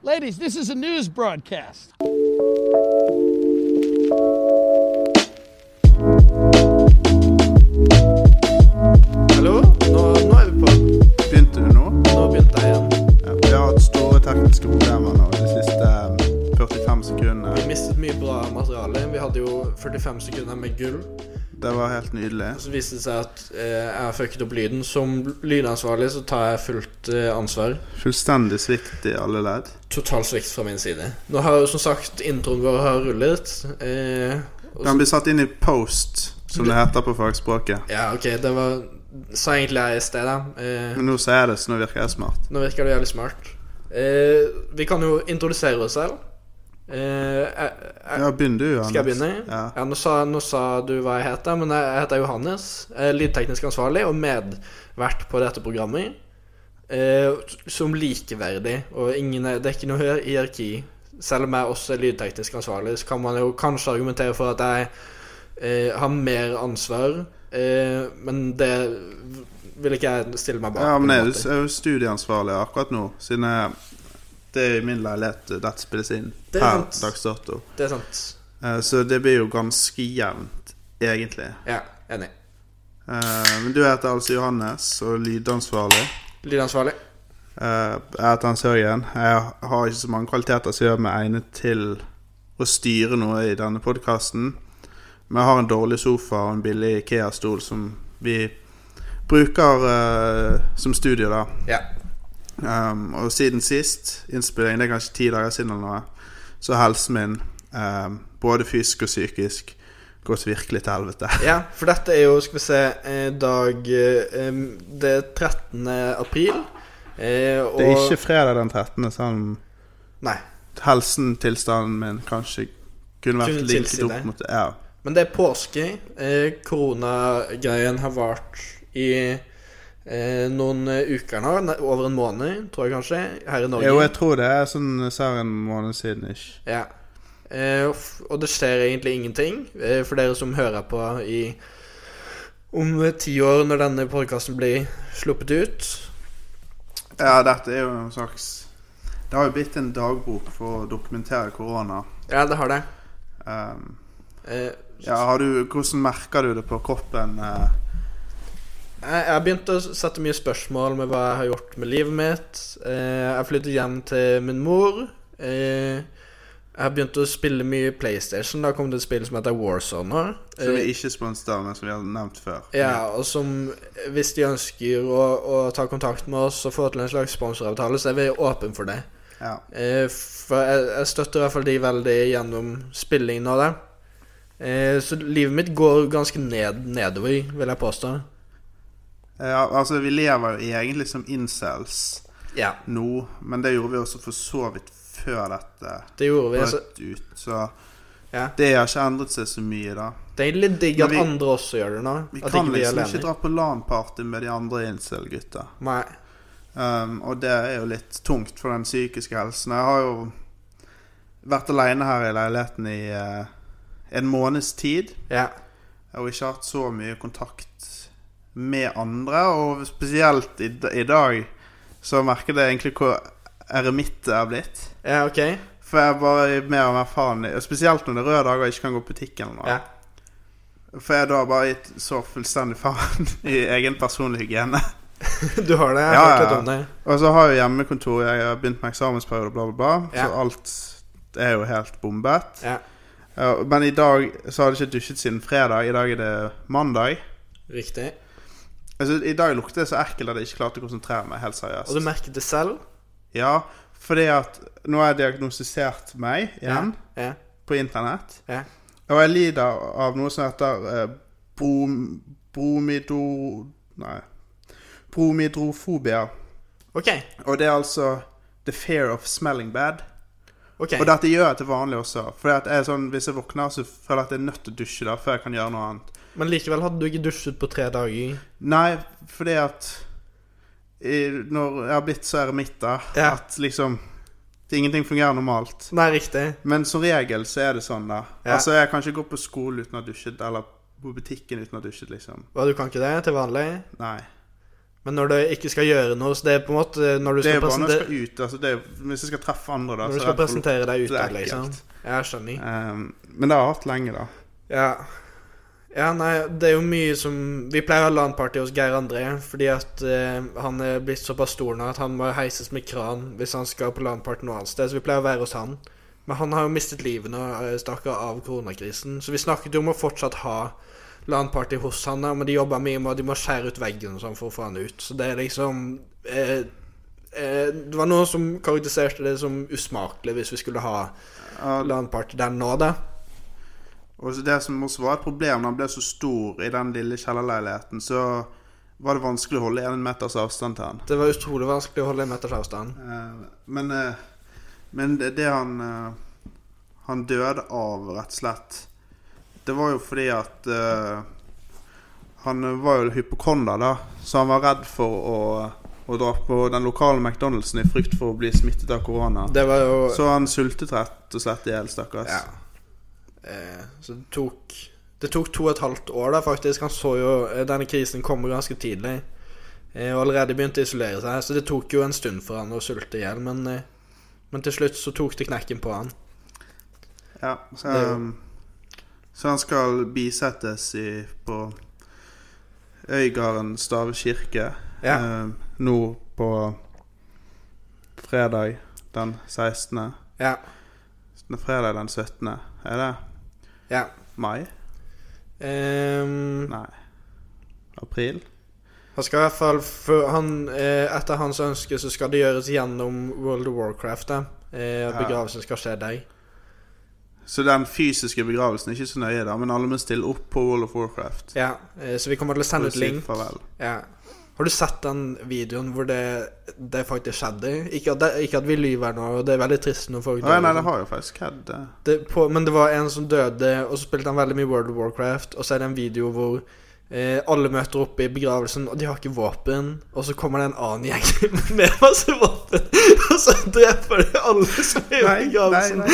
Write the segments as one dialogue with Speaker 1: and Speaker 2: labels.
Speaker 1: Ladies, this is a news broadcast.
Speaker 2: Hallo? Nå, nå er vi på.
Speaker 3: Begynte du nå?
Speaker 2: Nå begynte jeg igjen.
Speaker 3: Ja, vi har hatt store tekniske problemer nå de siste eh, 45 sekundene.
Speaker 2: Vi mistet mye bra materiale. Vi hadde jo 45 sekunder med gull.
Speaker 3: Det var helt nydelig.
Speaker 2: Så viste det seg at eh, jeg har fucket opp lyden. Som lydansvarlig så tar jeg fullt eh, ansvar.
Speaker 3: Fullstendig svikt i alle ledd.
Speaker 2: Total svikt fra min side. Nå har jo som sagt introen vår har rullet. Eh, og
Speaker 3: Den blir satt inn i post, som det heter på fagspråket.
Speaker 2: ja, OK, det var Sa egentlig jeg i sted, da. Eh,
Speaker 3: Men nå sier jeg det, så nå virker jeg smart.
Speaker 2: nå virker du jævlig smart. Eh, vi kan jo introdusere oss selv. Eh, jeg, jeg,
Speaker 3: Ja, begynn du, Johannes.
Speaker 2: Skal jeg begynne?
Speaker 3: Ja.
Speaker 2: Ja, nå, sa, nå sa du hva jeg heter, men jeg jeg heter Johannes. Jeg er lydteknisk ansvarlig og medvert på dette programmet. Eh, som likeverdig, og ingen er, det er ikke noe hierarki. Selv om jeg også er lydteknisk ansvarlig, så kan man jo kanskje argumentere for at jeg eh, har mer ansvar, eh, men det vil ikke jeg stille meg bak.
Speaker 3: Ja,
Speaker 2: på en
Speaker 3: men jeg er
Speaker 2: måte.
Speaker 3: jo- jeg er jo studieansvarlig akkurat nå, siden jeg, det er i min leilighet dette spilles inn
Speaker 2: Det er
Speaker 3: per
Speaker 2: sant.
Speaker 3: dags dato.
Speaker 2: Det er sant.
Speaker 3: Eh, Så det blir jo ganske jevnt, egentlig.
Speaker 2: Ja, enig.
Speaker 3: Eh, Men du heter altså Johannes og lydansvarlig.
Speaker 2: Lydansvarlig.
Speaker 3: Eh, Jeg heter Hans Jørgen. Jeg har ikke så mange kvaliteter som gjør meg egnet til å styre noe i denne podkasten. Men jeg har en dårlig sofa og en billig Ikea-stol som vi bruker eh, som studio, da.
Speaker 2: Ja.
Speaker 3: Um, og siden sist innspilling, det er kanskje ti dager siden eller noe, så har helsen min, um, både fysisk og psykisk, gått virkelig til helvete.
Speaker 2: Ja, for dette er jo, skal vi se, eh, dag eh, em, Det er 13. april. eh, Og
Speaker 3: Det er ikke fredag den 13., selv om
Speaker 2: Nei.
Speaker 3: helsen, tilstanden min, kanskje kunne vært
Speaker 2: Kunne tilsi
Speaker 3: linket
Speaker 2: det.
Speaker 3: opp mot Ja.
Speaker 2: Men det er påske. eh, Koronagreien har vart i eh, noen uker nå. ne- Over en måned, tror jeg kanskje. Her i Norge.
Speaker 3: Jo, jeg tror det er sånn ser en måned siden ish.
Speaker 2: Ja. Eh, og f- og det skjer egentlig ingenting. Eh, for dere som hører på i om eh, ti år, når denne podkasten blir sluppet ut.
Speaker 3: Ja, dette er jo en slags Det har jo blitt en dagbok for å dokumentere korona.
Speaker 2: Ja, det har det.
Speaker 3: Um,
Speaker 2: Eh,
Speaker 3: ja, har du, hvordan merker du det på kroppen? eh?
Speaker 2: Jeg jeg har begynt å sette mye spørsmål med hva jeg har gjort med livet mitt. Eh, Jeg flyttet hjem til min mor. Eh, Jeg har begynt å spille mye PlayStation. Da kom det et spill som heter Warzone nå.
Speaker 3: Som
Speaker 2: Eh,
Speaker 3: vi ikke sponset av, men som vi har nevnt før.
Speaker 2: Ja, og som Hvis de ønsker å, å ta kontakt med oss og få til en slags sponsoravtale, så er vi åpne for det.
Speaker 3: Ja.
Speaker 2: Eh, For jeg, jeg støtter i hvert fall de veldig gjennom spilling nå, da. Eh, Så livet mitt går ganske ned, nedover, vil jeg påstå.
Speaker 3: Ja, altså Vi lever jo egentlig som incels
Speaker 2: Ja,
Speaker 3: nå, men det gjorde vi også for så vidt før dette
Speaker 2: det gjorde vi. Så
Speaker 3: brøt ut. Så
Speaker 2: Ja.
Speaker 3: det har ikke endret seg så mye, da.
Speaker 2: Det er egentlig litt digg
Speaker 3: Men
Speaker 2: at
Speaker 3: vi-
Speaker 2: andre også gjør det nå.
Speaker 3: Vi
Speaker 2: at
Speaker 3: kan
Speaker 2: ikke vi er
Speaker 3: liksom
Speaker 2: alene.
Speaker 3: ikke dra på LAN-party med de andre incel-gutta.
Speaker 2: Nei.
Speaker 3: Um, og det er jo litt tungt for den psykiske helsen. Jeg har jo vært aleine her i leiligheten i eh, en måneds tid.
Speaker 2: Ja.
Speaker 3: og ikke hatt så mye kontakt med andre. Og spesielt i, i dag så merker det egentlig hvor eremitt jeg er blitt.
Speaker 2: ja, OK.
Speaker 3: For jeg bare gir mer og mer faen i og Spesielt når det er røde dager og jeg ikke kan gå på butikken. Eller noe.
Speaker 2: Ja.
Speaker 3: For jeg da har bare gitt så fullstendig faen i egen personlig hygiene.
Speaker 2: Du har det? Jeg har
Speaker 3: Ja,
Speaker 2: hørt
Speaker 3: ja,
Speaker 2: litt
Speaker 3: ja.
Speaker 2: om det.
Speaker 3: Og så har jeg jo hjemmekontor, jeg har begynt med eksamensperiode, bla, bla, bla.
Speaker 2: Ja.
Speaker 3: Så alt er jo helt bombet.
Speaker 2: Ja.
Speaker 3: Ja, Men i dag så har jeg ikke dusjet siden fredag. I dag er det mandag.
Speaker 2: Riktig.
Speaker 3: Altså, I dag lukter det så ekkelt at jeg ikke klarte å konsentrere meg. helt seriøst.
Speaker 2: Og du merket det selv?
Speaker 3: Ja, fordi at nå har jeg diagnostisert meg igjen
Speaker 2: Ja.
Speaker 3: på internett.
Speaker 2: Ja.
Speaker 3: Og jeg lider av noe som heter eh, brom, bromido... Nei. Bromidrofobia.
Speaker 2: OK.
Speaker 3: Og det er altså the fear of smelling bad.
Speaker 2: ok
Speaker 3: Og dette gjør jeg til vanlig også. For at jeg er sånn, hvis jeg våkner, så føler jeg at jeg er nødt til å dusje da, før jeg kan gjøre noe annet.
Speaker 2: Men likevel hadde du ikke dusjet på tre dager.
Speaker 3: Nei, fordi at i, Når jeg har blitt så eremitt, da,
Speaker 2: Ja.
Speaker 3: at liksom det, Ingenting fungerer normalt.
Speaker 2: Nei, riktig.
Speaker 3: Men som regel så er det sånn, da.
Speaker 2: Ja.
Speaker 3: Altså, jeg kan ikke gå på skole uten å ha dusjet, eller på butikken uten å ha dusjet, liksom.
Speaker 2: Hva, du kan ikke det til vanlig?
Speaker 3: Nei.
Speaker 2: Men når du ikke skal gjøre noe, så det er på en måte eh, når du
Speaker 3: Det
Speaker 2: skal,
Speaker 3: er bare når jeg
Speaker 2: presenter-
Speaker 3: skal ut. Altså, det er, hvis jeg skal treffe andre, da.
Speaker 2: når du
Speaker 3: så er
Speaker 2: skal
Speaker 3: det for-
Speaker 2: presentere deg
Speaker 3: så er
Speaker 2: utad,
Speaker 3: det
Speaker 2: liksom.
Speaker 3: ekkelt.
Speaker 2: Jeg skjønner.
Speaker 3: Ehm, men det har jeg hatt lenge, da.
Speaker 2: Ja. ja, nei, det er jo mye som Vi pleier å ha LAN-party hos Geir André, fordi at eh, han er blitt såpass stor nå at han må heises med kran hvis han skal på LAN-party noe annet sted, så vi pleier å være hos han. Men han har jo mistet livet nå, eh, stakkar, av koronakrisen, så vi snakket jo om å fortsatt ha LAN-party hos han, da, men de jobber mye med at de må skjære ut veggen og sånn for å få han ut, så det er liksom eh, eh, Det var noen som karakteriserte det som usmakelig hvis vi skulle ha
Speaker 3: Ja,
Speaker 2: LAN-party der nå, da.
Speaker 3: Og så det som også var et problem da han ble så stor i den lille kjellerleiligheten, så var det vanskelig å holde en meters avstand til han.
Speaker 2: Det var utrolig vanskelig å holde en meters avstand.
Speaker 3: Eh, Men, eh, men det, det han eh, Han døde av, rett og slett Det var jo fordi at eh, Han var jo hypokonder, da, så han var redd for å, å dra på den lokale McDonald'sen i frykt for å bli smittet av korona.
Speaker 2: Det var jo
Speaker 3: Så han sultet rett og slett i hjel, stakkars.
Speaker 2: ja. eh, Så det tok Det tok to og et halvt år, da, faktisk. Han så jo eh, denne krisen komme ganske tidlig. eh, Og allerede begynte å isolere seg, så det tok jo en stund for han å sulte i hjel. Men, eh, men til slutt så tok det knekken på han.
Speaker 3: Ja, så,
Speaker 2: Det er jo-
Speaker 3: um, så han skal bisettes i, på Øygarden Stave kirke
Speaker 2: Ja.
Speaker 3: um, nå på fredag den 16.
Speaker 2: Ja.
Speaker 3: Nei, Fredag den 17. Er det
Speaker 2: Ja.
Speaker 3: mai?
Speaker 2: Ehm,
Speaker 3: Nei. April?
Speaker 2: han skal i hvert fall for han, eh, Etter hans ønske så skal det gjøres gjennom World of Warcraft. da eh,
Speaker 3: Ja.
Speaker 2: Begravelsen skal skje der.
Speaker 3: Så den fysiske begravelsen er ikke så nøye, da, men alle må stille opp på World of Warcraft.
Speaker 2: Ja, eh, så vi kommer til å
Speaker 3: for
Speaker 2: sende
Speaker 3: å
Speaker 2: ut
Speaker 3: si
Speaker 2: link.
Speaker 3: farvel.
Speaker 2: Ja. Har du sett den videoen hvor det, det faktisk skjedde? Ikke at, det, ikke at vi lyver nå, og det er veldig trist når folk
Speaker 3: Nei, nei,
Speaker 2: liksom.
Speaker 3: det har jo faktisk skjedd. det.
Speaker 2: Det, på, men det var en som døde, og så spilte han veldig mye World of Warcraft. Og så er det en video hvor eh, alle møter opp i begravelsen, og de har ikke våpen. Og så kommer det en annen gjeng med masse våpen, og så dreper de alle som er i
Speaker 3: Nei,
Speaker 2: begravelsen.
Speaker 3: nei,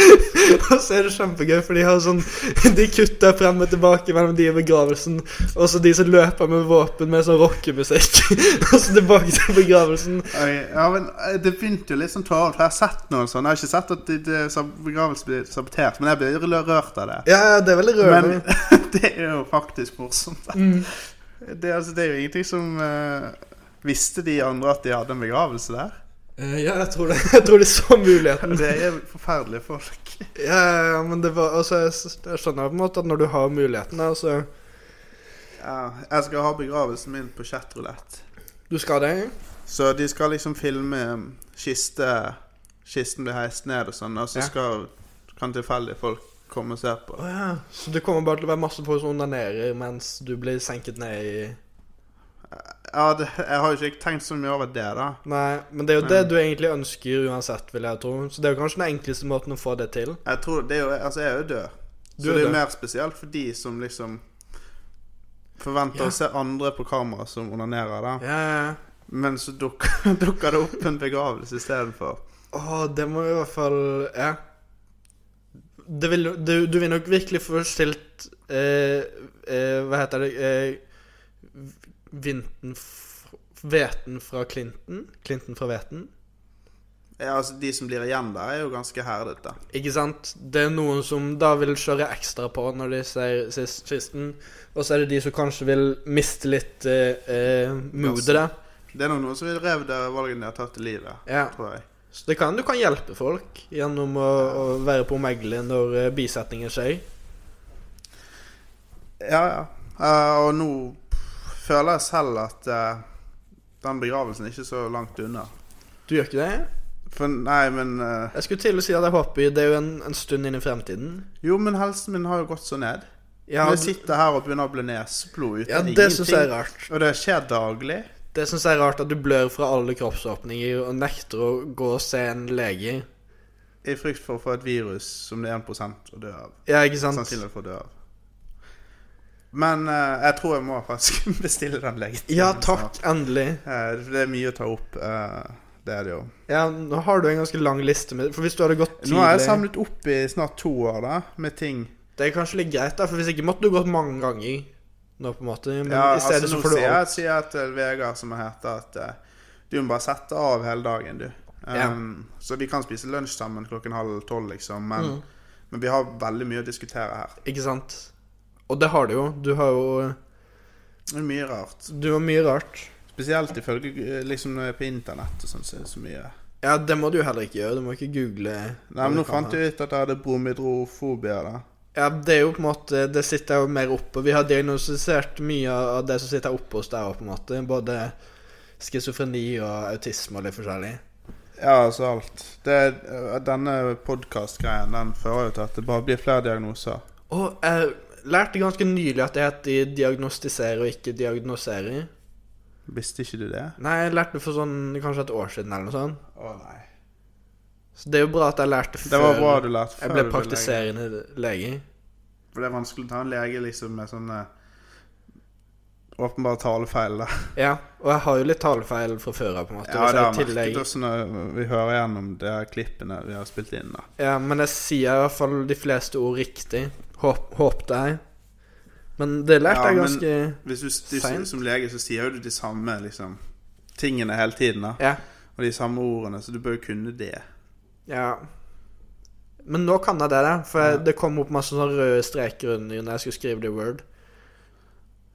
Speaker 2: Og så er det kjempegøy, for de har sånn De kutter frem og tilbake mellom de i begravelsen, og så de som løper med våpen med sånn rockemusikk. Og så tilbake til begravelsen.
Speaker 3: Oi, Ja, men eh, Det begynte jo litt sånn tårer, for jeg har sett noen sånne. Jeg har ikke sett at de- de sab- begravelsen blir sabotert, men jeg blir rø- rørt av det.
Speaker 2: Ja, ja, det er veldig
Speaker 3: Men
Speaker 2: rørende.
Speaker 3: det er jo faktisk morsomt. Det, altså, det er jo ingenting som eh, Visste de andre at de hadde en begravelse der?
Speaker 2: Eh, ja, jeg tror det. Jeg tror de så muligheten.
Speaker 3: Det er forferdelige folk.
Speaker 2: Ja, ja, ja, men det var altså, jeg, s- jeg skjønner på en måte at når du har muligheten der, så
Speaker 3: Ja, jeg skal ha begravelsen min på chatroulette.
Speaker 2: Du skal det?
Speaker 3: Så de skal liksom filme um, kiste, kisten blir heist ned og sånn, og så
Speaker 2: Ja.
Speaker 3: skal, kan tilfeldige folk komme og se på.
Speaker 2: Å ja. Så det kommer bare til å være masse folk som onanerer mens du blir senket ned i
Speaker 3: Ja, det, Jeg har jo ikke tenkt så mye over det, da.
Speaker 2: Nei, men det er jo
Speaker 3: Men-
Speaker 2: det du egentlig ønsker uansett, vil jeg tro. Så det er jo kanskje den enkleste måten å få det til.
Speaker 3: Jeg tror det er jo, altså jeg er jo død.
Speaker 2: Du
Speaker 3: så
Speaker 2: er
Speaker 3: det er jo
Speaker 2: død.
Speaker 3: mer spesielt for de som liksom forventer
Speaker 2: Ja.
Speaker 3: å se andre på kamera som onanerer, da.
Speaker 2: Ja, ja, ja.
Speaker 3: Men så dukker, dukker det opp en begravelse istedenfor.
Speaker 2: Å, det må i hvert fall Ja. Det vil, du, du vil nok virkelig få stilt eh, eh, Hva heter det eh, Vinten f- Veten fra Clinton? Clinton fra Veten?
Speaker 3: Ja, altså De som blir igjen der, er jo ganske herdet, da.
Speaker 2: Ikke sant? Det er noen som da vil kjøre ekstra på når de ser sis- kisten. Og så er det de som kanskje vil miste litt eh, eh, moodet, da.
Speaker 3: Det er nok noen som vil revurdere valgene de har tatt i livet,
Speaker 2: Ja.
Speaker 3: tror jeg.
Speaker 2: Så det kan, du kan hjelpe folk gjennom å, å være på megle når eh, bisetningen skjer.
Speaker 3: Ja, ja. Eh, og nå føler jeg selv at eh, den begravelsen er ikke så langt unna.
Speaker 2: Du gjør ikke det?
Speaker 3: For nei, men eh,
Speaker 2: Jeg skulle til å si at jeg håper det er jo en, en stund inn i fremtiden.
Speaker 3: Jo, men helsen min har jo gått så ned.
Speaker 2: Ja,
Speaker 3: Når jeg sitter her og begynner å blø nesblod uten
Speaker 2: ja det syns jeg er rart.
Speaker 3: Og det skjer daglig.
Speaker 2: Det syns jeg er rart at du blør fra alle kroppsåpninger og nekter å gå og se en lege.
Speaker 3: I frykt for å få et virus som det er 1 å dø av.
Speaker 2: Ja, ikke sant?
Speaker 3: Sannsynlig for å dø av. Men eh, jeg tror jeg må faktisk bestille den legetimen.
Speaker 2: Ja, takk.
Speaker 3: snart.
Speaker 2: Endelig.
Speaker 3: Eh, det er mye å ta opp. eh, det er det jo.
Speaker 2: Ja, nå har du en ganske lang liste med For hvis du hadde gått tidlig
Speaker 3: Nå har jeg samlet opp i snart to år da, med ting.
Speaker 2: Det er kanskje litt greit, da, for hvis ikke måtte du gått mange ganger. nå, på en måte. Men
Speaker 3: Ja,
Speaker 2: i stedet
Speaker 3: altså, nå
Speaker 2: så får du
Speaker 3: sier
Speaker 2: alt.
Speaker 3: jeg, sier jeg til Vegard som er hete at eh, du må bare sette av hele dagen, du.
Speaker 2: Ja.
Speaker 3: Um, Så vi kan spise lunsj sammen klokken halv tolv, liksom. Men,
Speaker 2: Mm.
Speaker 3: men vi har veldig mye å diskutere her.
Speaker 2: Ikke sant? Og det har du jo. Du har jo
Speaker 3: Det er mye rart.
Speaker 2: Du har mye rart.
Speaker 3: Spesielt ifølge eh, liksom når jeg er på internett og sånn, så er det så mye
Speaker 2: Ja, det må du jo heller ikke gjøre. Du må ikke google
Speaker 3: Nei, men nå fant jeg ut at jeg hadde bromidrofobia, da.
Speaker 2: Ja, det er jo på en måte Det sitter jo mer oppe. Vi har diagnostisert mye av det som sitter oppe hos deg òg, på en måte. Både schizofreni og autisme og litt forskjellig.
Speaker 3: Ja, altså alt. Det, eh, denne podkast-greien den fører jo til at det bare blir flere diagnoser.
Speaker 2: Og jeg lærte ganske nylig at det heter diagnostisere og ikke diagnosere.
Speaker 3: Visste ikke du det?
Speaker 2: Nei, jeg lærte det for sånn kanskje et år siden eller noe sånt.
Speaker 3: Å nei.
Speaker 2: Så det er jo bra at jeg lærte før
Speaker 3: Det var bra du lærte
Speaker 2: jeg
Speaker 3: før
Speaker 2: ble
Speaker 3: du lege.
Speaker 2: praktiserende lege.
Speaker 3: For det er vanskelig å ta en lege liksom med sånne åpenbare talefeil. da.
Speaker 2: Ja, og jeg har jo litt talefeil fra før av, på en måte.
Speaker 3: Ja,
Speaker 2: og
Speaker 3: det
Speaker 2: så
Speaker 3: har
Speaker 2: i
Speaker 3: jeg
Speaker 2: tillegg-
Speaker 3: merket også når vi hører gjennom de her klippene vi har spilt inn. da.
Speaker 2: Ja, men jeg sier i hvert fall de fleste ord riktig. Håp, håpte jeg. Men det lærte
Speaker 3: Ja,
Speaker 2: jeg
Speaker 3: men-
Speaker 2: ganske
Speaker 3: Hvis du, du
Speaker 2: Seint.
Speaker 3: Som lege så sier jo du de samme liksom, tingene hele tiden. da.
Speaker 2: Ja.
Speaker 3: Og de samme ordene, så du bør jo kunne det.
Speaker 2: ja. Men nå kan jeg det, da. For jeg-
Speaker 3: Ja.
Speaker 2: det kom opp masse sånne røde streker under når jeg skulle skrive det i Word.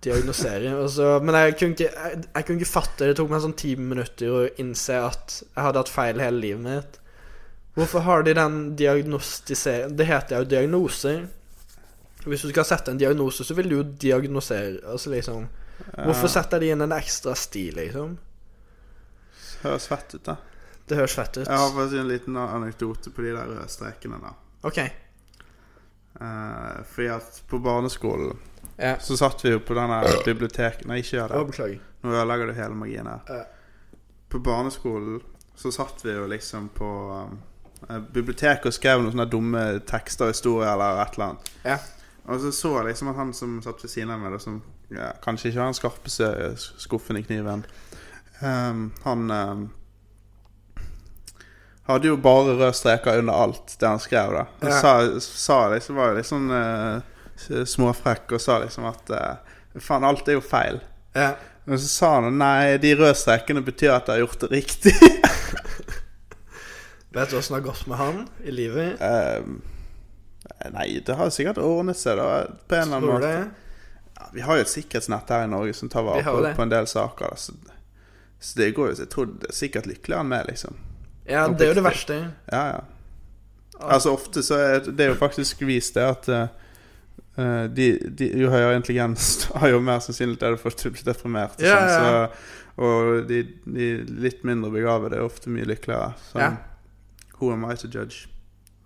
Speaker 2: Diagnosere. og så, men jeg kunne, ikke, jeg, jeg kunne ikke fatte det. Det tok meg sånn ti minutter å innse at jeg hadde hatt feil hele livet mitt. Hvorfor har de den diagnostisering Det heter jo diagnoser. Hvis du skal sette en diagnose, så vil du jo diagnosere. Altså liksom Hvorfor setter de inn en ekstra sti, liksom?
Speaker 3: Eh, Høres fett ut, da.
Speaker 2: Det høres fett ut.
Speaker 3: Jeg har faktisk en liten anekdote på de der røde strekene. da.
Speaker 2: Ok.
Speaker 3: Eh, fordi at på barneskolen
Speaker 2: Ja.
Speaker 3: så satt vi jo på denne biblioteket Nei, ikke gjør
Speaker 2: Å,
Speaker 3: det.
Speaker 2: beklager.
Speaker 3: Nå ødelegger du hele magien her.
Speaker 2: Ja.
Speaker 3: På barneskolen så satt vi jo liksom på um, eh, biblioteket og skrev noen sånne dumme tekster og historier eller et eller annet.
Speaker 2: Ja.
Speaker 3: Og så så jeg liksom at han som satt ved siden av meg, da, som ja, kanskje ikke har den skarpeste eh, skuffen i kniven um, Han um, hadde jo bare røde streker under alt det han skrev, da. Han
Speaker 2: Ja.
Speaker 3: sa, sa liksom, var jo litt sånn eh, s- småfrekk og sa liksom at eh, Faen, alt er jo feil.
Speaker 2: Ja.
Speaker 3: Men så sa han nei, de røde strekene betyr at jeg har gjort det riktig.
Speaker 2: Vet du åssen det har gått med han i livet?
Speaker 3: Ehm, nei, det har sikkert ordnet seg, da. På en eller annen
Speaker 2: Tror du
Speaker 3: måte.
Speaker 2: det?
Speaker 3: Ja, vi har jo et sikkerhetsnett her i Norge som tar
Speaker 2: Vi
Speaker 3: vare
Speaker 2: har
Speaker 3: på,
Speaker 2: det.
Speaker 3: på en del saker. da, Så, så det går jo Jeg tror det er sikkert lykkelig han med, liksom.
Speaker 2: Ja, det er jo det verste.
Speaker 3: Ja, ja. Altså ofte så er det er jo faktisk vist det at eh, eh, de, de, jo høyere intelligens du har, jo mer sannsynlig er det for at du blir deprimert. og
Speaker 2: Ja,
Speaker 3: sånn,
Speaker 2: ja, ja.
Speaker 3: Så, og de, de litt mindre begavede er ofte mye lykkeligere. Så
Speaker 2: Ja.
Speaker 3: who am I to judge?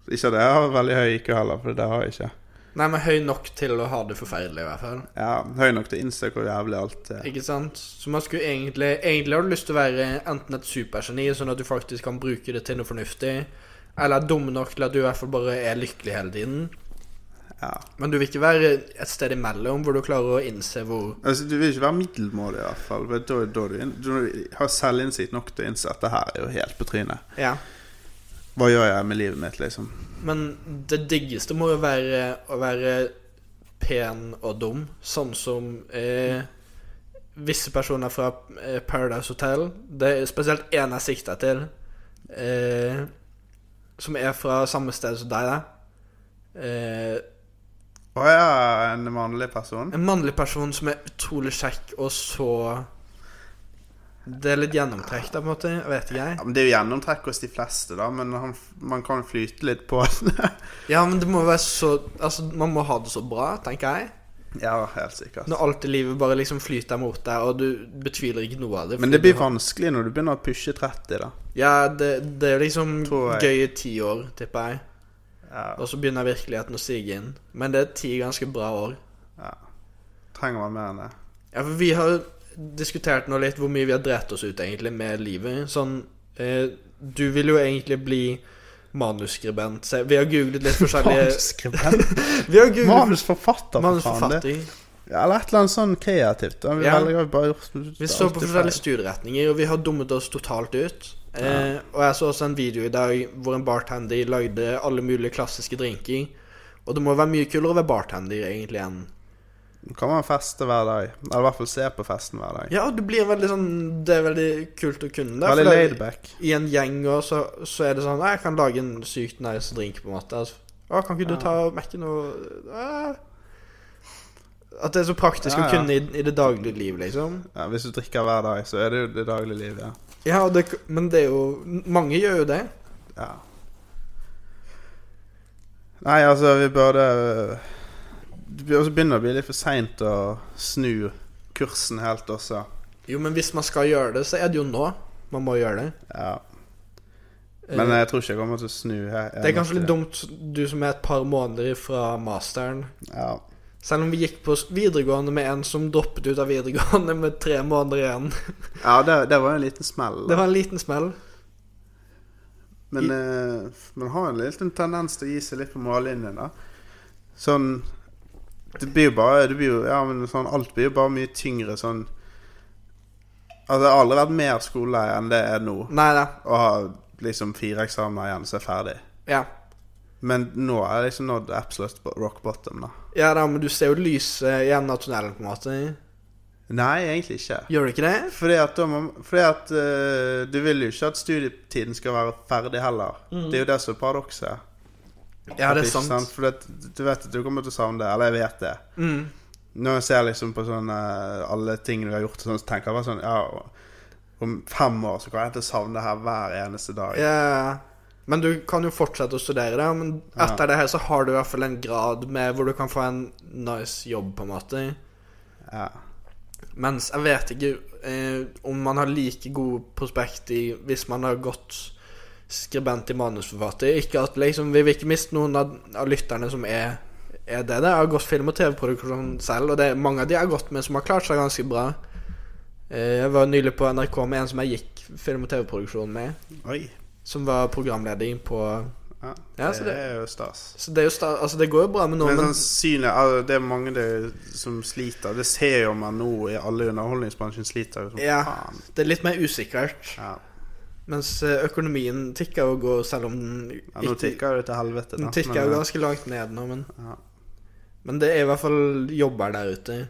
Speaker 3: Ikke at jeg har veldig høy IQ heller, for det har jeg ikke.
Speaker 2: Nei, men høy nok til å ha det forferdelig, i hvert fall.
Speaker 3: Ja, Høy nok til å innse hvor jævlig alt er.
Speaker 2: Ikke sant? Så man skulle egentlig Egentlig har du lyst til å være enten et supergeni, sånn at du faktisk kan bruke det til noe fornuftig, eller er dum nok til at du i hvert fall bare er lykkelig hele tiden.
Speaker 3: Ja.
Speaker 2: Men du vil ikke være et sted imellom hvor du klarer å innse hvor
Speaker 3: Altså, du vil ikke være middelmådig, i hvert fall. for Da, da du, inn- da du har selvinnsikt nok til å innse at det her er jo helt på trynet.
Speaker 2: Ja.
Speaker 3: Hva gjør jeg med livet mitt, liksom?
Speaker 2: Men det diggeste må jo være å være pen og dum, sånn som eh, visse personer fra eh, Paradise Hotel. Det er spesielt én jeg sikter til, eh, som er fra samme sted som deg. da. Eh,
Speaker 3: Å ja, en vanlig person?
Speaker 2: en mannlig person som er utrolig kjekk, og så Det er litt gjennomtrekk, da, på en måte. Jeg vet ikke,
Speaker 3: Ja,
Speaker 2: jeg.
Speaker 3: men Det er jo gjennomtrekk hos de fleste, da, men han, man kan flyte litt på det.
Speaker 2: Ja, men det må være så Altså, man må ha det så bra, tenker jeg.
Speaker 3: ja, helt sikkert.
Speaker 2: Når alt i livet bare liksom flyter mot deg, og du betviler ikke noe av det.
Speaker 3: Men det blir
Speaker 2: fordi du har-
Speaker 3: vanskelig når du begynner å pushe 30, da.
Speaker 2: Ja, det, det er liksom
Speaker 3: Tror jeg.
Speaker 2: gøy i ti år, tipper jeg.
Speaker 3: Ja,
Speaker 2: Og så begynner virkeligheten å sige inn. Men det er ti ganske bra år.
Speaker 3: ja. Trenger man mer enn det.
Speaker 2: Ja, for vi har jo diskutert nå litt hvor mye vi har drept oss ut egentlig med livet. Sånn eh, Du vil jo egentlig bli manusskribent. Se, Vi har googlet litt forskjellige
Speaker 3: Manusskribent?
Speaker 2: Vi har googlet
Speaker 3: Manusforfatter, for faen. Det.
Speaker 2: manusforfatter.
Speaker 3: Ja, eller et eller annet sånn kreativt. Da. Vi,
Speaker 2: Ja.
Speaker 3: velger jo bare gjort alt
Speaker 2: Vi så på
Speaker 3: feil.
Speaker 2: forskjellige studieretninger, og vi har dummet oss totalt ut. Eh, og jeg så også en video i dag hvor en bartender lagde alle mulige klassiske drinker. Og det må være mye kulere å være bartender egentlig enn
Speaker 3: Nå kan man feste hver dag. Eller i hvert fall se på festen hver dag.
Speaker 2: Ja, det blir veldig sånn Det er veldig kult å kunne det.
Speaker 3: Veldig
Speaker 2: for det-
Speaker 3: laidback.
Speaker 2: I en gjeng og så, så er det sånn «Nei, Jeg kan lage en sykt nice drink, på en måte. Altså, å, kan ikke du
Speaker 3: Ja.
Speaker 2: ta Mac-en og eh. At det er så praktisk
Speaker 3: Ja,
Speaker 2: å
Speaker 3: ja.
Speaker 2: kunne i, i det daglige liv, liksom.
Speaker 3: Ja, hvis du drikker hver dag, så er det jo det daglige livet. Ja.
Speaker 2: Ja, og det, men det er jo Mange gjør jo det.
Speaker 3: ja. Nei, altså, vi burde Det blir også begynner å bli litt for seint å snu kursen helt også.
Speaker 2: Jo, men hvis man skal gjøre det, så er det jo nå. Man må gjøre det.
Speaker 3: Ja.
Speaker 2: Eh,
Speaker 3: Men eh, jeg tror ikke jeg kommer til å snu. her.
Speaker 2: det er kanskje litt dumt, du som er et par måneder fra masteren.
Speaker 3: Ja.
Speaker 2: Selv om vi gikk på videregående med en som droppet ut av videregående med tre måneder igjen.
Speaker 3: ja, det, det var jo en liten smell. da.
Speaker 2: Det var en liten smell.
Speaker 3: Men eh, man har en liten tendens til å gi seg litt på mållinjen, da. Sånn Det blir jo bare det blir jo, Ja, men sånn Alt blir jo bare mye tyngre sånn Altså, det har aldri vært mer skole enn det er nå.
Speaker 2: Nei da.
Speaker 3: Å ha liksom fire eksamener igjen, så er jeg ferdig.
Speaker 2: Ja.
Speaker 3: Men nå er jeg liksom nådd absolutt bo- rock bottom, da.
Speaker 2: ja da, men du ser jo lyset i enden av tunnelen, på en måte.
Speaker 3: Nei, egentlig ikke.
Speaker 2: Gjør du ikke det?
Speaker 3: Fordi at, da må- fordi at eh, du vil jo ikke at studietiden skal være ferdig heller. Det er jo det som er paradokset.
Speaker 2: Mm. Ja, det
Speaker 3: Ikke
Speaker 2: er sant.
Speaker 3: For det, du vet at du kommer til å savne det, eller jeg vet det.
Speaker 2: Mm.
Speaker 3: Når jeg ser liksom på sånn eh, alle ting du har gjort, sånn, så tenker jeg bare sånn Ja, om fem år så kommer jeg til å savne det her hver eneste dag.
Speaker 2: Ja. Men du kan jo fortsette å studere, da. Men etter det her så har du i hvert fall en grad med hvor du kan få en nice jobb, på en måte.
Speaker 3: Ja.
Speaker 2: Mens jeg vet ikke eh, om man har like gode prospekt i hvis man har gått skribent i manusforfatter. Ikke at liksom, Vi vil ikke miste noen av, av lytterne som er, er det. Det har gått film- og TV-produksjon selv, og det er mange av de jeg har gått med, som har klart seg ganske bra. Eh, jeg var nylig på NRK med en som jeg gikk film- og TV-produksjon med,
Speaker 3: Oi.
Speaker 2: som var programleder på
Speaker 3: Ja,
Speaker 2: Ja,
Speaker 3: det,
Speaker 2: så det-
Speaker 3: er jo stas.
Speaker 2: Så det er jo sta Altså, det går jo bra med noen,
Speaker 3: Men
Speaker 2: men
Speaker 3: sånn synet altså, Det er mange det, som sliter. Det ser jo man nå i alle underholdningsbransjen sliter jo som
Speaker 2: Ja.
Speaker 3: faen.
Speaker 2: det er litt mer usikkert.
Speaker 3: Ja.
Speaker 2: Mens eh, økonomien tikker og går, selv om den
Speaker 3: ja. Nå tikker det til helvete, da.
Speaker 2: Den tikker
Speaker 3: men, eh,
Speaker 2: jo ganske langt ned nå, men
Speaker 3: Ja.
Speaker 2: Men det er i hvert fall jobber der ute.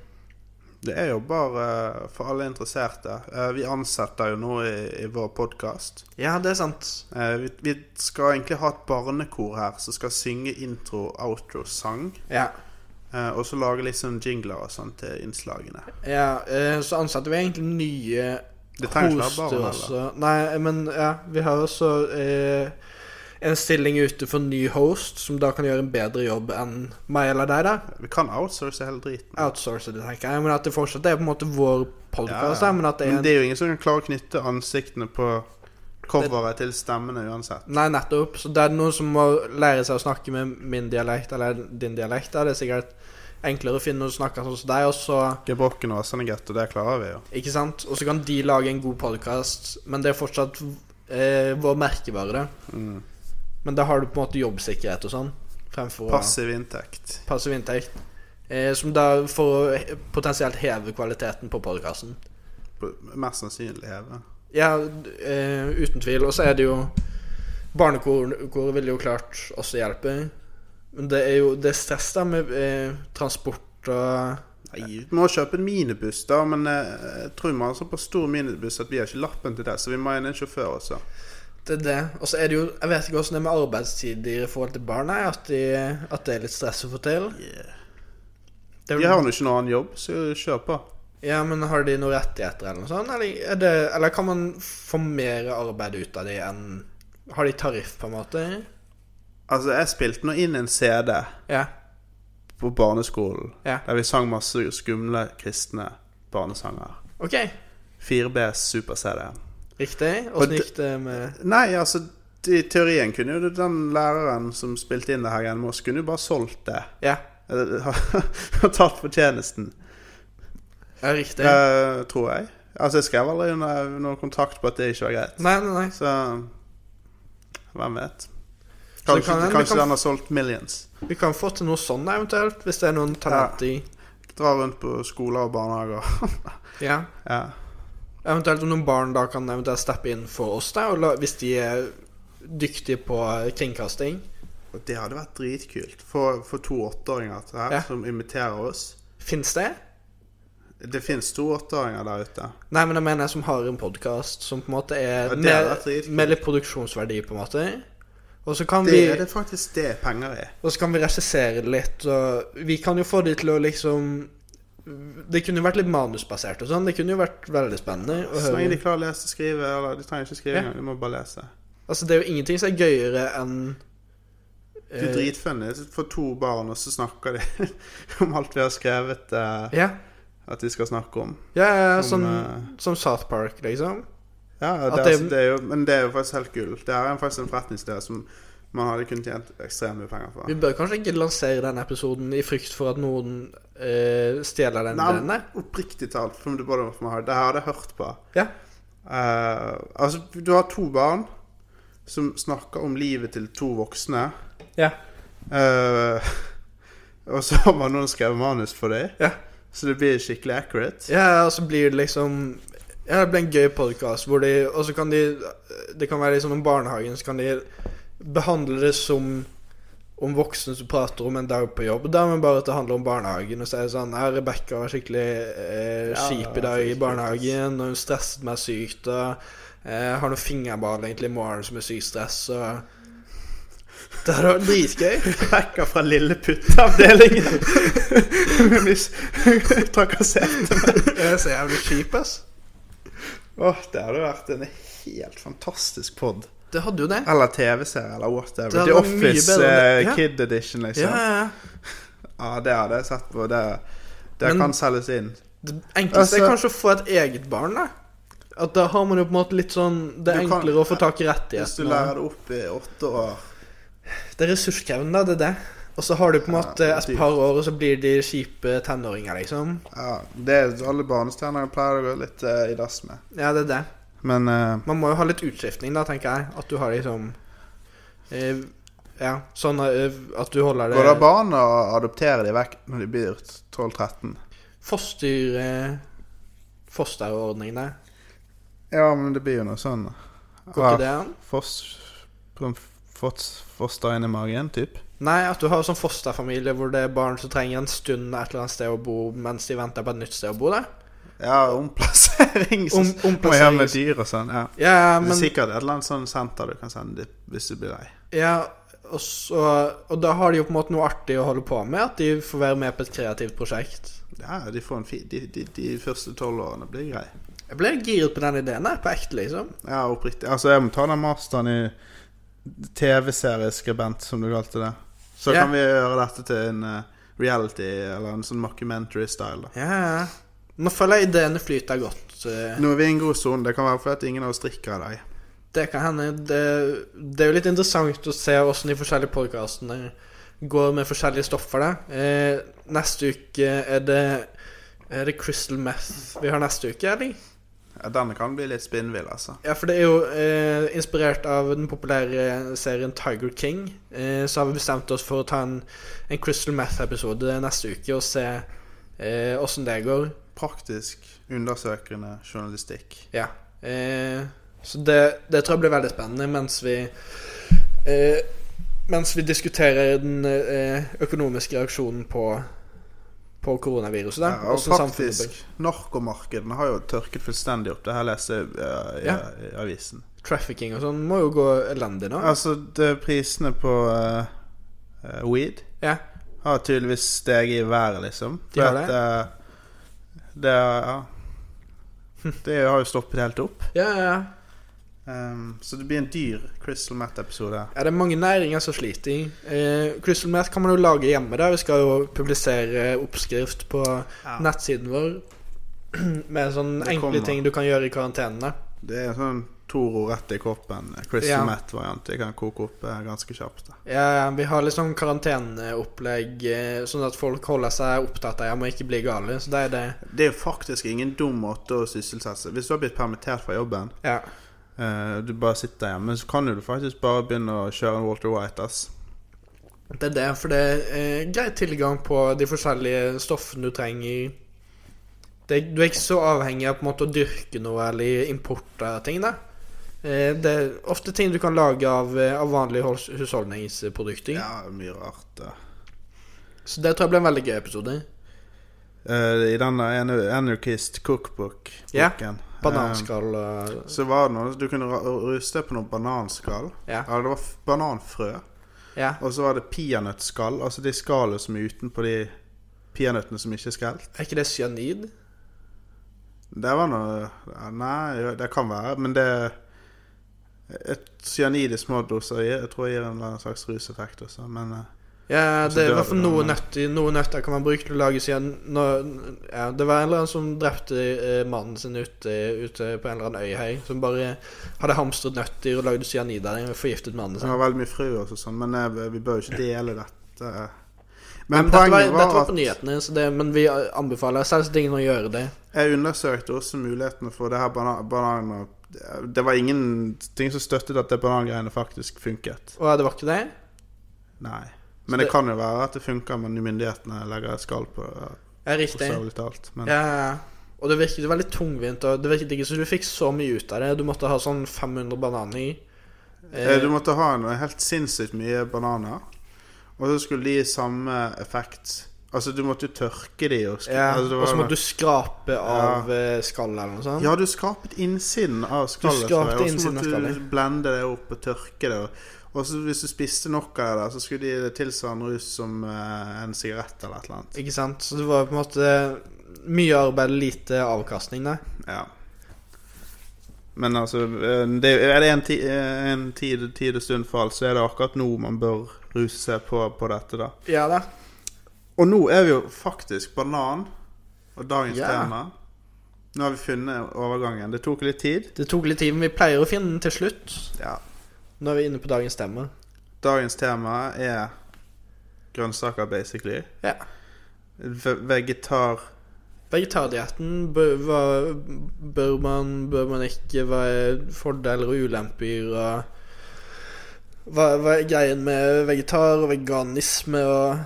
Speaker 3: Det er jo bare eh, for alle interesserte. Eh, Vi ansetter jo nå i, i vår podkast.
Speaker 2: Ja, det er sant.
Speaker 3: Eh, vi, vi skal egentlig ha et barnekor her som skal synge intro, outro, sang.
Speaker 2: Ja.
Speaker 3: eh, og så lage litt sånn jingler og sånn til innslagene.
Speaker 2: ja eh, så ansatte vi egentlig nye
Speaker 3: Det trenger ikke være
Speaker 2: hoster
Speaker 3: barn,
Speaker 2: også. Nei, eh, men ja, vi har også eh, en stilling ute for ny host, som da kan gjøre en bedre jobb enn meg eller deg, da.
Speaker 3: Vi kan outsource hele driten.
Speaker 2: Outsource det, tenker jeg. Men at det fortsatt er på en måte vår podkast,
Speaker 3: Ja, ja.
Speaker 2: men at det er
Speaker 3: Men
Speaker 2: en
Speaker 3: det er jo ingen som kan klare å knytte ansiktene på coveret til stemmene uansett.
Speaker 2: Nei, nettopp. Så det er noen som må lære seg å snakke med min dialekt, eller din dialekt. Da. Det er sikkert enklere å finne noen som snakker sånn som deg, og så
Speaker 3: Gebrokken og Åsane Gutt, og det klarer vi jo.
Speaker 2: Ikke sant? Og så kan de lage en god podkast, men det er fortsatt eh, vår merkevare. da.
Speaker 3: Mm.
Speaker 2: Men da har du på en måte jobbsikkerhet og sånn, fremfor passiv,
Speaker 3: Passiv inntekt.
Speaker 2: passiv inntekt. Eh, som da for å he- potensielt heve kvaliteten på podkasten.
Speaker 3: På- Mest sannsynlig heve.
Speaker 2: Ja, d- eh, uten tvil. Og så er det jo Barnekoret vil jo klart også hjelpe. Men det er jo det er stress da med eh, transport og
Speaker 3: Nei, vi må kjøpe en minibuss, da, men eh, jeg tror vi har såpass stor minibuss at vi har ikke lappen til det, så vi må ha inn en sjåfør også.
Speaker 2: Det er det. Og så er det jo Jeg vet ikke åssen det er med arbeidstider i forhold til barn, nei, at, de, at det er litt stress å få til. Det er,
Speaker 3: De har nå ikke noen annen jobb, så kjør på.
Speaker 2: Ja, men har de noen rettigheter eller noe sånt? Eller, er det, eller kan man få mer arbeid ut av de enn Har de tariff, på en måte?
Speaker 3: Altså, jeg spilte nå inn en CD
Speaker 2: Ja.
Speaker 3: på barneskolen
Speaker 2: Ja.
Speaker 3: der vi sang masse skumle kristne barnesanger.
Speaker 2: OK.
Speaker 3: 4Bs super-CD.
Speaker 2: Riktig.
Speaker 3: Og
Speaker 2: Åssen
Speaker 3: det-
Speaker 2: gikk det med
Speaker 3: Nei, altså, i teorien kunne jo den læreren som spilte inn det her, Jan Moss, kunne jo bare solgt det.
Speaker 2: Ja.
Speaker 3: Eller, Og tatt fortjenesten.
Speaker 2: ja riktig.
Speaker 3: Eh, tror jeg. Altså, jeg skrev aldri under noen kontrakt på at det ikke var greit.
Speaker 2: Nei, nei, nei.
Speaker 3: Så hvem vet?
Speaker 2: Så det
Speaker 3: Kanskje,
Speaker 2: kan hende-
Speaker 3: kanskje
Speaker 2: det kan-
Speaker 3: den har solgt millions.
Speaker 2: Vi kan få til noe sånn eventuelt, hvis det er noen talent i
Speaker 3: Dra rundt på skoler og barnehager.
Speaker 2: Ja.
Speaker 3: ja.
Speaker 2: Eventuelt om noen barn da kan eventuelt steppe inn for oss, da, og la, hvis de er dyktige på eh, kringkasting.
Speaker 3: Og det hadde vært dritkult. For, for to åtteåringer til det her,
Speaker 2: Ja.
Speaker 3: som imiterer oss.
Speaker 2: Fins det?
Speaker 3: Det fins to åtteåringer der ute.
Speaker 2: Nei, men jeg mener jeg som har en podkast som på en måte er
Speaker 3: Ja, det hadde vært
Speaker 2: med,
Speaker 3: dritkult.
Speaker 2: med litt produksjonsverdi, på en måte. Og så kan
Speaker 3: Det
Speaker 2: vi
Speaker 3: er det faktisk det er penger i.
Speaker 2: Og så kan vi regissere litt, og vi kan jo få de til å liksom Det kunne jo vært litt manusbasert og sånn. Det kunne jo vært veldig spennende å
Speaker 3: Så lenge de
Speaker 2: høre.
Speaker 3: klarer å lese og skrive, eller de trenger ikke skrive
Speaker 2: Ja.
Speaker 3: engang, de må bare lese.
Speaker 2: Altså, det er jo ingenting som er gøyere enn Eh.
Speaker 3: Det er dritfunny. For to barn, og så snakker de om alt vi har skrevet eh,
Speaker 2: Ja.
Speaker 3: at de skal snakke om.
Speaker 2: ja, ja, ja
Speaker 3: Som,
Speaker 2: som,
Speaker 3: eh,
Speaker 2: som South Park, liksom.
Speaker 3: Ja, ja,
Speaker 2: At
Speaker 3: det, er-
Speaker 2: det-
Speaker 3: altså, det er jo, men det er jo faktisk helt gull. Det er en- faktisk en forretningsidé som man hadde kunnet tjent ekstremt mye penger for.
Speaker 2: Vi bør kanskje ikke lansere den episoden i frykt for at noen eh, stjeler den
Speaker 3: Nei,
Speaker 2: ideen der.
Speaker 3: Oppriktig talt, som du både må ha, det her hadde jeg hørt på.
Speaker 2: Ja.
Speaker 3: Eh, altså, du har to barn som snakker om livet til to voksne.
Speaker 2: Ja.
Speaker 3: Eh, og så har man noen skrevet manus for dem,
Speaker 2: Ja.
Speaker 3: så det blir skikkelig accurate.
Speaker 2: Ja, og så blir det liksom Ja, det blir en gøy podkast hvor de Og så kan de Det kan være liksom om barnehagen, så kan de behandle det som om voksne som prater om en dag på jobb, da, men bare at det handler om barnehagen. Og så er det sånn Ja, Rebekka var skikkelig eh,
Speaker 3: Ja,
Speaker 2: kjip i dag i
Speaker 3: skikkelig.
Speaker 2: barnehagen, og hun stresset meg sykt, og eh, har noen fingerball egentlig i morgen som er sykt stress, og Det hadde vært dritgøy.
Speaker 3: Hacker fra Lilleputt-avdelingen. Hun blir s- trakassert.
Speaker 2: Det er så jævlig kjip, ass.
Speaker 3: Åh, det hadde vært en helt fantastisk pod.
Speaker 2: Det hadde jo det.
Speaker 3: Eller TV-serie, eller whatever.
Speaker 2: Det hadde
Speaker 3: The
Speaker 2: vært mye
Speaker 3: Office
Speaker 2: bedre enn det.
Speaker 3: eh,
Speaker 2: Ja.
Speaker 3: Kid Edition, liksom.
Speaker 2: Ja,
Speaker 3: Ja,
Speaker 2: ja, ja.
Speaker 3: det hadde jeg sett på. Det, det
Speaker 2: Men-
Speaker 3: kan selges inn.
Speaker 2: Det enkleste er
Speaker 3: Altså-
Speaker 2: kanskje å få et eget barn, da. At da har man jo på en måte litt sånn Det er
Speaker 3: Du kan-
Speaker 2: enklere å få tak i
Speaker 3: Hvis du
Speaker 2: rettighetene.
Speaker 3: lærer det opp i åtte år
Speaker 2: Det er ressurskrevende, det er det. Og så har du på en
Speaker 3: Ja,
Speaker 2: måte et
Speaker 3: dyrt.
Speaker 2: par år, og så blir de kjipe tenåringer, liksom.
Speaker 3: ja, det er Alle barnestjerner pleier å gå litt eh, i dass med.
Speaker 2: Ja, det er det.
Speaker 3: Men eh,
Speaker 2: Man må jo ha litt utskiftning, da, tenker jeg. At du har liksom eh, Ja, sånn eh, at du holder
Speaker 3: går det
Speaker 2: det
Speaker 3: barn å adoptere de vekk når de blir 12-13?
Speaker 2: Foster... Eh, Fosterordning der.
Speaker 3: Ja, men det blir jo noe sånn
Speaker 2: Går
Speaker 3: Ja,
Speaker 2: ikke det an?
Speaker 3: fos- på en fos- Foster inn i magen, typ?
Speaker 2: Nei, at du har sånn fosterfamilie hvor det er barn som trenger en stund et eller annet sted å bo mens de venter på et nytt sted å bo. da
Speaker 3: Ja, omplassering. så-
Speaker 2: Om-
Speaker 3: Må gjøre med
Speaker 2: omplassering.
Speaker 3: dyr og sånn. ja
Speaker 2: Ja,
Speaker 3: Det
Speaker 2: men
Speaker 3: er sikkert et eller annet sånn senter du kan sende dit hvis du blir lei.
Speaker 2: Ja, og, så, og da har de jo på en måte noe artig å holde på med. At de får være med på et kreativt prosjekt.
Speaker 3: Ja, de, får en fi, de, de, de første tolv årene blir grei.
Speaker 2: Jeg ble giret på den ideen her, på ekte, liksom.
Speaker 3: Ja, oppriktig. Altså, jeg må ta den masteren i TV-serieskribent, som du kalte det. Så
Speaker 2: Ja.
Speaker 3: kan vi gjøre dette til en eh, reality, eller en sånn mockumentary-style. da.
Speaker 2: Ja, ja. Nå føler jeg ideene flyter godt. eh,
Speaker 3: Nå er vi i en god sone. Det kan være fordi at ingen av oss drikker i dag.
Speaker 2: Det kan hende. Det, det er jo litt interessant å se åssen de forskjellige podkastene går med forskjellige stoffer. Da. Eh, neste uke er det, er det Crystal Meth vi har neste uke, eller?
Speaker 3: Ja, denne kan bli litt spinnvill, altså.
Speaker 2: Ja, for det er jo eh, inspirert av den populære serien Tiger King. Eh, så har vi bestemt oss for å ta en, en Crystal Meth-episode neste uke og se eh, åssen det går.
Speaker 3: Praktisk, undersøkende journalistikk.
Speaker 2: Ja. Eh, så det, det tror jeg blir veldig spennende mens vi eh, Mens vi diskuterer den eh, økonomiske reaksjonen på På koronaviruset. Da,
Speaker 3: Ja, og
Speaker 2: hvordan samfunnet
Speaker 3: faktisk, narkomarkedene har jo tørket fullstendig opp. Det her leste jeg eh, i,
Speaker 2: Ja.
Speaker 3: i avisen.
Speaker 2: blir. Trafficking og sånn må jo gå elendig nå.
Speaker 3: Altså, det, prisene på eh, eh, weed
Speaker 2: Ja.
Speaker 3: har tydeligvis steget i været, liksom.
Speaker 2: De har
Speaker 3: For
Speaker 2: det.
Speaker 3: at, eh, det er- Ja. Det har jo stoppet helt opp.
Speaker 2: Ja, ja, ja.
Speaker 3: Ehm, så det blir en dyr Crystal Met-episode.
Speaker 2: Ja, det er mange næringer som sliter. Eh, Crystal Meth kan man jo lage hjemme. der Vi skal jo publisere oppskrift på
Speaker 3: Ja.
Speaker 2: nettsiden vår med sånne
Speaker 3: Det
Speaker 2: enkle
Speaker 3: kommer.
Speaker 2: ting du kan gjøre i karantenene.
Speaker 3: Det er sånn Toro rett i koppen. eh, Crystal
Speaker 2: Ja.
Speaker 3: Met-variant. Det kan koke opp eh, ganske kjapt. da.
Speaker 2: Ja, vi har litt sånn karanteneopplegg, eh, sånn at folk holder seg opptatt av hjemme og ikke blir gale. Så det er det.
Speaker 3: Det er jo faktisk ingen dum måte å sysselsette seg Hvis du har blitt permittert fra jobben,
Speaker 2: Ja.
Speaker 3: eh, du bare sitter hjemme, så kan jo du faktisk bare begynne å kjøre en Walter White, ass.
Speaker 2: Det er det, for det er eh, grei tilgang på de forskjellige stoffene du trenger. Det, du er ikke så avhengig av på en måte å dyrke noe eller import av ting. Da. Eh, det er ofte ting du kan lage av, eh, av vanlige hos- husholdningsprodukter.
Speaker 3: Ja, mye rart. da.
Speaker 2: Så det tror jeg blir en veldig gøy episode.
Speaker 3: eh, I den der An- Anarchist cookbook-boken.
Speaker 2: Ja,
Speaker 3: eh,
Speaker 2: Bananskall og
Speaker 3: så var det noe Du kunne ra- ruste på noe bananskall.
Speaker 2: Ja.
Speaker 3: Eller det var f- bananfrø.
Speaker 2: Ja.
Speaker 3: Og så var det peanøttskall. Altså de skallene som er utenpå de peanøttene som ikke er skrelt.
Speaker 2: Er ikke det cyanid?
Speaker 3: Det var noe ja, Nei, det kan være, men det Et cyanid i små doser gir- jeg tror jeg gir en eller annen slags ruseffekt også, men eh,
Speaker 2: Ja,
Speaker 3: Så
Speaker 2: det er i
Speaker 3: dør
Speaker 2: hvert fall
Speaker 3: du,
Speaker 2: noe
Speaker 3: men-
Speaker 2: nøtter. Noe nøtter kan man bruke til å lage siden nå- ja, Det var en eller annen som drepte eh, mannen sin ute, ute på en eller annen øy her. Som bare hadde hamstret nøtter og lagde cyanid av dem og forgiftet mannen
Speaker 3: det
Speaker 2: sin.
Speaker 3: var veldig mye frø også sånn, men eh, vi bør jo ikke dele dette.
Speaker 2: Men,
Speaker 3: Men
Speaker 2: dette, var,
Speaker 3: poenget
Speaker 2: dette var
Speaker 3: var
Speaker 2: på
Speaker 3: at
Speaker 2: nyhetene, så det, men vi anbefaler selvsagt ingen å gjøre det.
Speaker 3: jeg undersøkte også mulighetene for det her bana- banan... og- Det var ingenting som støttet at det banangreiene faktisk funket.
Speaker 2: Og det var ikke det?
Speaker 3: Nei.
Speaker 2: Så
Speaker 3: Men det,
Speaker 2: det-
Speaker 3: kan jo være at det funker, men myndighetene legger skall på det.
Speaker 2: Ja, riktig.
Speaker 3: Bokstavelig talt. Men
Speaker 2: Ja, ja, ja. og det virket jo veldig tungvint. Og det virket ikke som du fikk så mye ut av det. Du måtte ha sånn 500 bananer i.
Speaker 3: Eh, du måtte ha en helt sinnssykt mye bananer, og så skulle de gi samme effekt. Altså, du måtte jo tørke de og sk-
Speaker 2: Eh, ja,
Speaker 3: altså, det
Speaker 2: og
Speaker 3: var-
Speaker 2: så måtte du skrape av eh, skallet eller noe sånt.
Speaker 3: Ja, du skrapet innsiden av skallet,
Speaker 2: Du
Speaker 3: tror jeg,
Speaker 2: skrapte
Speaker 3: og så
Speaker 2: innsiden av
Speaker 3: måtte du
Speaker 2: skallet.
Speaker 3: blende det opp og tørke det. og- Og så hvis du spiste nok av det, der, så skulle de gi det tilsvarende rus som eh, en sigarett eller et eller annet.
Speaker 2: Ikke sant? Så det var på en måte mye arbeid, lite avkastning, da.
Speaker 3: Ja. Men altså, eh, det, er det en, ti, eh, en tid, tid og stund for alt, så er det akkurat nå man bør ruse seg på, på dette, da.
Speaker 2: Ja da.
Speaker 3: Og nå er vi jo faktisk banan og dagens
Speaker 2: Ja.
Speaker 3: tema. Nå har vi funnet overgangen. Det tok litt tid.
Speaker 2: Det tok litt tid, men vi pleier å finne den til slutt.
Speaker 3: Ja.
Speaker 2: Nå er vi inne på dagens tema.
Speaker 3: Dagens tema er grønnsaker, basically.
Speaker 2: Ja.
Speaker 3: Ve- Vegetar...
Speaker 2: Vegetardietten bør, hva- bør man Bør man ikke være fordeler og ulemper og hva, hva er greien med vegetar og veganisme og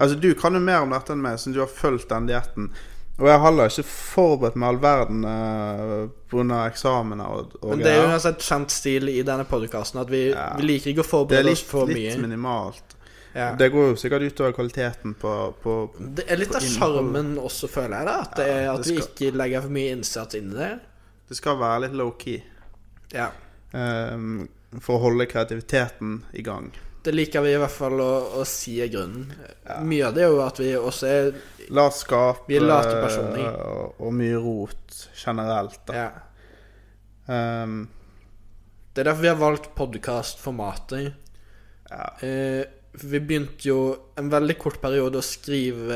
Speaker 3: Altså, du kan jo mer om dette enn meg, siden du har fulgt den dietten. Og jeg har heller ikke forberedt meg all verden eh, på grunn av eksamener og, og
Speaker 2: Men det er jo
Speaker 3: greier.
Speaker 2: uansett kjent stil i denne podkasten at vi,
Speaker 3: Ja.
Speaker 2: vi liker ikke å
Speaker 3: Det er
Speaker 2: forberede oss
Speaker 3: litt,
Speaker 2: for
Speaker 3: litt
Speaker 2: mye.
Speaker 3: minimalt.
Speaker 2: Ja.
Speaker 3: Det går jo sikkert utover kvaliteten på, på
Speaker 2: Det er litt av
Speaker 3: innholdet.
Speaker 2: sjarmen også, føler jeg, da. At, det er,
Speaker 3: Ja,
Speaker 2: at
Speaker 3: det
Speaker 2: vi ikke legger for mye innsats inn i det.
Speaker 3: Det skal være litt low-key
Speaker 2: Ja.
Speaker 3: ehm, for å holde kreativiteten i gang.
Speaker 2: Det liker vi i hvert fall å, å si er grunnen. Mye av det er jo at vi også er
Speaker 3: La oss skape
Speaker 2: Vi er late personer.
Speaker 3: eh, og, og mye rot generelt, da.
Speaker 2: ja.
Speaker 3: Ehm,
Speaker 2: Det er derfor vi har valgt podkastformatet.
Speaker 3: ja.
Speaker 2: Eh, vi begynte jo en veldig kort periode å skrive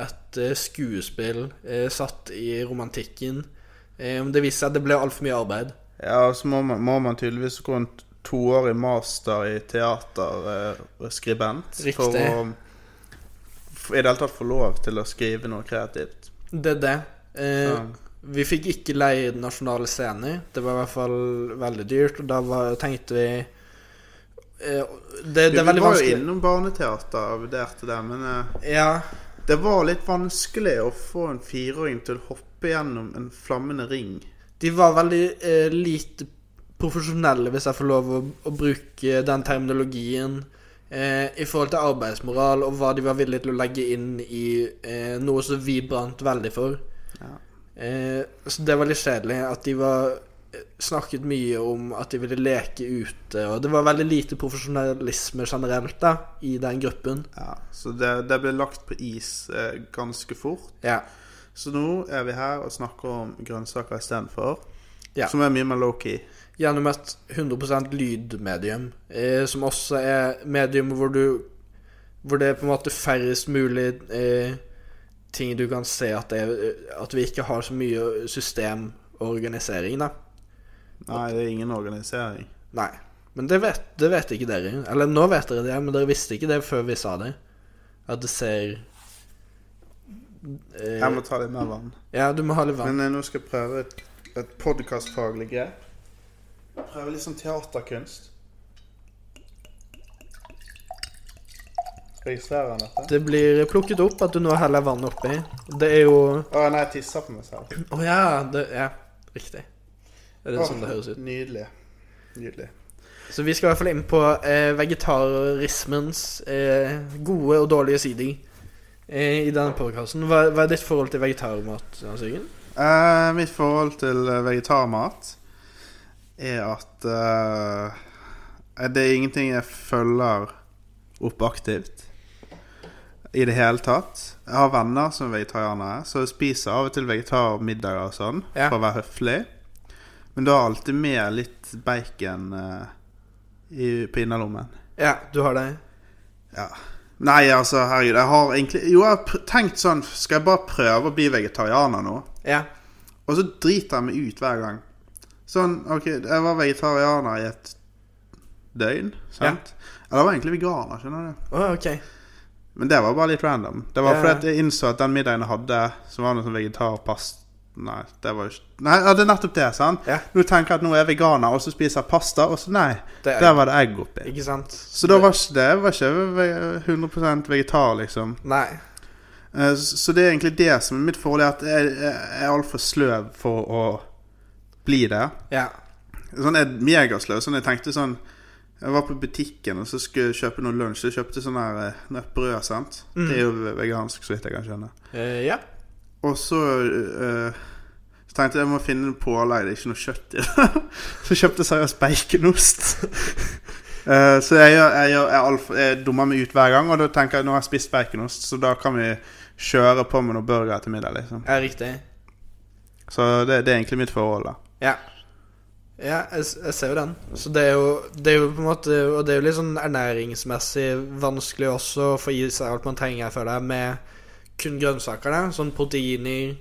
Speaker 2: et eh, skuespill eh, satt i romantikken. Eh, men det viste seg at det ble altfor mye arbeid.
Speaker 3: ja, og så må man, må man tydeligvis gå en toårig master i teaterskribent
Speaker 2: Riktig.
Speaker 3: for å f- i det hele tatt få lov til å skrive noe kreativt.
Speaker 2: Det er det. Eh,
Speaker 3: Ja.
Speaker 2: Vi fikk ikke leie den nasjonale scenen. Det var i hvert fall veldig dyrt, og da var, tenkte vi eh, det, det
Speaker 3: Du
Speaker 2: er veldig
Speaker 3: var jo
Speaker 2: vanskelig.
Speaker 3: innom barneteater og vurderte det, men eh,
Speaker 2: Ja,
Speaker 3: Det var litt vanskelig å få en fireåring til å hoppe gjennom en flammende ring.
Speaker 2: de var veldig eh, lite profesjonelle, hvis jeg får lov å, å bruke den terminologien, eh, i forhold til arbeidsmoral og hva de var villige til å legge inn i eh, noe som vi brant veldig for.
Speaker 3: Ja.
Speaker 2: Eh, så det var litt kjedelig at de var eh, snakket mye om at de ville leke ute, og det var veldig lite profesjonalisme generelt da, i den gruppen.
Speaker 3: Så det, det ble lagt på is eh, ganske fort.
Speaker 2: Ja.
Speaker 3: Så nå er vi her og snakker om grønnsaker istedenfor.
Speaker 2: Ja.
Speaker 3: Som er mye mer low-key.
Speaker 2: Gjennom et 100 lydmedium, eh, som også er medium hvor du Hvor det er på en måte færrest mulig eh, ting du kan se at, det er, at vi ikke har så mye system og organisering, da.
Speaker 3: Nei, det er ingen organisering.
Speaker 2: Nei. Men det vet, det vet ikke dere. Eller nå vet dere det, men dere visste ikke det før vi sa det. At det ser eh,
Speaker 3: Jeg må ta litt mer vann.
Speaker 2: Ja, du må ha litt vann.
Speaker 3: Men eh, nå skal jeg prøve et, et podkastfaglig grep. Prøve litt sånn teaterkunst. Registrerer han dette?
Speaker 2: Det blir plukket opp at du nå heller vann oppi. Det er jo Å
Speaker 3: Å nei, jeg tisser på meg selv.
Speaker 2: ja, det Ja, riktig. Er det sånn det høres ut?
Speaker 3: Nydelig. Nydelig.
Speaker 2: Så vi skal i hvert fall inn på eh, vegetarismens eh, gode og dårlige sider. eh, i denne podkasten. Hva, hva er ditt forhold til vegetarmat? Hans Jørgen?
Speaker 3: Eh, mitt forhold til eh, vegetarmat er at eh, det er ingenting jeg følger opp aktivt i det hele tatt. Jeg har venner som er vegetarianere, så jeg spiser av og til vegetarmiddager og sånn
Speaker 2: Ja.
Speaker 3: for å være høflig. Men du har alltid med litt bacon eh, i, på innerlommen.
Speaker 2: Ja, du har det?
Speaker 3: Ja. Nei, altså, herregud, jeg har egentlig Jo, jeg har pr- tenkt sånn Skal jeg bare prøve å bli vegetarianer nå?
Speaker 2: Ja.
Speaker 3: Og så driter jeg meg ut hver gang. Sånn, ok, jeg var vegetarianer i et døgn, sant? Eller jeg var egentlig veganer, skjønner du.
Speaker 2: Å, ok.
Speaker 3: Men det var bare litt random. Det var
Speaker 2: Ja.
Speaker 3: fordi at jeg innså at den middagen jeg hadde, som var noe sånn vegetarpast... Nei, det var jo ikke Nei, ja, det er nettopp det, sant?
Speaker 2: Ja.
Speaker 3: Nå tenker jeg at nå er jeg veganer, og så spiser jeg pasta, og så nei,
Speaker 2: Det er-
Speaker 3: der var det egg oppi.
Speaker 2: Ikke sant?
Speaker 3: Så da var ikke det var ikke jeg ve- 100 vegetar, liksom.
Speaker 2: Nei.
Speaker 3: Eh, Så så det er egentlig det som er mitt forhold, er at jeg jeg er altfor sløv for å bli det
Speaker 2: Ja.
Speaker 3: sånn er megasløv. Sånn jeg tenkte sånn Jeg var på butikken og så skulle jeg kjøpe noe lunsj. Så jeg kjøpte sånn her eh, nøttbrød, sant. Det er jo vegansk, så vidt jeg kan skjønne.
Speaker 2: Eh, ja.
Speaker 3: Og så eh, Så tenkte jeg jeg må finne noe pålegg. Det er ikke noe kjøtt i det. så kjøpte jeg seriøst baconost. Eh, så jeg, gjør, jeg, gjør, jeg, er alt- jeg dummer meg ut hver gang, og da tenker jeg nå har jeg spist baconost, så da kan vi kjøre på med noe burger til middag, liksom.
Speaker 2: ja, riktig.
Speaker 3: Så det, det er egentlig mitt forhold, da.
Speaker 2: Ja. Ja, jeg, s- jeg ser jo den. Så det er jo, det er jo på en måte Og det er jo litt sånn ernæringsmessig vanskelig også å få i seg alt man trenger, jeg føler jeg, med kun grønnsaker. Da. Sånn proteiner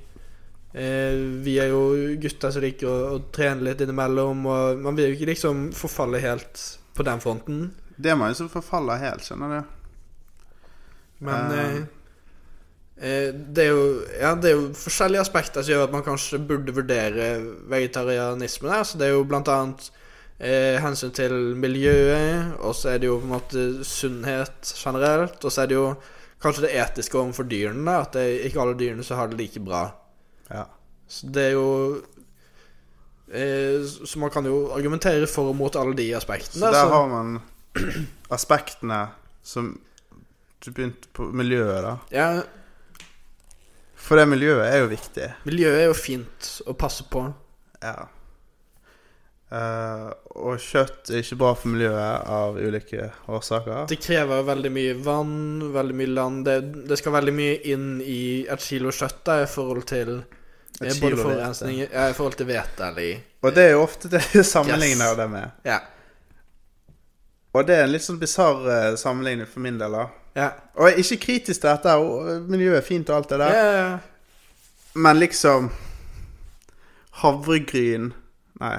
Speaker 2: eh, Vi er jo gutter som liker å, å trene litt innimellom, og man vil jo ikke liksom forfalle helt på den fronten.
Speaker 3: Det er man jo som forfaller helt, skjønner du.
Speaker 2: Men
Speaker 3: Eh.
Speaker 2: eh, eh, det, er jo, ja, det er jo forskjellige aspekter som gjør at man kanskje burde vurdere vegetarianisme. Der. Så det er jo blant annet eh, hensyn til miljøet, og så er det jo på en måte sunnhet generelt. Og så er det jo kanskje det etiske overfor dyrene, da, at det er ikke alle dyrene som har det like bra.
Speaker 3: Ja.
Speaker 2: Så det er jo eh, Så man kan jo argumentere for og mot alle de aspektene.
Speaker 3: Så der
Speaker 2: så-
Speaker 3: har man aspektene som Du begynte på miljøet, da.
Speaker 2: ja,
Speaker 3: For det miljøet er jo viktig.
Speaker 2: miljøet er jo fint å passe på.
Speaker 3: Ja. Eh, og kjøtt er ikke bra for miljøet av ulike årsaker.
Speaker 2: Det krever veldig mye vann, veldig mye land. Det, det skal veldig mye inn i et kilo kjøtt da, i forhold til eh,
Speaker 3: Et
Speaker 2: både
Speaker 3: kilo
Speaker 2: forurensning ja, I forhold til hvete eller
Speaker 3: Og det er jo ofte det jeg sammenligner det med.
Speaker 2: Ja.
Speaker 3: Og det er en litt sånn bisarr eh, sammenligning for min del, da.
Speaker 2: Ja.
Speaker 3: Og jeg er ikke kritisk til dette, og miljøet er fint og alt det
Speaker 2: Ja,
Speaker 3: der,
Speaker 2: ja, ja.
Speaker 3: men liksom Havregryn Nei,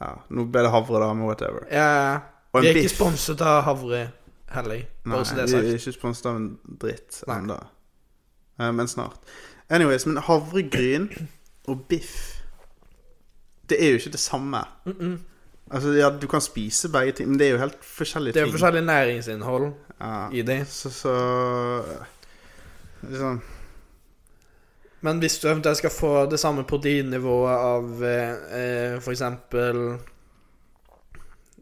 Speaker 3: ja, nå ble det havre, da, men whatever.
Speaker 2: ja.
Speaker 3: Og en
Speaker 2: Vi er ikke
Speaker 3: biff.
Speaker 2: sponset av havre heller,
Speaker 3: Nei,
Speaker 2: bare så det er
Speaker 3: vi er
Speaker 2: sagt.
Speaker 3: ikke sponset av en dritt
Speaker 2: Nei.
Speaker 3: ennå. Men snart. Anyways, men havregryn og biff Det er jo ikke det samme. Altså, ja, Du kan spise begge ting, men det er jo helt forskjellige
Speaker 2: Det er
Speaker 3: ting.
Speaker 2: forskjellig næringsinnhold
Speaker 3: Ja.
Speaker 2: i det.
Speaker 3: Så, så liksom,
Speaker 2: Men hvis du eventuelt skal få det samme proteinnivået av eh, eh, for eksempel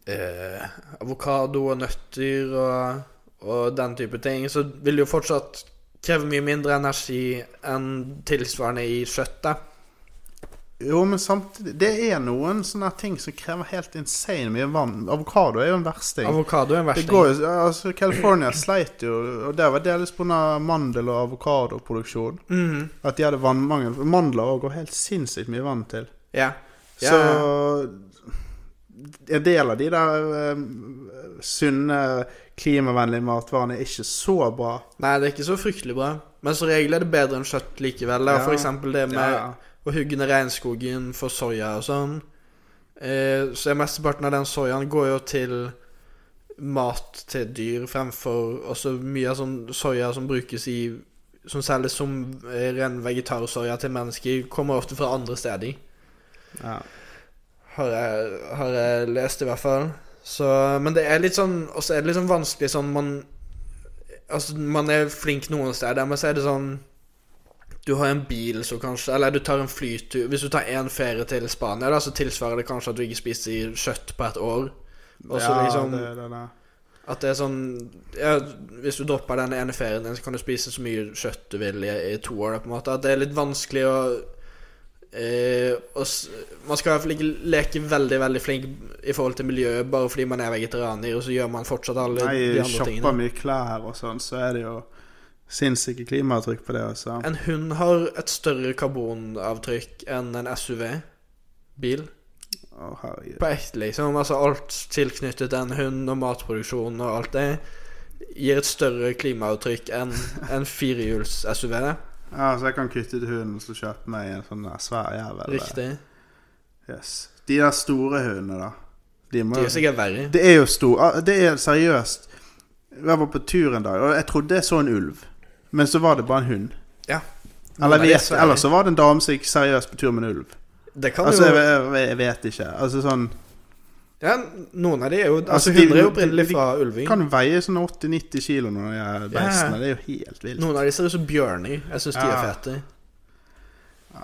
Speaker 2: eh, avokado og nøtter og, og den type ting, så vil det jo fortsatt kreve mye mindre energi enn tilsvarende i kjøttet.
Speaker 3: Jo, men samtidig Det er noen sånne ting som krever helt insane mye vann. Avokado er jo en versting.
Speaker 2: Avokado er en
Speaker 3: Det
Speaker 2: versting.
Speaker 3: går jo, altså California sleit jo, og det var delvis pga. mandel- og avokadoproduksjon.
Speaker 2: Mhm,
Speaker 3: At de hadde vannmangel. For Mandler òg går helt sinnssykt mye vann til.
Speaker 2: ja. Ja.
Speaker 3: Så en del av de der eh, sunne, klimavennlige matvarene er ikke så bra.
Speaker 2: Nei, det er ikke så fryktelig bra. Men som regel er det bedre enn kjøtt likevel. Da.
Speaker 3: Ja.
Speaker 2: For eksempel det med
Speaker 3: Ja,
Speaker 2: å hugge ned regnskogen for soya og sånn. Eh, så mesteparten av den soyaen går jo til mat til dyr fremfor også mye av sånn soya som brukes i Som selges som eh, ren vegetarsoya til mennesker, kommer ofte fra andre steder.
Speaker 3: ja.
Speaker 2: Har jeg, har jeg lest, i hvert fall. Så, men det er litt sånn Og så er det litt sånn vanskelig sånn man Altså, man er flink noen steder, men så er det sånn Du har en bil, så kanskje Eller du tar en flytur Hvis du tar én ferie til Spania, da, så tilsvarer det kanskje at du ikke spiser kjøtt på et år. Og så
Speaker 3: Ja,
Speaker 2: liksom
Speaker 3: det- det- det.
Speaker 2: At det er sånn ja, hvis du dropper den ene ferien din, så kan du spise så mye kjøtt du vil i, i to år. da, på en måte. At det er litt vanskelig å eh, å s- Man skal i hvert fall ikke leke veldig veldig flink i forhold til miljøet bare fordi man er vegetarianer, og så gjør man fortsatt alle
Speaker 3: Nei,
Speaker 2: de andre
Speaker 3: shopper
Speaker 2: tingene.
Speaker 3: mye klær og sånn, så er det jo sinnssyke klimaavtrykk på det. Altså.
Speaker 2: En hund har et større karbonavtrykk enn en SUV-bil.
Speaker 3: Å, herregud.
Speaker 2: På ekte, liksom. Altså alt tilknyttet en hund og matproduksjon og alt det gir et større klimaavtrykk enn en firehjuls-SUV.
Speaker 3: Ja, så jeg kan kutte ut hunden og så kjøpe meg en sånn der svær jævel.
Speaker 2: Riktig.
Speaker 3: Yes. De der store hundene, da. De må
Speaker 2: De er sikkert verre.
Speaker 3: Det er jo stor ah, Det er seriøst. Jeg var på tur en dag, og jeg trodde jeg så en ulv. Men så var det bare en hund.
Speaker 2: Ja.
Speaker 3: Eller,
Speaker 2: Noen er
Speaker 3: vi-
Speaker 2: litt svære.
Speaker 3: eller så var det en dame som gikk seriøst på tur med en ulv.
Speaker 2: Det kan
Speaker 3: Altså, jeg,
Speaker 2: jo
Speaker 3: jeg, jeg vet ikke. Altså sånn
Speaker 2: ja, Noen av de er jo Altså,
Speaker 3: Altså, de-
Speaker 2: hunder er jo opprinnelig
Speaker 3: de-
Speaker 2: fra ulving.
Speaker 3: Kan veie sånn 80-90 kilo når jeg er beistene. Det er jo helt vilt.
Speaker 2: Noen av de ser ut som bjørner. Jeg syns de er
Speaker 3: Ja.
Speaker 2: fete.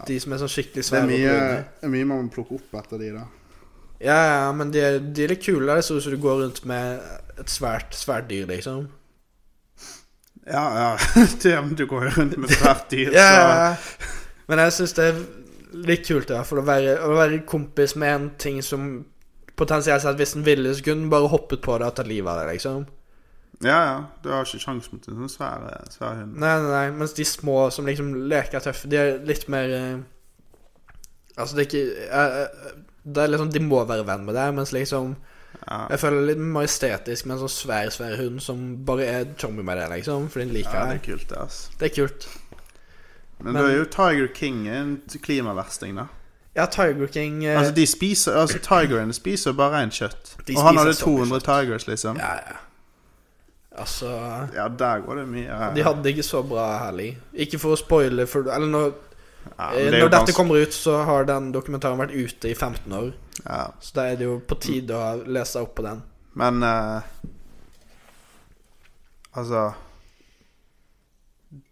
Speaker 2: De som er sånn skikkelig
Speaker 3: Det er
Speaker 2: svære. og
Speaker 3: mye,
Speaker 2: brune.
Speaker 3: det er mye man må plukke opp etter de, da.
Speaker 2: Ja, ja, men de er, de er litt kule. da. Det ser ut som du går rundt med et svært svært dyr, liksom.
Speaker 3: Ja, ja. Det om du går rundt med svært dyr,
Speaker 2: Ja, ja,
Speaker 3: så
Speaker 2: ja. Men jeg syns det er litt kult i hvert fall å være, å være kompis med en ting som potensielt sett, hvis den ville, så kunne den bare hoppet på det og tatt livet av deg, liksom.
Speaker 3: Ja, ja. Du har ikke sjans mot en sånn svær, svær hund.
Speaker 2: Nei, nei, nei, mens de små som liksom leker tøffe, de er litt mer eh, Altså, det er ikke eh, eh, Det er liksom De må være venn med deg, mens liksom
Speaker 3: Ja.
Speaker 2: Jeg føler det litt majestetisk med en sånn svær, svær hund som bare er chummy med deg, liksom, fordi den liker
Speaker 3: Ja, det
Speaker 2: deg.
Speaker 3: er kult, det, altså.
Speaker 2: Det er kult.
Speaker 3: Men,
Speaker 2: Men-
Speaker 3: da er jo Tiger King en klimaversting, da.
Speaker 2: Ja, Tiger King eh,
Speaker 3: Altså, de spiser, altså Tigeren spiser bare rent kjøtt.
Speaker 2: De
Speaker 3: Og han
Speaker 2: spiser
Speaker 3: hadde
Speaker 2: så mye
Speaker 3: 200 tigers, liksom. Ja.
Speaker 2: Ja, ja. Altså
Speaker 3: der går det mye. Ja,
Speaker 2: De hadde det ikke så bra helg. Ikke for å spoile, for Eller når,
Speaker 3: ja,
Speaker 2: eh,
Speaker 3: men det er jo
Speaker 2: når dette
Speaker 3: ganske-
Speaker 2: kommer ut, så har den dokumentaren vært ute i 15 år.
Speaker 3: ja.
Speaker 2: Så da er det jo på tide å lese seg opp på den.
Speaker 3: Men eh, Altså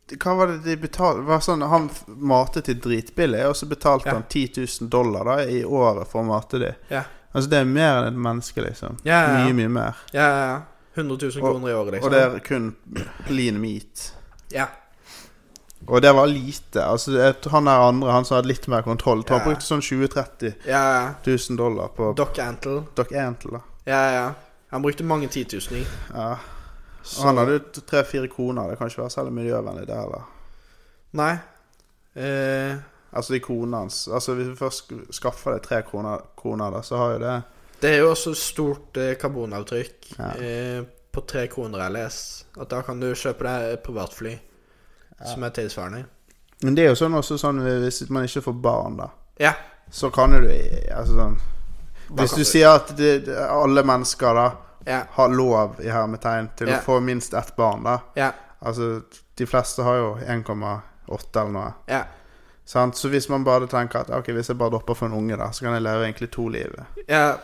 Speaker 3: det- Hva var det de betalte det var sånn, Han f- matet de dritbillig, og så betalte
Speaker 2: Ja.
Speaker 3: han 10 000 dollar da, i året for å mate de.
Speaker 2: Ja.
Speaker 3: Altså, det er mer enn et menneske, liksom.
Speaker 2: Ja, ja, ja.
Speaker 3: Mye, mye mer.
Speaker 2: Ja, ja, ja. 100 000
Speaker 3: Og-
Speaker 2: kroner i året, liksom.
Speaker 3: Og det er kun lean meat.
Speaker 2: Ja.
Speaker 3: Og det var lite. Altså, jeg tror han der andre, han som hadde litt mer kontroll, tror han
Speaker 2: Ja.
Speaker 3: brukte sånn 20 000-30
Speaker 2: ja, ja.
Speaker 3: 000 dollar på
Speaker 2: Doc Antle.
Speaker 3: Doc Antle. da.
Speaker 2: Ja, ja. Han brukte mange titusener.
Speaker 3: Ja. Og
Speaker 2: Så
Speaker 3: han hadde jo tre-fire koner. Det kan ikke være særlig miljøvennlig, det heller.
Speaker 2: Nei. Eh,
Speaker 3: Altså de konene hans Altså Hvis du først skaffer deg tre kroner, kroner da, så har jo det
Speaker 2: det er jo også stort eh, karbonavtrykk
Speaker 3: Ja.
Speaker 2: eh, på tre kroner, har jeg lest. At da kan du kjøpe deg et privatfly som er tilsvarende.
Speaker 3: Men det er jo sånn også sånn hvis man ikke får barn, da.
Speaker 2: Ja.
Speaker 3: Så kan jo du Altså sånn Hvis
Speaker 2: kan du-
Speaker 3: du sier at det, det, alle mennesker da
Speaker 2: Ja.
Speaker 3: har lov i hermetegn til
Speaker 2: Ja.
Speaker 3: å få minst ett barn, da
Speaker 2: Ja.
Speaker 3: Altså de fleste har jo 1,8 eller noe.
Speaker 2: Ja.
Speaker 3: Sant? Så hvis man bare tenker at Ok, hvis jeg bare dropper for en unge, da, så kan jeg leve egentlig to liv.
Speaker 2: ja.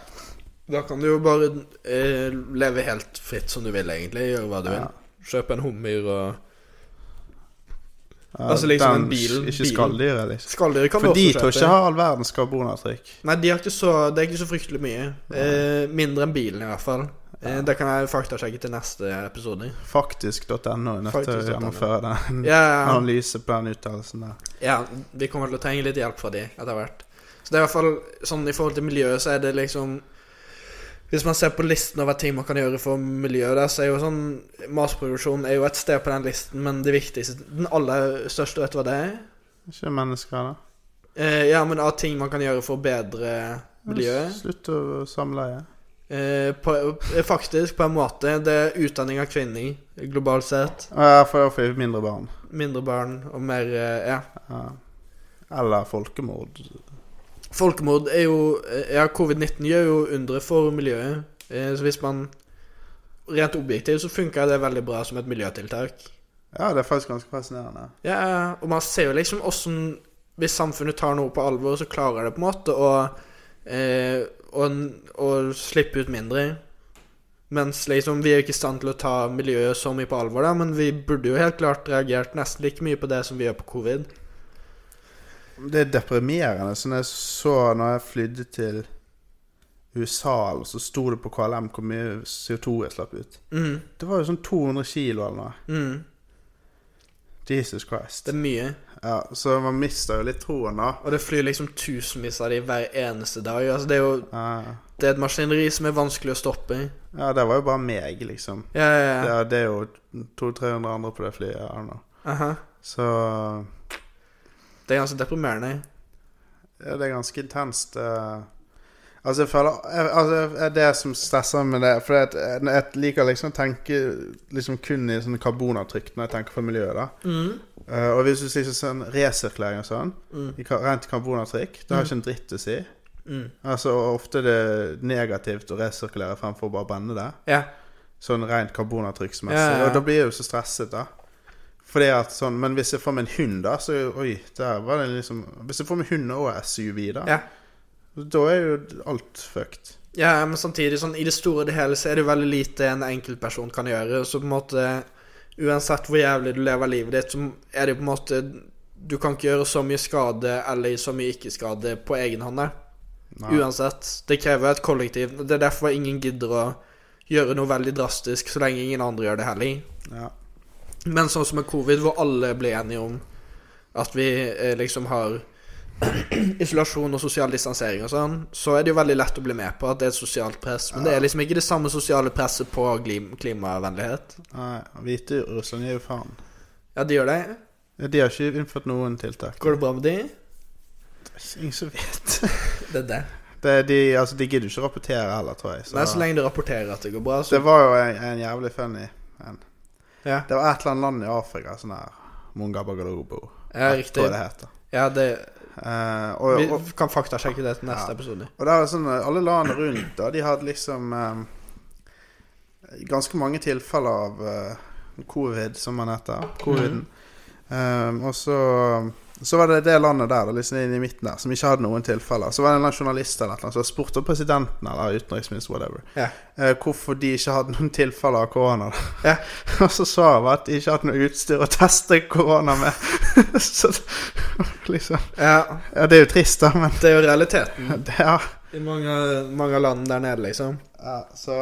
Speaker 2: Da kan du jo bare eh, leve helt fritt som du vil, egentlig. Gjøre hva du
Speaker 3: Ja.
Speaker 2: vil. Kjøpe en hummer og
Speaker 3: Ja,
Speaker 2: Altså, liksom
Speaker 3: den
Speaker 2: en bil-
Speaker 3: Ikke
Speaker 2: bilen.
Speaker 3: skalldyret, liksom.
Speaker 2: Skalldyr kan
Speaker 3: For
Speaker 2: du
Speaker 3: de
Speaker 2: også
Speaker 3: tror
Speaker 2: kjøpe.
Speaker 3: ikke jeg har all verdens karbonavtrykk.
Speaker 2: Nei, de har ikke så, det er ikke så fryktelig mye. Eh, mindre enn bilen, i hvert fall. Eh, det kan jeg faktasjekke til neste episode.
Speaker 3: Faktisk.no er nødt til å
Speaker 2: Faktisk.no.
Speaker 3: gjennomføre den
Speaker 2: Ja,
Speaker 3: analyse på den uttalelsen der.
Speaker 2: ja, vi kommer til å trenge litt hjelp fra de etter hvert. Så det er i hvert fall sånn i forhold til miljøet, så er det liksom Hvis man ser på listen over ting man kan gjøre for miljøet der, så er jo sånn Matproduksjon er jo et sted på den listen, men det viktigste Den aller største, vet du hva det er?
Speaker 3: Ikke mennesker, da.
Speaker 2: Eh, ja, men av ting man kan gjøre for å bedre miljøet.
Speaker 3: Slutt å samleie.
Speaker 2: Eh, på, eh, faktisk, på en måte. Det er utdanning av kvinner globalt sett.
Speaker 3: Ja, for da får vi mindre barn.
Speaker 2: Mindre barn og mer eh, Ja.
Speaker 3: Ja. Eller folkemord.
Speaker 2: Folkemord er jo eh, Ja, covid-19 gjør jo undre for miljøet. Eh, så hvis man Rent objektivt så funker det veldig bra som et miljøtiltak.
Speaker 3: Ja, det er faktisk ganske fascinerende.
Speaker 2: Ja, og man ser jo liksom åssen Hvis samfunnet tar noe på alvor, så klarer det på en måte å eh, å, å slippe ut mindre. Mens liksom, vi er jo ikke i stand til å ta miljøet så mye på alvor, da, men vi burde jo helt klart reagert nesten like mye på det som vi gjør på covid.
Speaker 3: Det er deprimerende. Sånn jeg så når jeg flydde til USA, eller så sto det på KLM hvor mye CO2 jeg slapp ut.
Speaker 2: Mhm,
Speaker 3: Det var jo sånn 200 kilo eller noe.
Speaker 2: mhm.
Speaker 3: Jesus Christ.
Speaker 2: Det er mye.
Speaker 3: Ja, så man mister jo litt troen, da.
Speaker 2: Og det flyr liksom tusenvis av de hver eneste dag. Altså, det er jo
Speaker 3: Ja,
Speaker 2: det er et maskineri som er vanskelig å stoppe.
Speaker 3: ja, det var jo bare meg, liksom.
Speaker 2: Ja, ja, ja.
Speaker 3: Ja, det er jo 200-300 andre på det flyet. Her nå.
Speaker 2: Aha.
Speaker 3: Så
Speaker 2: Det er ganske deprimerende.
Speaker 3: ja, det er ganske intenst. eh. Altså, jeg føler jeg, altså, jeg- Det som stresser med det For jeg, jeg liker liksom å tenke liksom kun i sånn karbonavtrykk når jeg tenker på miljøet. da
Speaker 2: Mhm,
Speaker 3: Eh, Og hvis du sier sånn resirkulering og sånn,
Speaker 2: Mm.
Speaker 3: i ka- rent karbonavtrykk, det har ikke en dritt å si.
Speaker 2: mhm.
Speaker 3: Altså, og Ofte er det negativt å resirkulere fremfor å bare brenne det.
Speaker 2: Ja.
Speaker 3: Sånn rent karbonavtrykksmessig.
Speaker 2: Ja, ja, ja.
Speaker 3: Og da blir jeg jo så stresset, da. Fordi at sånn, Men hvis jeg får meg en hund, da, så Oi, der var det liksom Hvis jeg får meg hund og SUV, da,
Speaker 2: Ja.
Speaker 3: da er jo alt fucked.
Speaker 2: ja, men samtidig, sånn i det store og det hele, så er det jo veldig lite en enkeltperson kan gjøre. Så på en måte Uansett hvor jævlig du lever livet ditt, så er det jo på en måte Du kan ikke gjøre så mye skade eller så mye ikke-skade på egen hånd. der.
Speaker 3: Nei.
Speaker 2: Uansett. Det krever et kollektiv. Det er derfor ingen gidder å gjøre noe veldig drastisk så lenge ingen andre gjør det heller.
Speaker 3: Ja.
Speaker 2: Men sånn som med covid, hvor alle ble enige om at vi eh, liksom har isolasjon og sosial distansering og sånn, så er det jo veldig lett å bli med på at det er et sosialt press. Men det er liksom ikke det samme sosiale presset på glim- klimavennlighet.
Speaker 3: Nei, Hviterussland gir jo faen.
Speaker 2: Ja, de gjør det.
Speaker 3: De har ikke innført noen tiltak.
Speaker 2: Går det bra med de?
Speaker 3: Ingen som vet.
Speaker 2: Det er det.
Speaker 3: Det, de, altså, de gidder ikke å rapportere heller, tror jeg.
Speaker 2: Nei, så lenge du rapporterer at det går bra,
Speaker 3: Det
Speaker 2: så
Speaker 3: var jo en, en jævlig funny en.
Speaker 2: Ja,
Speaker 3: Det var et eller annet land i Afrika, sånn her Mungabagalobo.
Speaker 2: ja riktig.
Speaker 3: Hva det heter.
Speaker 2: Ja, det
Speaker 3: Eh, og, og,
Speaker 2: Vi kan faktasjekke det til neste
Speaker 3: Ja.
Speaker 2: episode.
Speaker 3: og det er sånn, eh, alle landene rundt, da, de hadde liksom eh, ganske mange tilfeller av eh, covid, som man heter. Coviden. Eh, og så så var det det landet der da, liksom inne i midten der, som ikke hadde noen tilfeller. Så var det en eller annen journalist eller noe som spurte presidenten eller utenriksminister whatever,
Speaker 2: Ja.
Speaker 3: eh, hvorfor de ikke hadde noen tilfeller av korona. da.
Speaker 2: Ja.
Speaker 3: og så sa han at de ikke hadde noe utstyr å teste korona med. så liksom
Speaker 2: Ja,
Speaker 3: Ja, det er jo trist, da, men
Speaker 2: det er jo realiteten
Speaker 3: det er
Speaker 2: i mange, mange land der nede, liksom.
Speaker 3: Ja, så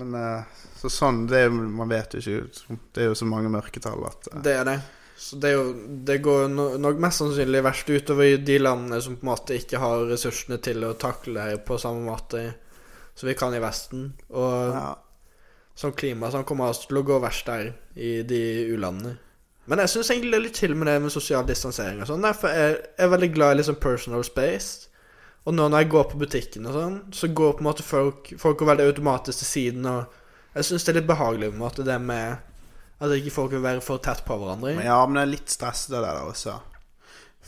Speaker 3: Men eh, så sånn det, er jo- Man vet jo ikke Det er jo så mange mørketall at eh,
Speaker 2: Det er det. Så det, er jo, det går no- nok mest sannsynlig verst utover i de landene som på en måte ikke har ressursene til å takle det på samme måte som vi kan i Vesten. Og
Speaker 3: ja,
Speaker 2: som klima sånn kommer altså til å gå verst der, i de u-landene. Men jeg syns egentlig det er litt til med det med sosial distansering og sånn. Derfor er jeg er veldig glad i liksom personal space. Og nå når jeg går på butikken og sånn, så går på en måte folk Folk går veldig automatisk til siden, og jeg syns det er litt behagelig på en måte det med at ikke folk vil være for tett på hverandre.
Speaker 3: men ja, men jeg er litt stresset av det der også.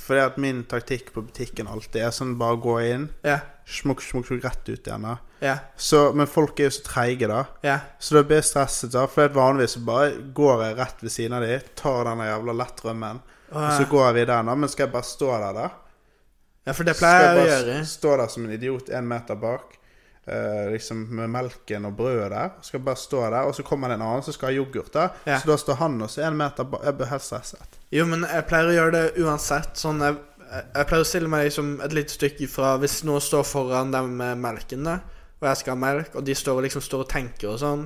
Speaker 3: Fordi at min taktikk på butikken alltid er sånn bare gå inn,
Speaker 2: Ja,
Speaker 3: smukk, smukk, smukk rett ut igjen. da.
Speaker 2: ja,
Speaker 3: Så, men folk er jo så treige, da.
Speaker 2: ja.
Speaker 3: Så da blir jeg stresset. da For at vanligvis så bare går jeg rett ved siden av de, tar denne jævla lettrømmen, og så går jeg videre. da Men skal jeg bare stå der, da?
Speaker 2: ja, for det
Speaker 3: Skal
Speaker 2: pleier jeg å
Speaker 3: bare
Speaker 2: gjøre.
Speaker 3: s- Stå der som en idiot en meter bak, eh, liksom med melken og brødet der. Skal bare stå der, og så kommer det en annen som skal ha yoghurt der.
Speaker 2: Ja.
Speaker 3: Så da står han også en meter bak. Jeg blir helt stresset.
Speaker 2: Jo, men jeg pleier å gjøre det uansett. Sånn, jeg, jeg jeg pleier å stille meg liksom et lite stykke ifra hvis noen står foran dem med melken, da, og jeg skal ha melk, og de står og liksom står og tenker og sånn,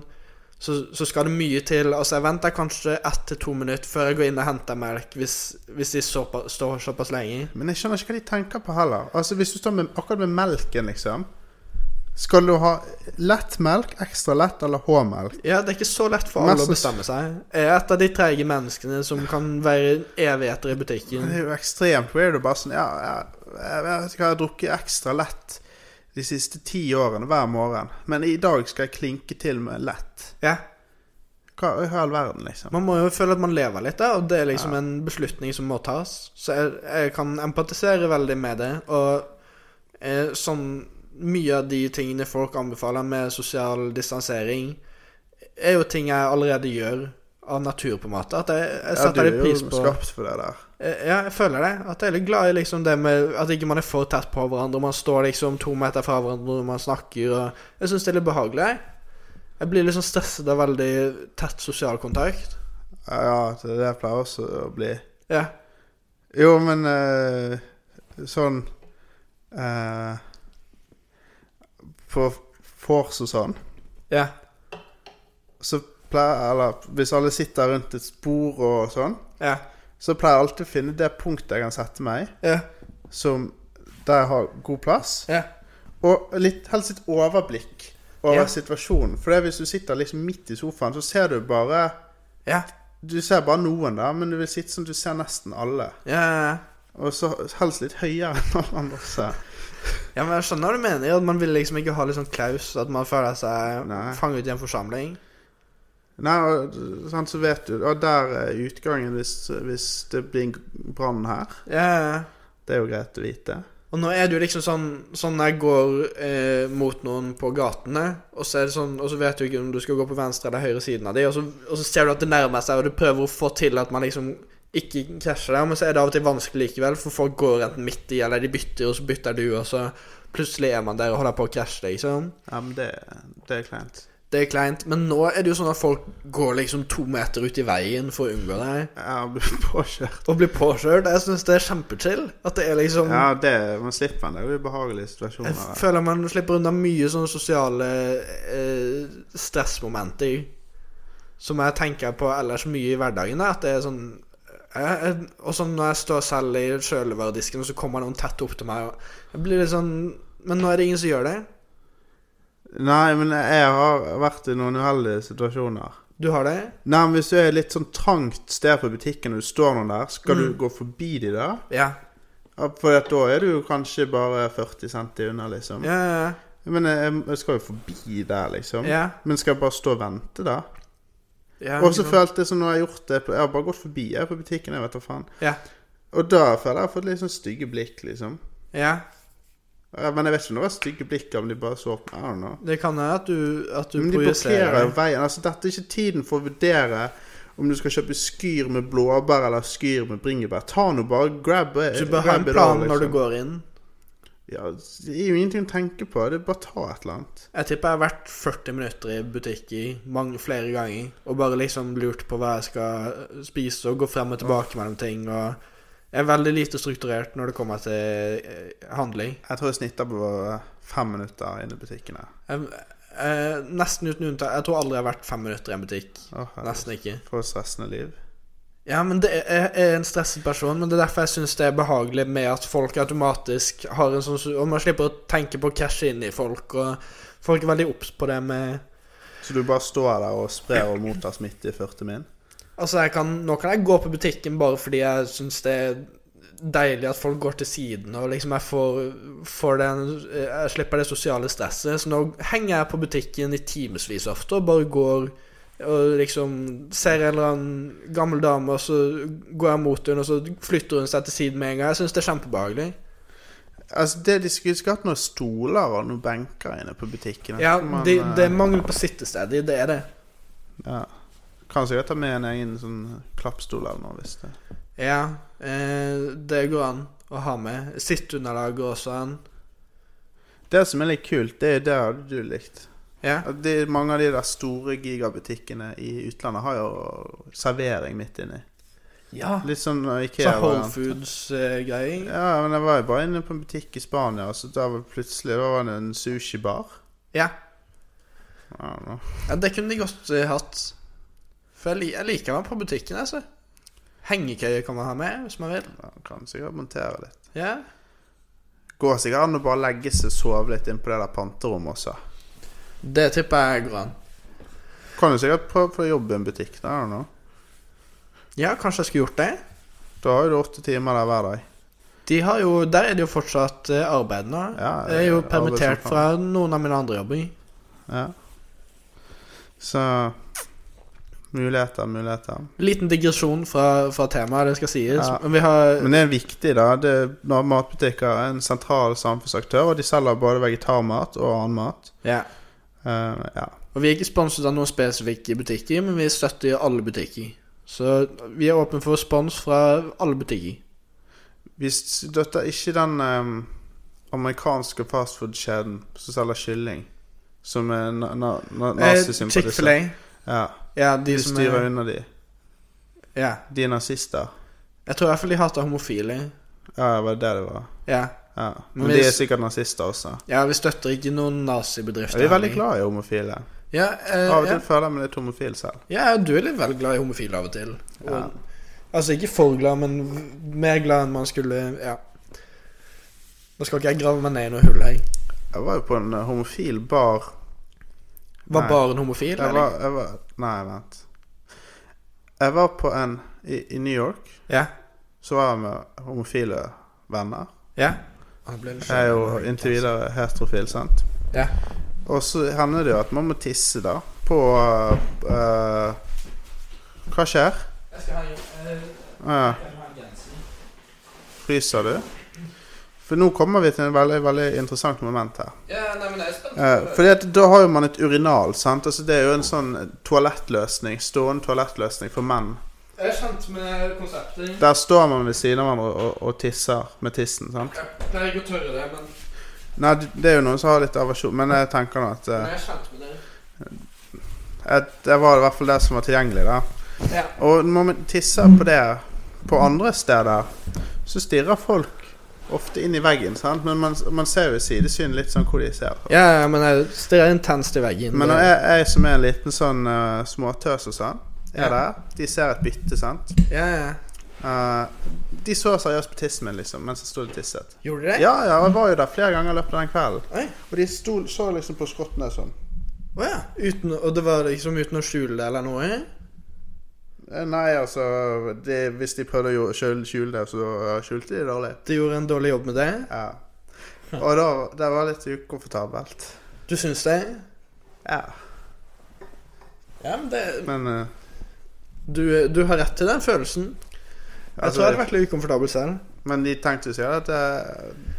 Speaker 2: så, så skal det mye til. Altså, jeg venter kanskje ett til to minutter før jeg går inn og henter melk, hvis, hvis de såpa, står såpass lenge.
Speaker 3: Men jeg skjønner ikke hva de tenker på heller. Altså Hvis du står med, akkurat med melken, liksom. Skal du ha lett melk, ekstra lett eller hård melk?
Speaker 2: Ja, det er ikke så lett for alle
Speaker 3: Mest-
Speaker 2: å bestemme seg. Jeg er et av de treige menneskene som kan være evigheter i butikken.
Speaker 3: Det er jo ekstremt weird å bare sånn Ja, jeg, jeg, jeg vet ikke hva, jeg har drukket ekstra lett de siste ti årene hver morgen. Men i dag skal jeg klinke til med lett.
Speaker 2: Ja.
Speaker 3: Hva i all verden, liksom?
Speaker 2: Man må jo føle at man lever litt, da, og det er liksom en beslutning som må tas. Så jeg, jeg kan empatisere veldig med det. Og eh, sånn mye av de tingene folk anbefaler med sosial distansering, er jo ting jeg allerede gjør av natur, på en måte. At jeg, jeg
Speaker 3: Ja, du
Speaker 2: setter
Speaker 3: er
Speaker 2: litt
Speaker 3: jo
Speaker 2: pris på
Speaker 3: skapt for det der.
Speaker 2: Eh, Ja, jeg føler det. At jeg er litt glad i liksom det med at ikke man er for tett på hverandre. Man står liksom to meter fra hverandre når man snakker. Og jeg syns det er litt behagelig. jeg. Jeg blir liksom stresset av veldig tett sosial kontakt.
Speaker 3: Ja, Ja, det er det jeg pleier også å bli.
Speaker 2: Ja.
Speaker 3: Jo, men eh, sånn eh, på vors og sånn,
Speaker 2: Ja.
Speaker 3: så pleier Eller hvis alle sitter rundt et spor og sånn,
Speaker 2: Ja.
Speaker 3: så pleier jeg alltid å finne det punktet jeg kan sette meg i,
Speaker 2: Ja.
Speaker 3: som der jeg har god plass.
Speaker 2: ja.
Speaker 3: Og litt, helst litt overblikk over
Speaker 2: Ja.
Speaker 3: situasjonen. For det er hvis du sitter liksom midt i sofaen, så ser du bare
Speaker 2: Ja.
Speaker 3: Du ser bare noen, da, men du vil sitte sånn at du ser nesten alle.
Speaker 2: Ja, ja, ja.
Speaker 3: Og så helst litt høyere enn alle andre. også.
Speaker 2: Ja, men jeg skjønner hva du mener. At man vil liksom ikke ha litt sånn klaus. At man føler seg
Speaker 3: Nei.
Speaker 2: fanget i en forsamling.
Speaker 3: Nei, og sånn så vet du Og der er utgangen hvis, hvis det blir en brann her.
Speaker 2: Ja, ja, ja.
Speaker 3: Det er jo greit å vite.
Speaker 2: Og nå er det jo liksom sånn Sånn når jeg går eh, mot noen på gatene, og så, er det sånn, og så vet du ikke om du skal gå på venstre eller høyre siden av dem, og, så- og så ser du at det nærmer seg, og du prøver å få til at man liksom ikke krasjer der, men så er det av og til vanskelig likevel, for folk går enten midt i, eller de bytter, og så bytter du, og så plutselig er man der og holder på å krasje, liksom.
Speaker 3: Ja, men det, det er kleint.
Speaker 2: Det er kleint, men nå er det jo sånn at folk går liksom to meter ut i veien for å unngå deg,
Speaker 3: Jeg blir påkjørt.
Speaker 2: og blir påkjørt. Jeg syns det er kjempechill. At det er liksom
Speaker 3: Ja, det, man slipper en del ubehagelige
Speaker 2: Jeg
Speaker 3: situasjoner. da.
Speaker 2: føler man slipper unna mye sånne sosiale eh, stressmomenter som jeg tenker på ellers mye i hverdagen. da, At det er sånn jeg, jeg, Og sånn når jeg står selv i sjølvaredisken, og så kommer noen tett opp til meg og Jeg blir litt sånn Men nå er det ingen som gjør det.
Speaker 3: Nei, men jeg har vært i noen uheldige situasjoner.
Speaker 2: Du har det?
Speaker 3: Nei, men Hvis du er i litt sånn trangt sted på butikken og du står noen der, skal du gå forbi de der?
Speaker 2: Ja.
Speaker 3: Ja, For at da er du jo kanskje bare 40 centi unna, liksom.
Speaker 2: Ja, ja,
Speaker 3: Men jeg, jeg skal jo forbi der, liksom.
Speaker 2: ja.
Speaker 3: Men skal jeg bare stå og vente, da?
Speaker 2: ja
Speaker 3: Og så
Speaker 2: ikke sant?
Speaker 3: følte jeg som når jeg har gjort det på- Jeg har bare gått forbi jeg på butikken, jeg vet da faen.
Speaker 2: Ja.
Speaker 3: Og da føler jeg jeg har fått litt sånn stygge blikk, liksom.
Speaker 2: ja.
Speaker 3: Ja, Men jeg vet ikke om det var stygge blikk, om de bare så på meg. I don't know.
Speaker 2: Det kan være at du, at du
Speaker 3: Men de blokkerer jo
Speaker 2: projiserer.
Speaker 3: veien. Altså, dette er ikke tiden for å vurdere om du skal kjøpe skyr med blåbær eller skyr med bringebær. Ta nå bare grab it.
Speaker 2: Du bør ha en
Speaker 3: grab it
Speaker 2: plan
Speaker 3: all,
Speaker 2: når du
Speaker 3: liksom.
Speaker 2: går inn.
Speaker 3: Ja, Det er jo ingenting å tenke på. Det er bare å ta et eller annet.
Speaker 2: Jeg tipper jeg har vært 40 minutter i butikk i mange flere ganger og bare liksom lurt på hva jeg skal spise og gå frem og tilbake mellom ting. Og jeg er veldig lite strukturert når det kommer til eh, handling.
Speaker 3: Jeg tror jeg snitter på fem minutter inne i butikken her.
Speaker 2: Jeg, eh, nesten uten unntak. Jeg tror aldri jeg har vært fem minutter i en butikk.
Speaker 3: Åh, herregud.
Speaker 2: Nesten ikke.
Speaker 3: For et stressende liv.
Speaker 2: Ja, men det er, jeg er en stresset person, men det er derfor jeg syns det er behagelig med at folk automatisk har en sånn Og man slipper å tenke på å krasje inn i folk, og folk er veldig obs på det med
Speaker 3: Så du bare står der og sprer og mottar smitte i 40 min?
Speaker 2: Altså, jeg kan, nå kan jeg gå på butikken bare fordi jeg syns det er deilig at folk går til siden, og liksom jeg får, får den Jeg slipper det sosiale stresset. Så nå henger jeg på butikken i timevis ofte og bare går og liksom ser en eller annen gammel dame, og så går jeg mot henne, og så flytter hun seg til siden med en gang. Jeg syns det er kjempebehagelig.
Speaker 3: Altså, det de skulle skulle hatt noen stoler og noen benker inne på butikken.
Speaker 2: Ja,
Speaker 3: Men,
Speaker 2: det,
Speaker 3: eh,
Speaker 2: det er mangel på sittesteder, det er det.
Speaker 3: Ja. Kan sikkert ta med en egen sånn klappstol eller noe, hvis det
Speaker 2: Ja, eh, det går an å ha med. Sitteunderlag går også an.
Speaker 3: Det som er litt kult, det er det hadde du likt.
Speaker 2: Ja.
Speaker 3: At Det, mange av de der store gigabutikkene i utlandet har jo servering midt inni.
Speaker 2: ja.
Speaker 3: Litt sånn Ikea.
Speaker 2: Så Whole
Speaker 3: variant.
Speaker 2: Foods-greier.
Speaker 3: Ja, men jeg var jo bare inne på en butikk i Spania, og så da var det plutselig da var det en sushibar.
Speaker 2: ja.
Speaker 3: I don't know.
Speaker 2: ja, det kunne de godt eh, hatt. For jeg, li- jeg liker meg på butikken, altså. Hengekøye kan man ha med, hvis man vil.
Speaker 3: Ja, kan sikkert montere litt.
Speaker 2: Ja,
Speaker 3: Går sikkert an å bare legge seg og sove litt inn på det der panterommet også.
Speaker 2: Det tipper jeg går an.
Speaker 3: Kan jo sikkert prøve på jobb i en butikk. Da, I don't know.
Speaker 2: Ja, kanskje jeg skulle gjort det.
Speaker 3: da har jo du åtte timer der hver dag.
Speaker 2: De har jo, der er det jo fortsatt eh, arbeid nå.
Speaker 3: Ja,
Speaker 2: jeg er jo
Speaker 3: arbeid som
Speaker 2: permittert
Speaker 3: faen.
Speaker 2: fra noen av mine andre jobber.
Speaker 3: Ja. Så Muligheter, muligheter.
Speaker 2: Liten digresjon fra, fra temaet, det skal sies.
Speaker 3: Ja.
Speaker 2: Men vi har
Speaker 3: Men det er viktig, da. Det, når matbutikker er en sentral samfunnsaktør, og de selger både vegetarmat og annen mat.
Speaker 2: ja.
Speaker 3: Eh, ja.
Speaker 2: Og vi er ikke sponset av noen spesifikke butikker, men vi støtter alle butikker. Så vi er åpne for spons fra alle butikker.
Speaker 3: Vi støtter ikke den eh, amerikanske fastfood-kjeden som selger kylling, som er na na na
Speaker 2: Eh,
Speaker 3: nazisympatisør.
Speaker 2: Chick-fil-A.
Speaker 3: Ja,
Speaker 2: Ja, de,
Speaker 3: de
Speaker 2: som
Speaker 3: styrer
Speaker 2: er,
Speaker 3: unna de.
Speaker 2: ja.
Speaker 3: De er nazister.
Speaker 2: Jeg tror i hvert fall de hater homofile.
Speaker 3: Ja, det var det det var.
Speaker 2: Ja.
Speaker 3: Ja. Men
Speaker 2: Men
Speaker 3: de er
Speaker 2: hvis-
Speaker 3: sikkert nazister også.
Speaker 2: Ja, vi støtter ikke noen nazibedrifter.
Speaker 3: Jeg er veldig
Speaker 2: Henning.
Speaker 3: glad i homofile.
Speaker 2: Ja, eh,
Speaker 3: Av og
Speaker 2: ja.
Speaker 3: til føler jeg meg litt homofil selv.
Speaker 2: ja, du er litt vel glad i homofile av og til. Og,
Speaker 3: Ja.
Speaker 2: Altså ikke for glad, men v- mer glad enn man skulle Ja. Nå skal ikke jeg grave meg ned i noe hull her.
Speaker 3: Jeg var jo på en eh, homofil bar
Speaker 2: Var
Speaker 3: Nei.
Speaker 2: bare en homofil?
Speaker 3: jeg
Speaker 2: eller?
Speaker 3: var, jeg var, Nei, vent. Jeg var på en i, I New York
Speaker 2: Ja.
Speaker 3: så var jeg med homofile venner.
Speaker 2: Ja. Han ble litt
Speaker 3: Jeg er jo inntil videre heterofil, sant.
Speaker 2: Ja.
Speaker 3: Og så hender det jo at man må tisse, da. På eh, Hva skjer?
Speaker 1: Jeg skal ha en,
Speaker 3: Eh, fryser du? For nå kommer vi til en veldig, veldig interessant moment her.
Speaker 1: Ja, nei, men jeg er spent.
Speaker 3: Eh, fordi at da har jo man et urinal, sant. Altså, det er jo en sånn toalettløsning, stående toalettløsning for menn.
Speaker 2: Jeg er kjent med konseptet.
Speaker 3: Der står man ved siden av hverandre og, og tisser med tissen, sant.
Speaker 2: Jeg pleier ikke å tørre det, men
Speaker 3: Nei, det er jo noen som har litt aversjon, men jeg tenker nå at eh,
Speaker 2: jeg er kjent med det.
Speaker 3: at Det var i hvert fall det som var tilgjengelig, da.
Speaker 2: Ja.
Speaker 3: Og når man tisser på det på andre steder, så stirrer folk ofte inn i veggen, sant? Men man, man ser jo i sidesyn litt sånn hvor de ser.
Speaker 2: Ja, ja, men jeg stirrer intenst i veggen.
Speaker 3: Men når jeg, jeg som er en liten sånn eh, småtøs og sånn,
Speaker 2: Ja.
Speaker 3: er der, de ser et bytte, sant?
Speaker 2: Ja, ja.
Speaker 3: Eh, de så seriøst på tissen min, liksom, mens jeg stod og tisset.
Speaker 2: Gjorde du det?
Speaker 3: Ja, ja, jeg var jo der flere ganger i løpet av den kvelden.
Speaker 2: Oi.
Speaker 3: Og de stod, så liksom på skottene sånn.
Speaker 2: Å ja. Uten, og det var liksom uten å skjule det eller noe?
Speaker 3: Eh, Nei, altså det, Hvis de prøvde å jo- skjul- skjule det, så eh, skjulte de det dårlig.
Speaker 2: De gjorde en dårlig jobb med det?
Speaker 3: Ja. Og da det var litt ukomfortabelt.
Speaker 2: Du syns det?
Speaker 3: Ja.
Speaker 2: Ja, men det
Speaker 3: Men eh,
Speaker 2: du, du har rett til den følelsen. Jeg
Speaker 3: altså,
Speaker 2: tror jeg hadde vært litt ukomfortabel selv.
Speaker 3: Men de tenkte jo sikkert at det,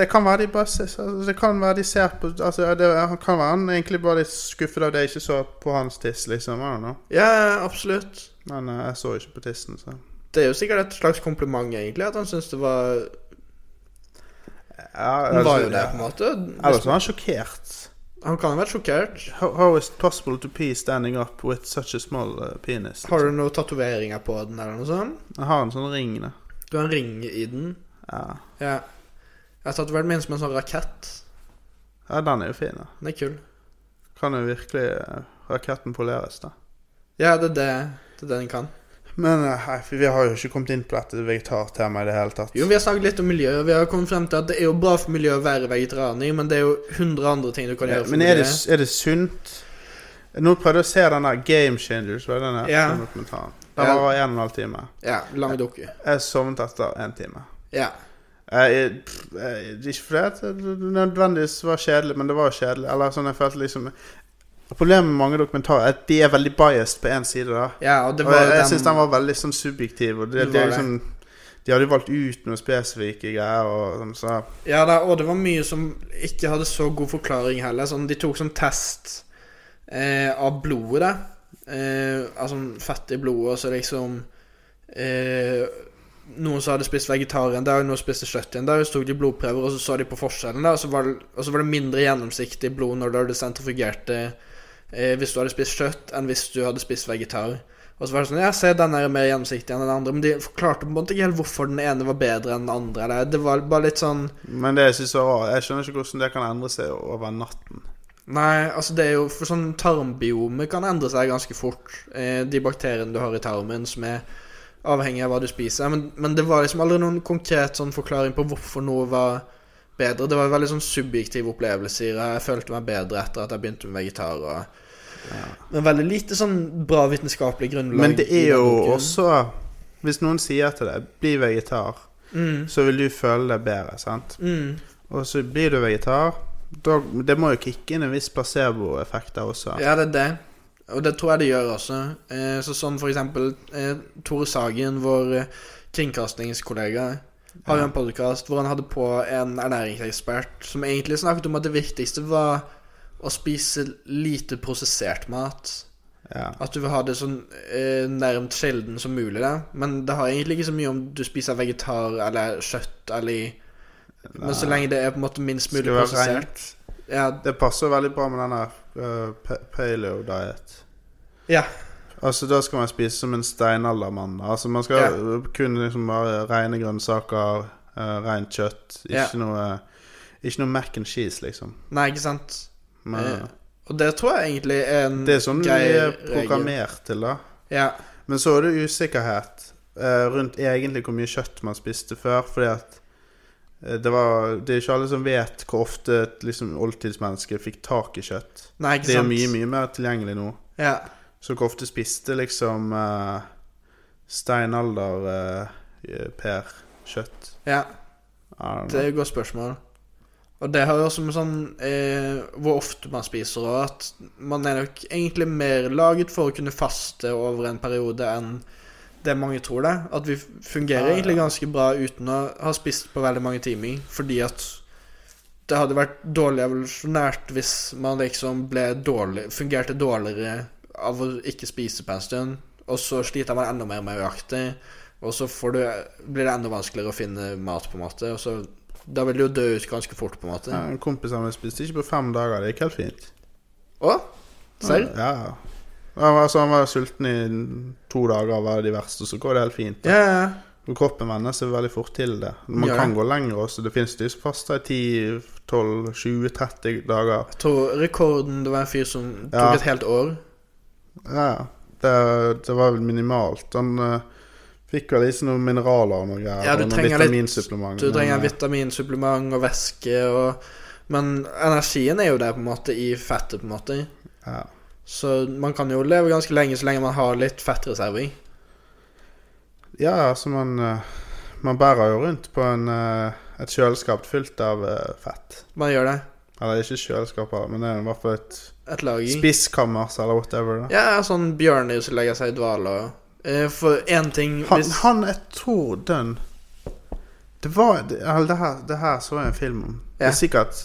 Speaker 3: det kan være de bare ser, altså, Det kan være de ser på altså, ja, det, Han kan være han egentlig bare litt skuffet av det jeg ikke så på hans tiss, liksom. I don't know.
Speaker 2: Ja, absolutt.
Speaker 3: Men eh, jeg så jo ikke på tissen, så
Speaker 2: Det er jo sikkert et slags kompliment, egentlig, at han syns det var
Speaker 3: ja,
Speaker 2: Han var jo
Speaker 3: altså,
Speaker 2: der, på en måte.
Speaker 3: Ellers var han sjokkert.
Speaker 2: Han kan ha vært sjokkert.
Speaker 3: How, how is it possible to pee standing up with such a small eh, penis?
Speaker 2: Har du noen tatoveringer på den, eller noe sånt?
Speaker 3: Jeg har en sånn ring, da.
Speaker 2: Du har en ring i den.
Speaker 3: Ja.
Speaker 2: Ja. Jeg har tatovert min som en sånn rakett.
Speaker 3: ja, den er jo fin, da.
Speaker 2: Den er kul.
Speaker 3: Kan jo virkelig eh, raketten poleres, da.
Speaker 2: Ja, det er det, det, er det den kan.
Speaker 3: Men eh, hei, for vi har jo ikke kommet inn på dette vegetartemaet i det hele tatt.
Speaker 2: Jo, vi har snakket litt om miljø, og vi har kommet frem til at det er jo bra for miljøet å være vegetarianer, men det er jo 100 andre ting du kan
Speaker 3: Eh,
Speaker 2: gjøre for
Speaker 3: Men er det,
Speaker 2: miljøet.
Speaker 3: er det sunt? Nå prøvde jeg å se den der Game Changers, var det den der
Speaker 2: Ja.
Speaker 3: den dokumentaren? Den
Speaker 2: Ja.
Speaker 3: var en og en halv time.
Speaker 2: Ja, lang doku.
Speaker 3: Jeg sovnet etter en time.
Speaker 2: Ja.
Speaker 3: Jeg, pff, jeg, ikke fordi det nødvendigvis var kjedelig, men det var kjedelig. Eller sånn, jeg følte liksom Problemet med mange dokumentarer er at de er veldig biased på én side. da
Speaker 2: ja, og det
Speaker 3: og
Speaker 2: var
Speaker 3: jeg, jeg
Speaker 2: den-
Speaker 3: syns den var veldig sånn subjektiv. Og det,
Speaker 2: Det var
Speaker 3: det, er
Speaker 2: det.
Speaker 3: liksom, de hadde jo valgt ut noen spesifikke greier. Og sånn, så
Speaker 2: Ja da, og det var mye som ikke hadde så god forklaring heller. Sånn, de tok som test eh, av blodet, da. Eh, altså fett i blodet, og så liksom eh, Noen som hadde spist vegetar en dag, noen spiste kjøtt en dag, så tok de blodprøver, og så så de på forskjellen, da, og så var det, og så var det mindre gjennomsiktig blod når du hadde sentrifugert det eh, hvis du hadde spist kjøtt, enn hvis du hadde spist vegetar. Og så var det sånn Ja, se, den er mer gjennomsiktig enn den andre, men de forklarte på en måte ikke helt hvorfor den ene var bedre enn den andre, eller Det var bare litt sånn
Speaker 3: men det jeg synes var rart Jeg skjønner ikke hvordan det kan endre seg over natten.
Speaker 2: Nei, altså det er jo for sånn tarmbiomet kan endre seg ganske fort. Eh, de bakteriene du har i tarmen som er avhengig av hva du spiser. Men, men det var liksom aldri noen konkret sånn forklaring på hvorfor noe var bedre. Det var en veldig sånn subjektiv opplevelse. i det. Jeg følte meg bedre etter at jeg begynte med vegetar. Og... Men veldig lite sånn bra vitenskapelig grunnlag.
Speaker 3: Men det
Speaker 2: i den
Speaker 3: er jo
Speaker 2: boken.
Speaker 3: også Hvis noen sier til deg 'bli vegetar',
Speaker 2: mm,
Speaker 3: så vil du føle deg bedre, sant?
Speaker 2: mm,
Speaker 3: Og så blir du vegetar. Da, det må jo kicke inn en viss placeboeffekt der også.
Speaker 2: Ja, det er det. Og det tror jeg det gjør også. Eh, så sånn for eksempel eh, Tore Sagen, vår eh, kringkastingskollega, har jo en podkast hvor han hadde på en ernæringsekspert som egentlig snakket om at det viktigste var å spise lite prosessert mat.
Speaker 3: Ja.
Speaker 2: At du vil ha det så eh, nærmt sjelden som mulig. Da. Men det har egentlig ikke så mye om du spiser vegetar eller kjøtt eller i Men så lenge det er på en måte minst
Speaker 3: Skal
Speaker 2: mulig
Speaker 3: det være
Speaker 2: prosessert. Ja,
Speaker 3: Det passer veldig bra med denne uh, paleo-diet.
Speaker 2: ja.
Speaker 3: Altså Da skal man spise som en steinaldermann. da. Altså Man skal
Speaker 2: Ja.
Speaker 3: kun liksom bare reine grønnsaker, eh, rent kjøtt. Ikke,
Speaker 2: Ja.
Speaker 3: noe, ikke noe mac and cheese, liksom.
Speaker 2: Nei, ikke sant?
Speaker 3: Men
Speaker 2: Eh, og det tror jeg egentlig er en
Speaker 3: det er sånn vi
Speaker 2: grei
Speaker 3: er
Speaker 2: regel.
Speaker 3: programmert til, da.
Speaker 2: Ja.
Speaker 3: Men så er det usikkerhet eh, rundt egentlig hvor mye kjøtt man spiste før, fordi at eh, det, var, det er ikke alle som vet hvor ofte et liksom, oldtidsmenneske fikk tak i kjøtt.
Speaker 2: Nei, ikke
Speaker 3: Det er
Speaker 2: sant?
Speaker 3: mye, mye mer tilgjengelig nå.
Speaker 2: Ja.
Speaker 3: Så hvor ofte spiste liksom eh, steinalder-Per kjøtt?
Speaker 2: ja.
Speaker 3: I don't
Speaker 2: Det
Speaker 3: know.
Speaker 2: er et godt spørsmål. Og det har jo også med sånn eh, hvor ofte man spiser, og at man er nok egentlig mer laget for å kunne faste over en periode enn det mange tror det. At vi fungerer
Speaker 3: Ja, ja.
Speaker 2: egentlig ganske bra uten å ha spist på veldig mange timer, fordi at det hadde vært dårlig evolusjonært hvis man liksom ble dårlig, fungerte dårligere av å ikke spise på en stund, og så sliter man enda mer med å jakte, og så får du, blir det enda vanskeligere å finne mat, på en måte, og så da vil du jo dø ut ganske fort, på en
Speaker 3: Ja,
Speaker 2: måte.
Speaker 3: En kompis av meg spiste ikke på fem dager. Det gikk helt fint.
Speaker 2: Å? Serr?
Speaker 3: Ja, ja. Han var, altså, han var sulten i to dager, var det de verste, så går det helt fint.
Speaker 2: Ja, ja.
Speaker 3: Og Kroppen venner seg veldig fort til det. Man
Speaker 2: Ja.
Speaker 3: kan gå lenger også. Det finnes de som faster i 10-12-20-30 dager.
Speaker 2: Jeg tror rekorden det var en fyr som tok
Speaker 3: Ja.
Speaker 2: et helt år.
Speaker 3: Ja, ja. det, det var vel minimalt. Han eh, fikk vel i seg noen mineraler og noe greier.
Speaker 2: Ja, du
Speaker 3: og noen
Speaker 2: trenger litt-
Speaker 3: vitaminsupplement.
Speaker 2: Du trenger
Speaker 3: men, eh,
Speaker 2: vitaminsupplement og væske og Men energien er jo der, på en måte, i fettet, på en måte.
Speaker 3: eh, ja.
Speaker 2: Så man kan jo leve ganske lenge så lenge man har litt fettreserver.
Speaker 3: ja, altså man eh, Man bærer jo rundt på en, eh, et kjøleskap fylt av eh, fett.
Speaker 2: Man gjør det.
Speaker 3: Eller ikke kjøleskap, men det er i hvert fall et
Speaker 2: Et lager.
Speaker 3: spiskammers eller whatever. Da.
Speaker 2: Ja, sånn bjørner som legger seg i dvale og eh, For én ting
Speaker 3: Han,
Speaker 2: hvis
Speaker 3: han jeg tror den Det var det, eller det, her, det her så jeg en film om. Det
Speaker 2: Ja.
Speaker 3: er sikkert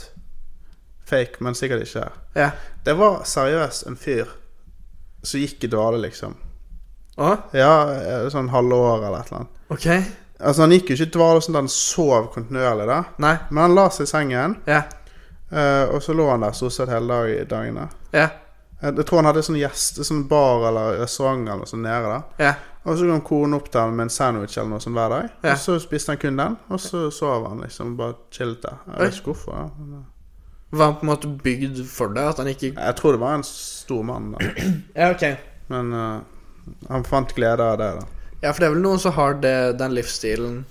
Speaker 3: fake, men sikkert ikke.
Speaker 2: Ja.
Speaker 3: Det var seriøst en fyr som gikk i dvale, liksom.
Speaker 2: Å?
Speaker 3: Ja, eh, sånn halve år eller et eller annet.
Speaker 2: OK?
Speaker 3: Altså, han gikk jo ikke i dvale sånn at han sov kontinuerlig, da.
Speaker 2: Nei?
Speaker 3: Men han la seg i sengen,
Speaker 2: Ja.
Speaker 3: eh, og så lå han der stort sett hele dag, dagene.
Speaker 2: Ja.
Speaker 3: Jeg jeg tror han hadde sånn gjest, sånn bar eller restaurant eller noe sånt nede, da.
Speaker 2: Ja.
Speaker 3: Og så kom konen opp til han med en sandwich eller noe sånt hver dag.
Speaker 2: Ja.
Speaker 3: Og så spiste han kun den, og så sov han liksom bare chillet der. Jeg
Speaker 2: Oi.
Speaker 3: vet ikke hvorfor. ja, men, eh,
Speaker 2: Var han på en måte bygd for det? At han ikke
Speaker 3: Jeg tror det var en stor mann, da.
Speaker 2: Ja, OK.
Speaker 3: Men eh, han fant glede av det, da.
Speaker 2: Ja, for det er vel noen som har det, den livsstilen.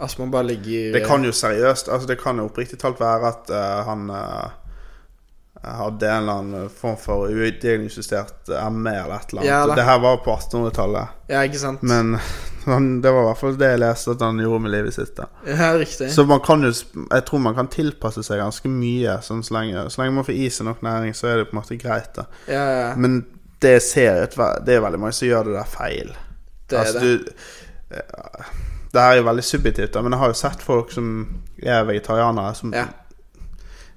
Speaker 2: Altså, man bare ligger
Speaker 3: Det kan jo seriøst altså Det kan jo oppriktig talt være at eh, han eh, hadde en eller annen form for udiagnostisert ME eller et eller annet.
Speaker 2: Ja, da.
Speaker 3: det her var på 1800-tallet.
Speaker 2: Ja, ikke sant?
Speaker 3: Men han, det var i hvert fall det jeg leste at han gjorde med livet sitt. da
Speaker 2: Ja, riktig.
Speaker 3: Så man kan jo, sp- jeg tror man kan tilpasse seg ganske mye. Sånn, så, lenge, så lenge man får i seg nok næring, så er det på en måte greit. da
Speaker 2: ja, ja.
Speaker 3: Men det jeg ser ut, det er veldig mange som gjør det der feil.
Speaker 2: Det er det.
Speaker 3: Altså, Du, eh, det her er jo veldig subjektivt, da, men jeg har jo sett folk som er vegetarianere, som
Speaker 2: Ja.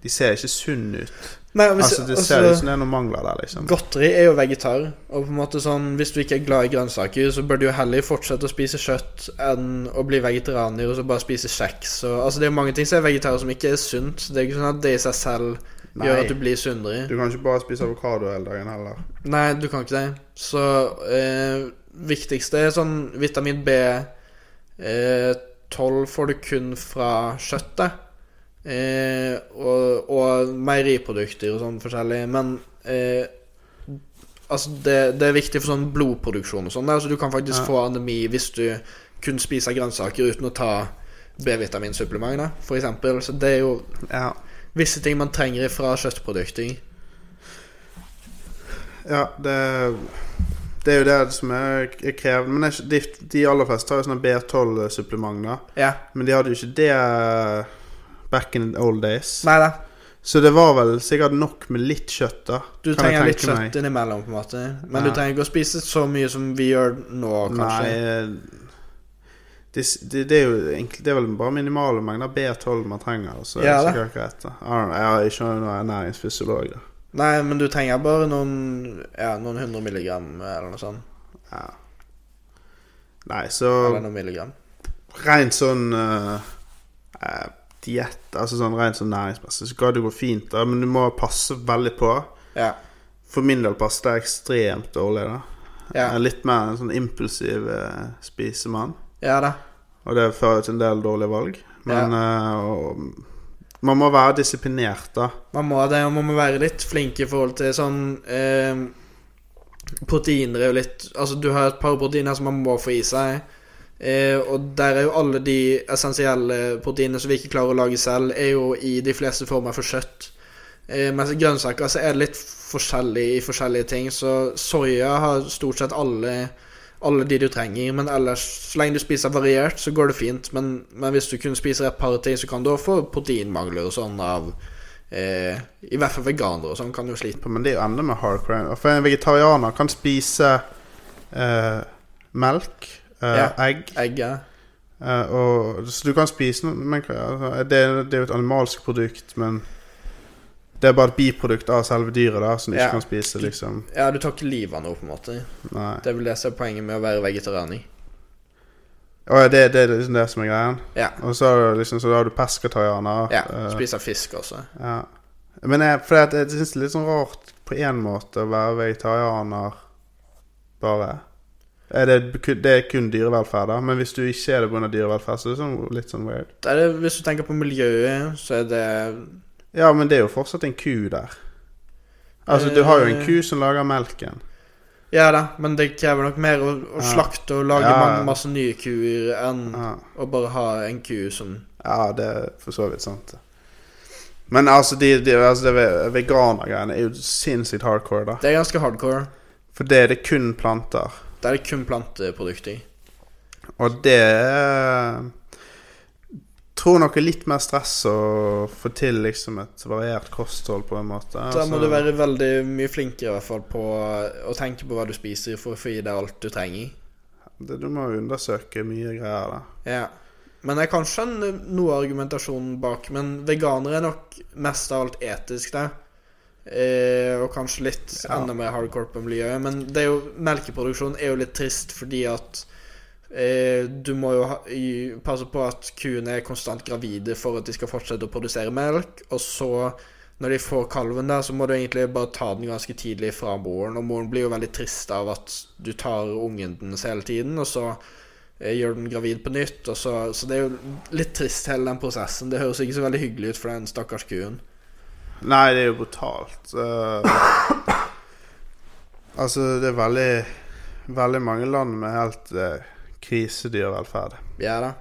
Speaker 3: De ser ikke sunne ut.
Speaker 2: Nei, hvis,
Speaker 3: altså Det
Speaker 2: altså,
Speaker 3: ser ut som det er noen mangler der, liksom.
Speaker 2: Godteri er jo vegetar, og på en måte sånn hvis du ikke er glad i grønnsaker, så bør du jo heller fortsette å spise kjøtt enn å bli vegetarianer og så bare spise kjeks. Og, altså, det er jo mange ting som er vegetarer som ikke er sunt. Det er ikke sånn at det i seg selv
Speaker 3: Nei.
Speaker 2: gjør at du blir sunnere.
Speaker 3: Du kan ikke bare spise avokado hele dagen heller.
Speaker 2: Nei, du kan ikke det. Så eh, viktigste er sånn vitamin B eh, 12 får du kun fra kjøttet. Eh, og, og meieriprodukter og sånn forskjellig. Men eh, altså det, det er viktig for sånn blodproduksjon og sånn. da, Så du kan faktisk
Speaker 3: Ja.
Speaker 2: få anemi hvis du kun spiser grønnsaker uten å ta B-vitaminsupplement, da, for eksempel. Så det er jo
Speaker 3: Ja.
Speaker 2: visse ting man trenger fra kjøttprodukter.
Speaker 3: Ja, det Det er jo det som er, er krevende. Men det er ikke- de, de aller fleste har jo sånne B12-supplement, da.
Speaker 2: Ja.
Speaker 3: Men de hadde jo ikke det eh, back in the old days.
Speaker 2: Nei da.
Speaker 3: Så det var vel sikkert nok med litt kjøtt, da.
Speaker 2: Du
Speaker 3: kan jeg
Speaker 2: trenger litt
Speaker 3: tenke meg.
Speaker 2: kjøtt innimellom, på en måte. Men
Speaker 3: Nei.
Speaker 2: du trenger ikke å spise så mye som vi gjør nå, kanskje.
Speaker 3: Nei eh, det, det, det er jo egentlig Det er vel bare minimale mengder B12 man trenger. og Så er
Speaker 2: Ja,
Speaker 3: det
Speaker 2: da.
Speaker 3: sikkert greit, da. I don't know, Jeg er ikke noen ernæringsfysiolog, da.
Speaker 2: Nei. men du trenger bare noen Ja, noen hundre milligram eller noe sånt.
Speaker 3: Ja. Nei, så
Speaker 2: Eller noen milligram.
Speaker 3: rent sånn uh, diett, altså sånn rent sånn næringsmessig, så skal det gå fint, da, men du må passe veldig på.
Speaker 2: Ja.
Speaker 3: For min del passer det ekstremt dårlig, da.
Speaker 2: Ja,
Speaker 3: Jeg er litt mer en sånn impulsiv eh, spisemann.
Speaker 2: ja da.
Speaker 3: Og det fører til en del dårlige valg. Men eh, og, man må være disiplinert, da.
Speaker 2: Man må det, og man må være litt flink i forhold til sånn eh, Proteiner er jo litt Altså, du har et par proteiner som man må få i seg. Eh, og der er jo alle de essensielle proteinene som vi ikke klarer å lage selv, er jo i de fleste former for kjøtt. Eh, mens i grønnsaker så er det litt forskjellig i forskjellige ting. Så soya har stort sett alle, alle de du trenger. Men ellers, så lenge du spiser variert, så går det fint. Men, men hvis du kun spiser et par ting, så kan du også få proteinmangler og sånn av Eh, I hvert fall veganere og sånn kan jo slite.
Speaker 3: Men det er jo enda med hard crime. For en vegetarianer kan spise eh, melk, eh,
Speaker 2: Ja.
Speaker 3: egg
Speaker 2: Egget.
Speaker 3: eh, og, Så du kan spise noe men, altså, det, er- det er jo et animalsk produkt, men det er bare et biprodukt av selve dyret da som du
Speaker 2: Ja.
Speaker 3: ikke kan spise, liksom.
Speaker 2: Ja, du tar ikke livet av noe, på en måte.
Speaker 3: Nei.
Speaker 2: Det er vel det som er poenget med å være vegetarianer.
Speaker 3: Og det, det er liksom det som er greia.
Speaker 2: Ja.
Speaker 3: Og så, er det liksom, så da har du pesketarianer.
Speaker 2: ja
Speaker 3: eh,
Speaker 2: Spiser fisk også.
Speaker 3: Ja. Men jeg, for jeg, jeg syns det er litt sånn rart på én måte å være vegetarianer bare. Er det, kun- det er kun dyrevelferd, da. Men hvis du ikke er det pga. dyrevelferd, så er det sånn, litt sånn weird.
Speaker 2: Det er det, hvis du tenker på miljøet, så er det
Speaker 3: Ja, men det er jo fortsatt en ku der. Altså, du har jo en
Speaker 2: Eh.
Speaker 3: ku som lager melken.
Speaker 2: Ja da, men det krever nok mer å, å
Speaker 3: Ja.
Speaker 2: slakte og lage
Speaker 3: Ja, ja.
Speaker 2: mange, masse nye kuer enn
Speaker 3: Ja,
Speaker 2: å bare ha en ku som
Speaker 3: ja det er for så vidt sant. Men altså, de, de, altså det ve- veganergreiene er jo sinnssykt hardcore, da.
Speaker 2: Det er ganske hardcore.
Speaker 3: For det er det kun planter.
Speaker 2: Der er det kun planteprodukter.
Speaker 3: Og det eh, tror nok er litt mer stress å få til liksom et variert kosthold, på en måte.
Speaker 2: Da må
Speaker 3: Altså,
Speaker 2: du være veldig mye flinkere i hvert fall på å tenke på hva du spiser, for å få i deg alt du trenger.
Speaker 3: det, Du må jo undersøke mye greier, da.
Speaker 2: Ja. Men jeg kan skjønne noe av argumentasjonen bak, men veganere er nok mest av alt etisk der. Eh, og kanskje litt
Speaker 3: Ja.
Speaker 2: enda mer hardcore på miljøet. Men det er jo, melkeproduksjon er jo litt trist fordi at eh, du må jo ha, i, passe på at kuene er konstant gravide for at de skal fortsette å produsere melk. Og så, når de får kalven der, så må du egentlig bare ta den ganske tidlig fra moren. Og moren blir jo veldig trist av at du tar ungen dens hele tiden, og så eh, gjør den gravid på nytt. Og så, så det er jo litt trist, hele den prosessen. Det høres ikke så veldig hyggelig ut for den stakkars kuen.
Speaker 3: Nei, det er jo brutalt. eh. altså, det er veldig Veldig mange land med helt eh, krisedyrvelferd.
Speaker 2: Ja da.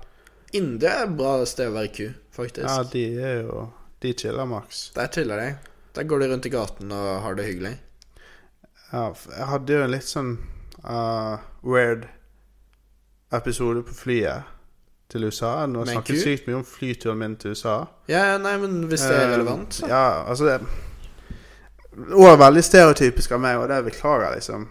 Speaker 2: India er et bra sted å være ku, faktisk.
Speaker 3: Ja, de er jo De chiller maks.
Speaker 2: Der chiller de. Der går de rundt i gaten og har det hyggelig.
Speaker 3: Ja, f- jeg hadde jo en litt sånn eh, weird episode på flyet til USA. Nå
Speaker 2: Med en
Speaker 3: snakket
Speaker 2: ku?
Speaker 3: sykt mye om flyturen min til USA.
Speaker 2: Ja, nei, men hvis det er relevant,
Speaker 3: Eh,
Speaker 2: så.
Speaker 3: ja, altså det Og veldig stereotypisk av meg, og det beklager jeg liksom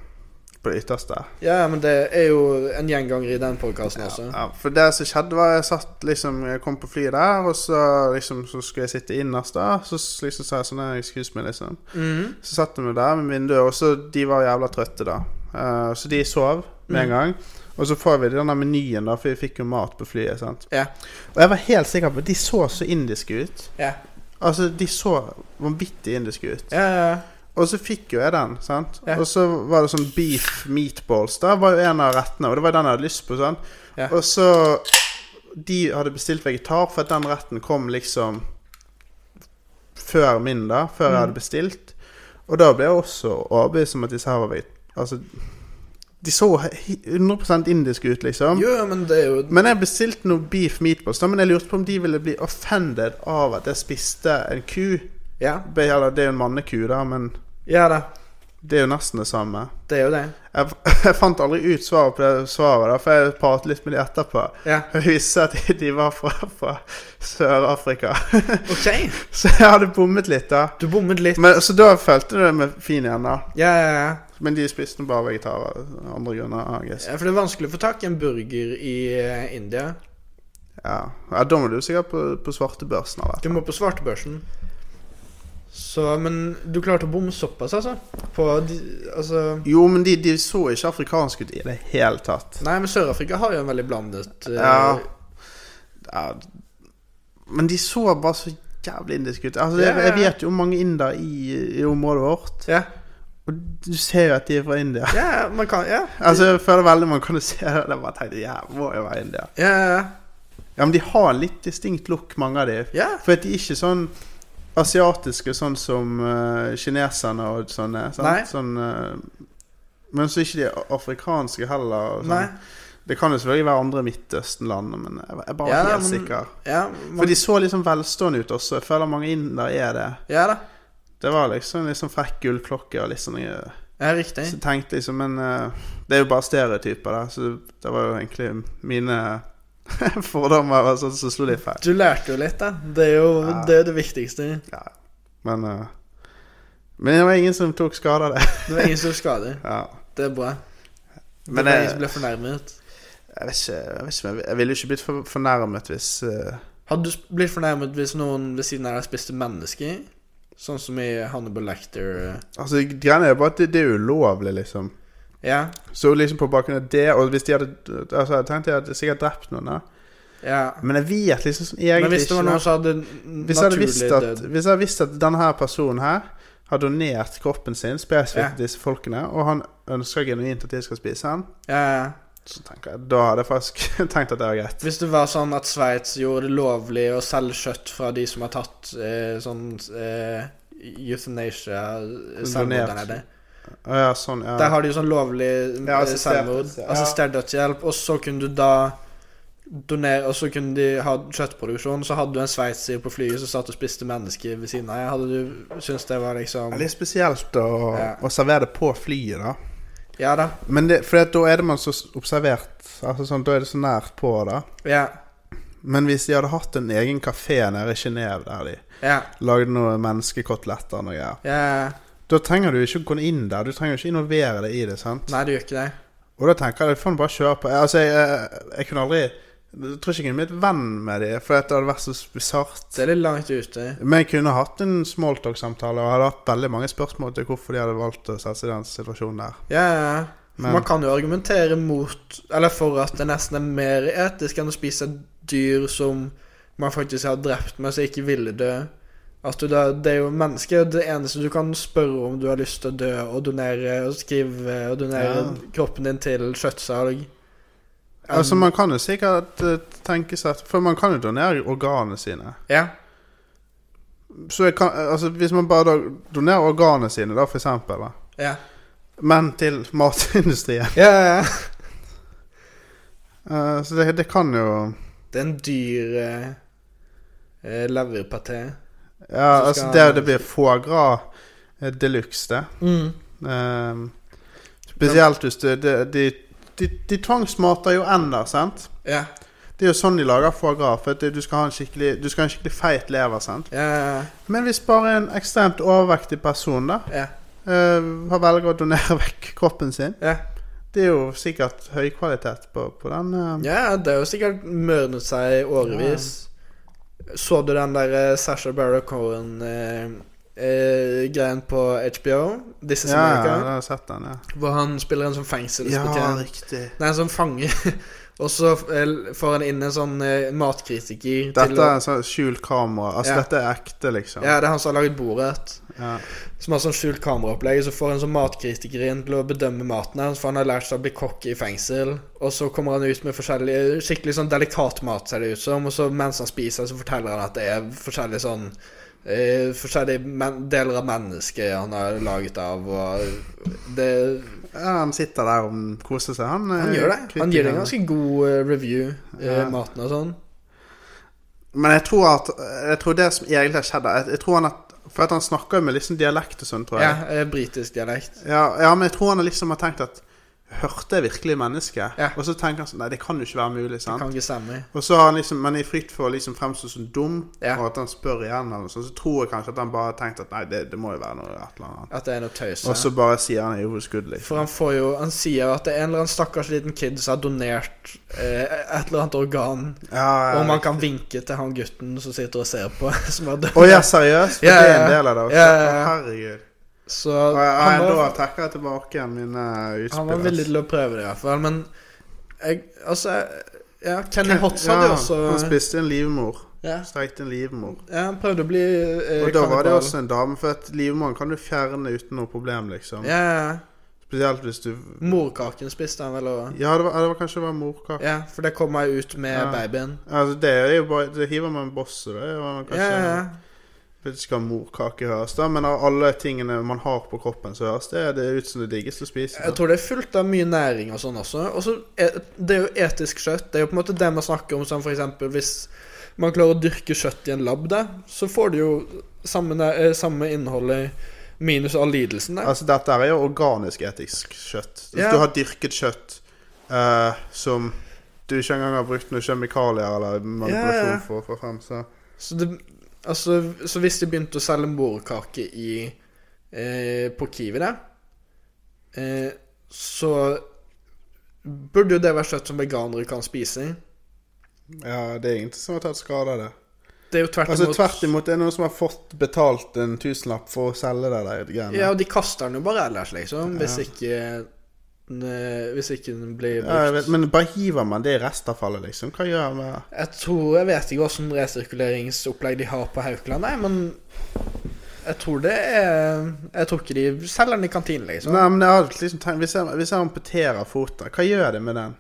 Speaker 3: på det ytterste.
Speaker 2: Ja, men det er jo en gjenganger i den podkasten også.
Speaker 3: Ja, for det som skjedde, var jeg satt liksom Jeg kom på flyet der, og så liksom så skulle jeg sitte innerst da. Så s- liksom sa jeg sånn «Nei, Excuse me, liksom.
Speaker 2: Mhm.
Speaker 3: Så satt vi der med vinduet, og så de var jævla trøtte da. Eh, så de sov med en gang. Og så får vi denne menyen, da, for vi fikk jo mat på flyet. sant?
Speaker 2: Ja.
Speaker 3: Og jeg var helt sikker på De så så indiske ut.
Speaker 2: Ja.
Speaker 3: Altså, de så vanvittig indiske ut.
Speaker 2: Ja, ja,
Speaker 3: Og så fikk jo jeg den, sant.
Speaker 2: Ja.
Speaker 3: Og så var det sånn beef meatballs. Da var jo en av rettene, og det var den jeg hadde lyst på. sant?
Speaker 2: Ja.
Speaker 3: Og så De hadde bestilt vegetar, for at den retten kom liksom før min, da. Før
Speaker 2: Mm.
Speaker 3: jeg hadde bestilt. Og da ble jeg også overbevist om at disse her var veg- Altså De så he- 100 indiske ut,
Speaker 2: ja.
Speaker 3: liksom.
Speaker 2: Jo, men det er jo
Speaker 3: Men jeg bestilte noe beef meatballs, da, men jeg lurte på om de ville bli offended av at jeg spiste en ku.
Speaker 2: Ja,
Speaker 3: Be- Eller det er jo en manneku, da, men
Speaker 2: ja da.
Speaker 3: det er jo nesten det samme.
Speaker 2: Det er jo det.
Speaker 3: Jeg, f- jeg fant aldri ut svaret på det svaret, da, for jeg pratet litt med de etterpå.
Speaker 2: Ja.
Speaker 3: Jeg visste at de- de var fra, fra Sør-Afrika.
Speaker 2: OK.
Speaker 3: Så jeg hadde bommet litt, da.
Speaker 2: Du bommet litt.
Speaker 3: Men, så da følte du det med fin igjen, da.
Speaker 2: Ja, ja, ja.
Speaker 3: Men de spiste nå bare vegetarer av andre grunner. I guess.
Speaker 2: Ja, For det er vanskelig å få tak i en burger i eh, India.
Speaker 3: Ja. ja, Da må du sikkert på, på svartebørsen. eller?
Speaker 2: Du må på svartebørsen. Så, men du klarte å bomme såpass, altså? På de, altså
Speaker 3: Jo, men de, de så ikke afrikanske ut i det hele tatt.
Speaker 2: Nei, men Sør-Afrika har jo en veldig blandet eh,
Speaker 3: Ja. Ja. Men de så bare så jævlig indiske ut. Altså,
Speaker 2: Ja,
Speaker 3: jeg,
Speaker 2: ja, ja.
Speaker 3: jeg vet jo hvor mange indere i, i området vårt.
Speaker 2: ja.
Speaker 3: Og du ser jo at de er fra India.
Speaker 2: ja, man kan Ja.
Speaker 3: Altså, jeg føler veldig man kan jo se det. Jeg bare tenkte, ja, må jo være India.
Speaker 2: ja, ja, ja.
Speaker 3: Ja, men de har litt distinkt look, mange av de.
Speaker 2: Ja.
Speaker 3: For at de er ikke sånn asiatiske, sånn som eh, kineserne og sånne. Sant?
Speaker 2: Nei.
Speaker 3: Sånn, eh, men så er ikke de afrikanske heller. Og sånn.
Speaker 2: Nei.
Speaker 3: Det kan jo selvfølgelig være andre Midtøsten-land, men jeg jeg er bare
Speaker 2: Ja,
Speaker 3: ikke helt
Speaker 2: men-
Speaker 3: sikker.
Speaker 2: Ja,
Speaker 3: For
Speaker 2: man,
Speaker 3: de så liksom velstående ut også. Jeg føler mange indere er det.
Speaker 2: ja da.
Speaker 3: Det var liksom litt sånn frekk gullklokke og litt sånn eh,
Speaker 2: Ja, riktig.
Speaker 3: Så tenkte jeg liksom, men eh, det er jo bare stereotyper, da. Så det var jo egentlig mine fordommer var sånn som slo litt feil.
Speaker 2: Du lærte jo litt, da. Det er jo
Speaker 3: Ja.
Speaker 2: det, er det viktigste.
Speaker 3: Ja. Men, eh, men det var ingen som tok skade av det.
Speaker 2: Det var ingen som skader.
Speaker 3: ja.
Speaker 2: Det er bra. Det
Speaker 3: Men
Speaker 2: var
Speaker 3: det-
Speaker 2: ingen som ble fornærmet.
Speaker 3: Jeg vet ikke, jeg, vet ikke, om jeg- jeg ville jo ikke blitt for, fornærmet hvis eh,
Speaker 2: Hadde du sp- blitt fornærmet hvis noen ved siden av deg spiste mennesker? Sånn som i Hannibal Lecter. eh.
Speaker 3: Altså, greiene er jo bare at det, det er ulovlig, liksom.
Speaker 2: Ja,
Speaker 3: Så liksom på bakgrunn av det, og hvis de hadde Altså, jeg tenkte jeg hadde sikkert drept noen, da.
Speaker 2: ja.
Speaker 3: Men jeg vet liksom sånn egentlig
Speaker 2: Men hvis det var
Speaker 3: da.
Speaker 2: noen som hadde
Speaker 3: Hvis jeg hadde
Speaker 2: naturlig
Speaker 3: visst at,
Speaker 2: død
Speaker 3: hvis jeg hadde visst at denne her personen her har donert kroppen sin spesifikt
Speaker 2: Ja.
Speaker 3: til disse folkene, og han ønsker genuint at jeg skal spise han,
Speaker 2: Ja, ja.
Speaker 3: så tenker jeg, da hadde jeg faktisk tenkt at det var greit.
Speaker 2: Hvis det var sånn at Sveits gjorde det lovlig å selge kjøtt fra de som har tatt eh, sånn eh, euthanasia eh,
Speaker 3: Donert.
Speaker 2: Selvmord der nede.
Speaker 3: Å Ja, sånn, ja.
Speaker 2: Der har de jo sånn lovlig eh,
Speaker 3: Ja, assistert-
Speaker 2: selvmord.
Speaker 3: ja.
Speaker 2: Assistert dødshjelp. Og så kunne du da donere Og så kunne de ha kjøttproduksjon. Så hadde du en sveitser på flyet som satt og spiste mennesker ved siden av. Hadde du syntes det var
Speaker 3: Det
Speaker 2: liksom
Speaker 3: er litt spesielt å,
Speaker 2: Ja.
Speaker 3: å servere det på flyet, da.
Speaker 2: Ja da.
Speaker 3: Men det, for da er det man så observert. Altså sånn, Da er det så nært på, da.
Speaker 2: Ja.
Speaker 3: Men hvis de hadde hatt en egen kafé nede i Genéve der de
Speaker 2: Ja.
Speaker 3: lagde noen menneskekoteletter og noe greier,
Speaker 2: ja.
Speaker 3: da trenger du ikke å gå inn der. Du trenger jo ikke involvere deg i det, sant?
Speaker 2: Nei, du gjør ikke det.
Speaker 3: Og da tenker jeg, faen, bare kjør på. Altså, jeg, jeg, jeg kunne aldri Jeg tror ikke jeg kunne blitt venn med dem, for det hadde vært så bisart.
Speaker 2: Det er litt langt ute.
Speaker 3: Men jeg kunne hatt en smalltalk-samtale og hadde hatt veldig mange spørsmål til hvorfor de hadde valgt å sette seg i den situasjonen der.
Speaker 2: Ja, ja.
Speaker 3: Men-
Speaker 2: Man kan jo argumentere mot Eller for at det nesten er mer etisk enn å spise et dyr som man faktisk har drept, men som ikke ville dø. At du da, Det er jo mennesker. Det eneste du kan spørre om du har lyst til å dø, og donere og skrive og donere
Speaker 3: Ja.
Speaker 2: kroppen din til kjøttsalg.
Speaker 3: Altså,
Speaker 2: Um,
Speaker 3: man kan jo sikkert eh, tenke seg at For man kan jo donere organene sine.
Speaker 2: Ja.
Speaker 3: Så jeg kan, altså, hvis man bare da donerer organene sine, da, for eksempel, da.
Speaker 2: Ja.
Speaker 3: men til matindustrien
Speaker 2: ja, ja, ja.
Speaker 3: Eh, Så det, det kan jo
Speaker 2: Det er en dyr eh, eh, leverparti.
Speaker 3: Ja,
Speaker 2: Så
Speaker 3: altså,
Speaker 2: skal-
Speaker 3: det, det blir foie gras eh, deluxe, det.
Speaker 2: Mm.
Speaker 3: Ehm, spesielt hvis du de, de, de, de tvangsmater jo ender, sant?
Speaker 2: Ja.
Speaker 3: Det er jo sånn de lager foie gras. For at du skal ha en skikkelig, du skal ha en skikkelig feit lever. sant?
Speaker 2: Ja, ja,
Speaker 3: Men hvis bare en ekstremt overvektig person da,
Speaker 2: ja.
Speaker 3: eh, har velger å donere vekk kroppen sin
Speaker 2: ja.
Speaker 3: Det er jo sikkert høykvalitet på, på den. eh,
Speaker 2: Ja, det er jo sikkert mørnet seg i årevis. Så du den der eh, Sasha Barrow Cohen-greien eh, på HBO? This is
Speaker 3: Ja, ja, jeg
Speaker 2: America?
Speaker 3: har sett den. Ja,
Speaker 2: Hvor han spiller en sånn fengselsbetjent.
Speaker 3: riktig.
Speaker 2: Nei, en sånn fange. Og så eh, får han inn en sånn eh, matkritiker.
Speaker 3: Dette
Speaker 2: å-
Speaker 3: er en sånn skjult kamera. Altså,
Speaker 2: Ja.
Speaker 3: dette er ekte, liksom.
Speaker 2: ja, det er han som har laget Borat.
Speaker 3: Ja.
Speaker 2: Som har sånn skjult kameraopplegg. Så får en sånn matkritiker inn til å bedømme maten hans, for han har lært seg å bli kokk i fengsel. Og så kommer han ut med forskjellig skikkelig sånn delikat mat, ser det ut som. Og så mens han spiser, så forteller han at det er forskjellig sånn eh, Forskjellige men deler av mennesket han har laget av, og det
Speaker 3: Ja, han sitter der og koser seg. Han,
Speaker 2: Han
Speaker 3: eh,
Speaker 2: gjør det. Han gir det en
Speaker 3: kritikeren.
Speaker 2: ganske god eh, review, eh,
Speaker 3: Ja.
Speaker 2: maten og sånn.
Speaker 3: Men jeg tror at Jeg tror det som egentlig har skjedd jeg, jeg tror han at, For at han snakker jo med liksom dialekt og sånn, tror
Speaker 2: Ja,
Speaker 3: jeg.
Speaker 2: eh, britisk dialekt.
Speaker 3: Ja. Ja, men jeg tror han liksom har tenkt at Hørte jeg virkelig mennesket?
Speaker 2: Ja.
Speaker 3: Og så tenker han sånn Nei, det kan jo ikke være mulig, sant?
Speaker 2: Kan ikke stemme.
Speaker 3: Og så har han liksom Men i frykt for å liksom fremstå som dum,
Speaker 2: Ja.
Speaker 3: og at han spør igjen, eller noe sånt, så tror jeg kanskje at han bare har tenkt at nei, det, det må jo være noe et eller annet.
Speaker 2: At det er noe tøys.
Speaker 3: Og så bare sier han jo uskudelig.
Speaker 2: For han får jo Han sier jo at det er en eller annen stakkars liten kid som har donert eh, et eller annet organ.
Speaker 3: Ja,
Speaker 2: Og
Speaker 3: ja.
Speaker 2: man kan vinke til han gutten som sitter og ser på, som har dødd.
Speaker 3: Å ja, seriøst? For
Speaker 2: Ja,
Speaker 3: det er
Speaker 2: ja,
Speaker 3: en del av det også?
Speaker 2: ja, ja, ja.
Speaker 3: Å, Herregud.
Speaker 2: Så
Speaker 3: Og jeg,
Speaker 2: han
Speaker 3: jeg, da
Speaker 2: var,
Speaker 3: trekker jeg tilbake igjen mine utspill.
Speaker 2: han var villig til å prøve det, i hvert fall. Men jeg, altså jeg- Ja, Kenny Hotz hadde jo også
Speaker 3: Han spiste en livmor.
Speaker 2: ja,
Speaker 3: Strekte en livmor.
Speaker 2: ja, han prøvde å bli eh,
Speaker 3: Og da var det
Speaker 2: kannibal.
Speaker 3: også en dame, for at livmoren kan du fjerne uten noe problem, liksom.
Speaker 2: Ja, ja, ja.
Speaker 3: Spesielt hvis du
Speaker 2: Morkaken spiste han vel òg.
Speaker 3: Ja, det var, ja, det var kanskje det var morkake.
Speaker 2: Ja, for det kom jeg ut med
Speaker 3: Ja.
Speaker 2: babyen.
Speaker 3: Altså, det er jo bare Det hiver man bosset, det. er man
Speaker 2: Ja,
Speaker 3: Kanskje,
Speaker 2: ja, ja.
Speaker 3: Jeg vet ikke hva morkake høres, da, men av alle tingene man har på kroppen, så høres det, det ut som det diggeste å spise. liksom.
Speaker 2: Jeg tror det er fullt av mye næring og sånn også. Og så er- det er jo etisk kjøtt. Det er jo på en måte det man snakker om som for eksempel hvis man klarer å dyrke kjøtt i en lab der, så får du jo samme, næ- eh, samme innholdet minus all lidelsen der.
Speaker 3: Altså, dette her er jo organisk etisk kjøtt. Hvis
Speaker 2: Ja.
Speaker 3: du har dyrket kjøtt eh, som du ikke engang har brukt noen kjemikalier eller manipulasjon
Speaker 2: Ja, ja.
Speaker 3: for å få frem, så
Speaker 2: Så, det, altså, så hvis de begynte å selge morkake i, eh, på Kiwi der, eh, så burde jo det være kjøtt som veganere kan spise.
Speaker 3: Ja, det er ingenting som har tatt skade av det.
Speaker 2: Det er jo tvert
Speaker 3: Altså,
Speaker 2: imot
Speaker 3: tvert imot, det er noen som har fått betalt en tusenlapp for å selge det der greiene.
Speaker 2: Ja, og de kaster den jo bare ellers, liksom. Hvis ikke den, eh, Hvis ikke den blir brukt.
Speaker 3: Ja, jeg
Speaker 2: jeg,
Speaker 3: vet, men bare hiver man det i restavfallet, liksom? Hva gjør man?
Speaker 2: tror Jeg vet ikke hva sånn resirkuleringsopplegg de har på Haukeland, nei, men jeg tror det er Jeg tror ikke de selger den i kantinen, liksom.
Speaker 3: Nei, men jeg har liksom tenkt, hvis, jeg, hvis jeg amputerer foten, hva gjør det med den?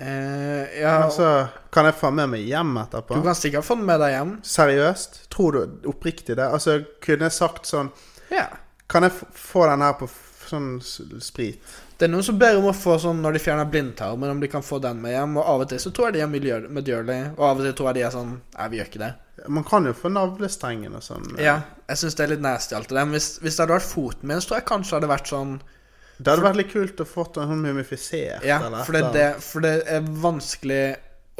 Speaker 2: Eh, ja,
Speaker 3: Altså, kan jeg få med meg hjem etterpå?
Speaker 2: du kan sikkert få den med deg hjem.
Speaker 3: Seriøst? Tror du oppriktig det? Altså, kunne jeg sagt sånn
Speaker 2: Ja.
Speaker 3: Kan jeg f- få den her på f- sånn s- sprit?
Speaker 2: Det er noen som ber om å få sånn når de fjerner blindtarmen, om de kan få den med hjem. Og av og til så tror jeg de er miljø- medgjørlige, og av og til tror jeg de er sånn Nei, vi gjør ikke det.
Speaker 3: Man kan jo få navlestrengen og sånn.
Speaker 2: Ja, jeg syns det er litt nasty, alt det der. Men hvis, hvis det hadde vært foten min, så tror jeg kanskje det hadde vært sånn
Speaker 3: Det hadde vært litt kult å få den sånn mumifisert.
Speaker 2: Ja,
Speaker 3: eller
Speaker 2: for det,
Speaker 3: et
Speaker 2: er det,
Speaker 3: eller
Speaker 2: for det er vanskelig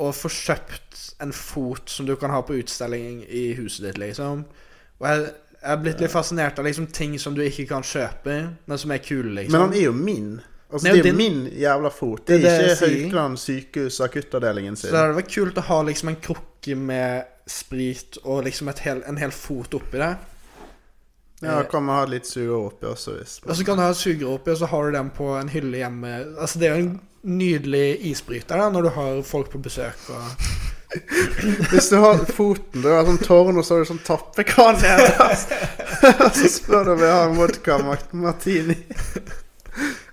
Speaker 2: å få kjøpt en fot som du kan ha på utstilling i huset ditt, liksom. Og jeg, jeg er blitt litt fascinert av liksom ting som du ikke kan kjøpe, men som er kule,
Speaker 3: annet. Men
Speaker 2: liksom.
Speaker 3: han er jo min. Altså,
Speaker 2: Nei,
Speaker 3: det er
Speaker 2: din-
Speaker 3: jo min jævla fot. Det er,
Speaker 2: Det er det
Speaker 3: ikke
Speaker 2: jeg sier.
Speaker 3: Haukeland sykehus akuttavdelingen
Speaker 2: Så
Speaker 3: sin.
Speaker 2: det hadde vært kult å ha liksom en krukke med sprit og liksom et hel, en hel fot oppi der.
Speaker 3: Ja, kan man ha litt sugerør oppi også, hvis
Speaker 2: Og så kan du ha sugerør oppi, og så har du den på en hylle hjemme. Altså, det er jo en nydelig isbryter da, når du har folk på besøk og
Speaker 3: Hvis du har foten, det er sånn tårn, og så har du sånn tappekran nederst. Og så spør du om jeg har en vodka ma- martini.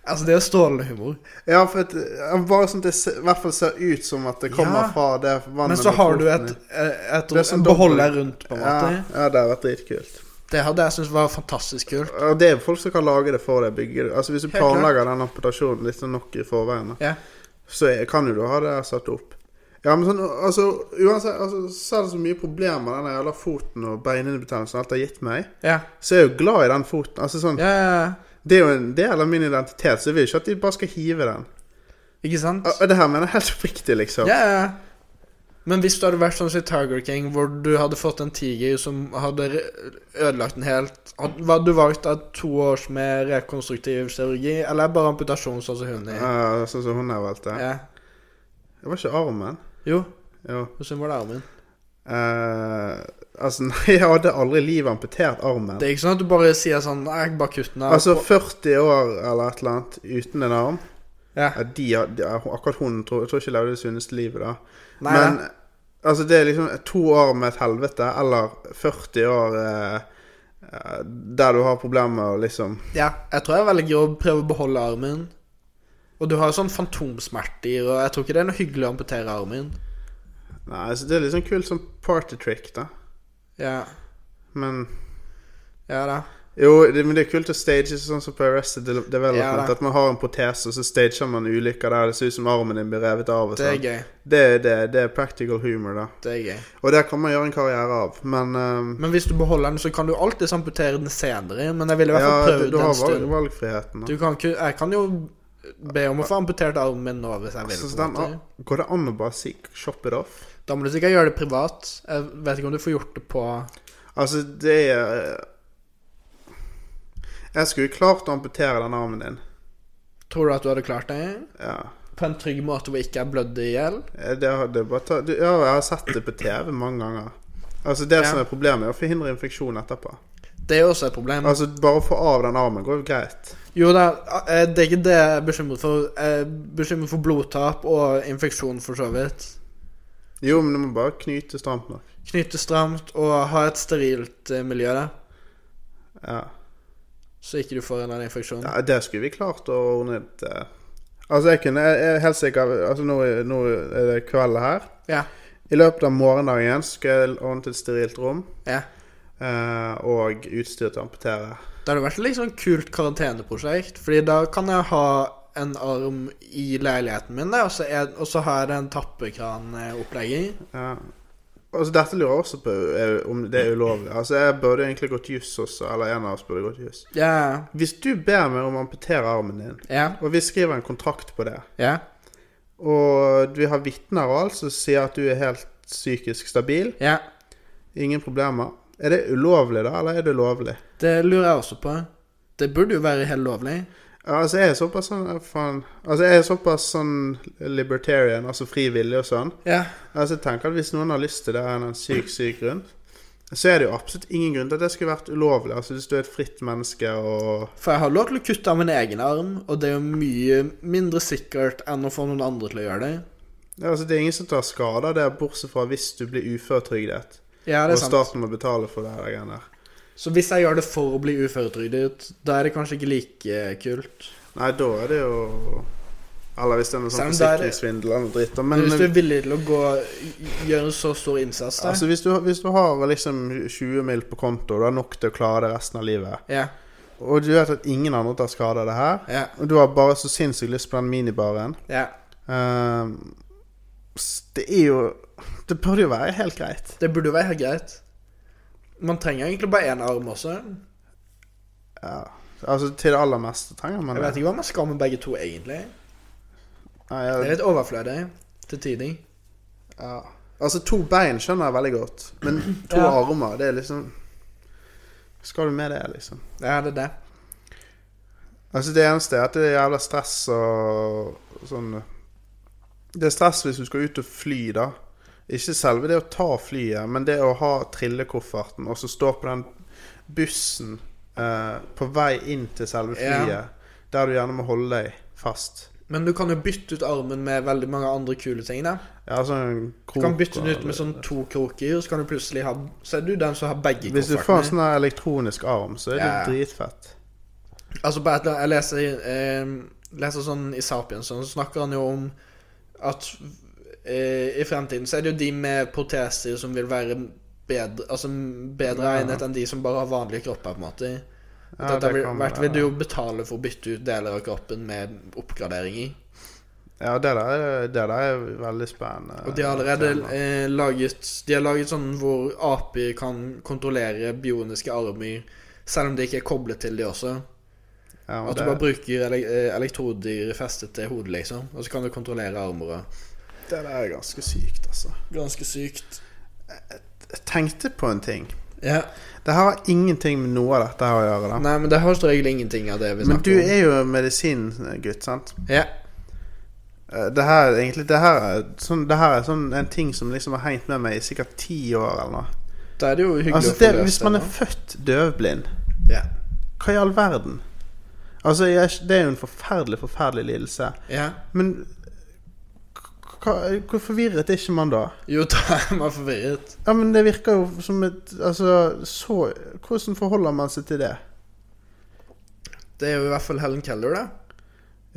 Speaker 2: Altså, det er strålende humor.
Speaker 3: Ja, for et, ja, bare sånn at det ser- i hvert fall ser ut som at det kommer
Speaker 2: Ja.
Speaker 3: fra det vannet
Speaker 2: Men så
Speaker 3: med
Speaker 2: har du
Speaker 3: foten
Speaker 2: et, eh,
Speaker 3: i.
Speaker 2: et,
Speaker 3: Det er
Speaker 2: et
Speaker 3: som
Speaker 2: en beholder rundt, på en måte.
Speaker 3: ja, ja, det har vært dritkult.
Speaker 2: Det hadde jeg syntes var fantastisk kult.
Speaker 3: Og det er jo folk som kan lage det for deg. Bygge det. Altså Hvis du
Speaker 2: Helt klart.
Speaker 3: planlegger den amputasjonen litt sånn nok i forveien, da,
Speaker 2: Ja.
Speaker 3: så er- kan jo du ha det satt opp. Ja, men sånn, altså uansett altså, Selv så mye problemer den jævla foten og beinhinnebetennelsen alt har gitt meg,
Speaker 2: Ja.
Speaker 3: så er jeg jo glad i den foten. Altså sånn
Speaker 2: Ja, ja, ja.
Speaker 3: Det er jo en del av min identitet, så jeg vil ikke at de bare skal hive den.
Speaker 2: Ikke sant?
Speaker 3: Og- Og det her mener jeg helt oppriktig, liksom.
Speaker 2: Ja, ja. ja. Men hvis du hadde vært sånn som i Tiger King, hvor du hadde fått en tiger som hadde re- ødelagt den helt hadde- Var du valgt av to års med rekonstruktiv kirurgi, eller bare amputasjon, sånn som hun er?
Speaker 3: Eh, sånn som hun har valgt det.
Speaker 2: Ja.
Speaker 3: Det var ikke armen.
Speaker 2: Jo,
Speaker 3: Jo.
Speaker 2: hos hun var det armen.
Speaker 3: Eh, altså, nei, jeg hadde aldri i livet amputert armen.
Speaker 2: Det er ikke sånn at du bare sier sånn Nei, jeg bare kutt den av.
Speaker 3: Altså 40 år eller et eller annet uten en arm.
Speaker 2: ja.
Speaker 3: Ja, de, har- de, har- akkurat hun tror, jeg tror ikke levde det sunneste livet da.
Speaker 2: Nei,
Speaker 3: Men
Speaker 2: nei.
Speaker 3: altså, det er liksom to år med et helvete, eller 40 år eh, eh, der du har problemer med å liksom
Speaker 2: Ja, jeg tror jeg velger å prøve å beholde armen. Og du har jo sånn fantomsmerter, og jeg tror ikke det er noe hyggelig å amputere armen.
Speaker 3: Nei, altså, det er liksom kult som party trick, da.
Speaker 2: Ja,
Speaker 3: Men
Speaker 2: ja da.
Speaker 3: jo, det, men det er kult å stage sånn som på Arrested De-
Speaker 2: Ja,
Speaker 3: Development.
Speaker 2: da.
Speaker 3: at man har en protese, og så stager man ulykker der det ser ut som armen din blir revet av. Og
Speaker 2: Det er
Speaker 3: sånn.
Speaker 2: gøy.
Speaker 3: det, er- det, er- det er practical humor, da.
Speaker 2: Det er gøy.
Speaker 3: Og det kan man gjøre en karriere av, men ehm,
Speaker 2: Men hvis du beholder den, så kan du alltids amputere den senere. Men jeg ville i hvert fall
Speaker 3: ja,
Speaker 2: prøvd
Speaker 3: du, du
Speaker 2: en
Speaker 3: har valg,
Speaker 2: stund.
Speaker 3: valgfriheten. Da.
Speaker 2: Du kan ikke Jeg kan jo be om å få amputert armen min nå, hvis jeg vil.
Speaker 3: Så
Speaker 2: på en
Speaker 3: den,
Speaker 2: måte.
Speaker 3: går det an å bare si 'shop it off'?
Speaker 2: Da må du sikkert gjøre det privat. Jeg vet ikke om du får gjort det på
Speaker 3: Altså, det er eh, Jeg skulle klart å amputere den armen din.
Speaker 2: Tror du at du hadde klart det?
Speaker 3: Ja.
Speaker 2: På en trygg måte hvor ikke jeg blødde i hjel?
Speaker 3: Eh, Det, har- det er bare ta, du, ja, jeg har sett det på TV mange ganger. Altså
Speaker 2: Ja.
Speaker 3: Det som er problemet, er å forhindre infeksjon etterpå.
Speaker 2: Det er jo også et problem.
Speaker 3: Altså Bare å få av den armen går jo greit.
Speaker 2: Jo da, eh, det er ikke det jeg er bekymret for. Jeg er bekymret for blodtap og infeksjon, for så vidt.
Speaker 3: Jo, men du må bare knyte stramt nok.
Speaker 2: Knyte stramt og ha et sterilt eh, miljø der.
Speaker 3: Ja.
Speaker 2: så ikke du får en eller annen infeksjon.
Speaker 3: Ja, det skulle vi klart å ordne et eh, Altså, jeg kunne jeg er helt sikker altså nå, er- nå er det kveld her.
Speaker 2: Ja.
Speaker 3: I løpet av morgendagen skal jeg ordne til et sterilt rom
Speaker 2: ja.
Speaker 3: eh, og utstyr til å amputere.
Speaker 2: Det hadde vært et litt sånn kult karanteneprosjekt, Fordi da kan jeg ha en arm i leiligheten min, der, og, så er, og så har jeg den tappekranopplegget.
Speaker 3: Ja. Altså, dette lurer jeg også på er, om det er ulovlig. Altså, jeg burde egentlig gått juss også, eller en av oss burde gått juss.
Speaker 2: Ja,
Speaker 3: Hvis du ber meg om å amputere armen din,
Speaker 2: ja,
Speaker 3: og vi skriver en kontrakt på det,
Speaker 2: ja.
Speaker 3: og vi har vitner og alt som sier at du er helt psykisk stabil,
Speaker 2: ja.
Speaker 3: ingen problemer, er det ulovlig da, eller er det lovlig?
Speaker 2: Det lurer jeg også på. Det burde jo være helt lovlig.
Speaker 3: Ja, Altså, jeg er såpass sånn eh, faen. Altså, jeg er såpass sånn libertarian, altså frivillig og sånn.
Speaker 2: Ja.
Speaker 3: Altså, jeg tenker at Hvis noen har lyst til det av en eller annen syk, syk grunn, så er det jo absolutt ingen grunn til at det skulle vært ulovlig. Altså, Hvis du er et fritt menneske og
Speaker 2: For jeg har lov til å kutte av min egen arm, og det er jo mye mindre sikkert enn å få noen andre til å gjøre det.
Speaker 3: Ja, altså, Det er ingen som tar skade av det, bortsett fra hvis du blir uføretrygdet.
Speaker 2: Ja, det
Speaker 3: Og
Speaker 2: er sant.
Speaker 3: staten må betale for det. her greiene der.
Speaker 2: Så hvis jeg gjør det for å bli uføretrygdet, da er det kanskje ikke like kult.
Speaker 3: Nei, da er det jo Eller hvis det er noe sånn
Speaker 2: Selv om det er-
Speaker 3: forsikringssvindel eller noe dritt. da,
Speaker 2: Men
Speaker 3: Men
Speaker 2: hvis du er villig til å gå, gjøre en så stor innsats der
Speaker 3: altså, hvis, du, hvis du har liksom 20 mil på konto, du har nok til å klare det resten av livet
Speaker 2: Ja,
Speaker 3: Og du vet at ingen andre tar skade av det her.
Speaker 2: ja,
Speaker 3: Og du har bare så sinnssykt lyst på den minibaren.
Speaker 2: ja.
Speaker 3: Ehm, s- det er jo Det burde jo være helt greit.
Speaker 2: Det burde jo være helt greit. Man trenger egentlig bare én arm også.
Speaker 3: Ja. Altså, til det aller meste trenger man
Speaker 2: Jeg vet
Speaker 3: det.
Speaker 2: ikke hva man skal med begge to, egentlig.
Speaker 3: Nei,
Speaker 2: Det er
Speaker 3: jeg,
Speaker 2: litt overflødig til tider.
Speaker 3: ja. Altså, to bein skjønner jeg veldig godt, men to
Speaker 2: Ja.
Speaker 3: armer, det er liksom Skal du med det, liksom?
Speaker 2: Ja, det er det.
Speaker 3: Altså, det eneste er at det er jævla stress og sånn Det er stress hvis du skal ut og fly, da. Ikke selve det å ta flyet, men det å ha trillekofferten og så stå på den bussen eh, på vei inn til selve
Speaker 2: Ja.
Speaker 3: flyet, der du gjerne må holde deg fast.
Speaker 2: Men du kan jo bytte ut armen med veldig mange andre kule ting. da
Speaker 3: Ja, sånn
Speaker 2: Du
Speaker 3: krok
Speaker 2: kan bytte den
Speaker 3: og-
Speaker 2: ut med sånn to kroker, og så kan du plutselig ha Så er du den som har begge
Speaker 3: Hvis du får en
Speaker 2: koffertene.
Speaker 3: sånn her elektronisk arm, så er det
Speaker 2: Ja.
Speaker 3: dritfett.
Speaker 2: Altså på et eller annet, Jeg leser, eh, leser sånn i Sapiens, sånn, så snakker han jo om at eh, i fremtiden så er det jo de med proteser som vil være bedre Altså bedre
Speaker 3: Ja.
Speaker 2: egnet enn de som bare har vanlige kropper, på en måte.
Speaker 3: Ja,
Speaker 2: Dette
Speaker 3: det
Speaker 2: vil,
Speaker 3: kan
Speaker 2: vært,
Speaker 3: være.
Speaker 2: vil du jo betale for å bytte ut deler av kroppen med oppgraderinger.
Speaker 3: Ja, det der, er- det der er veldig spennende.
Speaker 2: Og de har allerede
Speaker 3: tema.
Speaker 2: eh, laget De har laget sånn hvor aper kan kontrollere bioniske armer, selv om de ikke er koblet til de også.
Speaker 3: ja, og
Speaker 2: At du bare
Speaker 3: det-
Speaker 2: bruker ele eh, elektroder festet til hodet, liksom. Og så kan du kontrollere armer og
Speaker 3: Det der er ganske sykt, altså.
Speaker 2: Ganske sykt.
Speaker 3: Jeg tenkte på en ting.
Speaker 2: Ja.
Speaker 3: Det her har ingenting med noe av dette her å gjøre. da
Speaker 2: Nei, men det har som regel ingenting av det vi
Speaker 3: Men du
Speaker 2: snakker om.
Speaker 3: er jo medisingutt, sant?
Speaker 2: Ja.
Speaker 3: Eh, Det her, er egentlig, det her, er, sånn, det her er sånn en ting som liksom har hengt med meg i sikkert ti år eller noe.
Speaker 2: Da er det jo hyggelig
Speaker 3: Altså,
Speaker 2: å få
Speaker 3: det,
Speaker 2: løst
Speaker 3: hvis man
Speaker 2: det
Speaker 3: er
Speaker 2: nå.
Speaker 3: født døvblind,
Speaker 2: Ja.
Speaker 3: hva i all verden? Altså, jeg, det er jo en forferdelig, forferdelig lidelse.
Speaker 2: ja.
Speaker 3: Men hva, hvor forvirret er ikke man da?
Speaker 2: Jo, da er man forvirret.
Speaker 3: Ja, men det virker jo som et Altså, så Hvordan forholder man seg til det?
Speaker 2: Det er jo i hvert fall Helen Keller, da.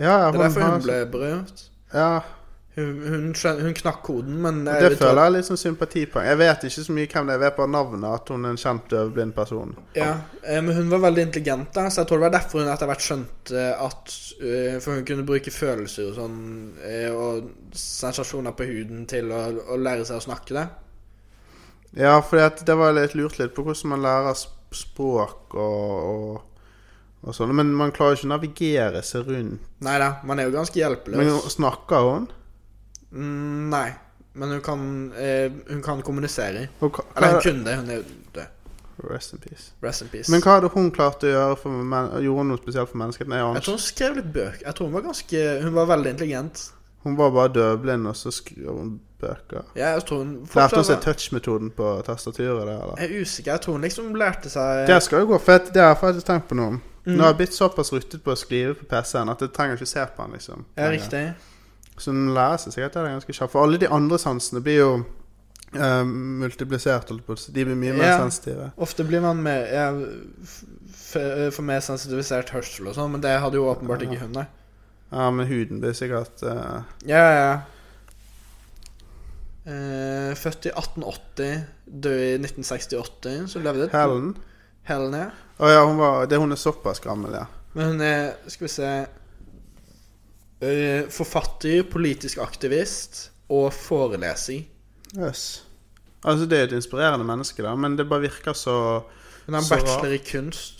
Speaker 3: Ja,
Speaker 2: Det er derfor
Speaker 3: har-
Speaker 2: hun ble berørt.
Speaker 3: Ja,
Speaker 2: Hun, hun, skjøn- hun knakk koden, men eh, jeg
Speaker 3: Det
Speaker 2: vet
Speaker 3: føler jeg litt sånn sympatipoeng. Jeg vet ikke så mye hvem det er, jeg vet bare navnet, at hun er en kjent døvblind person.
Speaker 2: Ja, eh, men hun var veldig intelligent, da, så jeg tror det var derfor hun etter hvert skjønte at eh, For hun kunne bruke følelser og sånn, eh, og sensasjoner på huden til å, å lære seg å snakke det.
Speaker 3: Ja, for det var jeg litt lurt litt på hvordan man lærer sp- språk og, og, og sånn. Men man klarer ikke å navigere seg rundt.
Speaker 2: Nei da, man er jo ganske
Speaker 3: Men
Speaker 2: hjelpeløs.
Speaker 3: hun- snakker hun?
Speaker 2: Mm, nei, men hun kan, eh, hun kan kommunisere.
Speaker 3: Og hva-
Speaker 2: Eller hun
Speaker 3: hva-
Speaker 2: kunne det, hun er jo død.
Speaker 3: Rest in peace.
Speaker 2: Rest in peace.
Speaker 3: Men hva hadde hun klart å gjøre for men, Gjorde hun noe spesielt for menneskeheten? Jeg aner
Speaker 2: jeg
Speaker 3: ikke.
Speaker 2: tror hun skrev litt bøker. Jeg tror hun var ganske Hun var veldig intelligent.
Speaker 3: Hun var bare døvblind, og så skrev hun bøker.
Speaker 2: Ja, jeg tror hun
Speaker 3: Lærte hun
Speaker 2: fortsatt
Speaker 3: seg
Speaker 2: var-
Speaker 3: touch-metoden på tastaturet? det, eller?
Speaker 2: Jeg er usikker. Jeg tror hun liksom lærte seg
Speaker 3: Det skal jo gå, for det har jeg faktisk tenkt på noe.
Speaker 2: Mm.
Speaker 3: Nå har jeg blitt såpass ruttet på å skrive på PC-en at jeg trenger ikke se på den. liksom eh,
Speaker 2: Ja, riktig.
Speaker 3: Så den lærer seg sikkert det er ganske kjapt. For alle de andre sansene blir jo eh, multiplisert, holdt på å si. De blir mye mer
Speaker 2: Ja.
Speaker 3: sensitive.
Speaker 2: Ofte blir man mer jeg, f- f- For mer sensitivisert hørsel og sånn, men det hadde jo åpenbart ikke hun, nei.
Speaker 3: Ja, men huden blir sikkert eh,
Speaker 2: Ja, ja. Eh, født i 1880, død i 1968, så levde et
Speaker 3: Helen.
Speaker 2: Helen, ja.
Speaker 3: Å ja, hun var, det, hun er såpass gammel, ja.
Speaker 2: Men hun er Skal vi se eh, Forfatter, politisk aktivist og foreleser.
Speaker 3: Yes. Altså, det er et inspirerende menneske, da, men det bare virker så
Speaker 2: Hun har en
Speaker 3: Så rart.
Speaker 2: bachelor i kunst.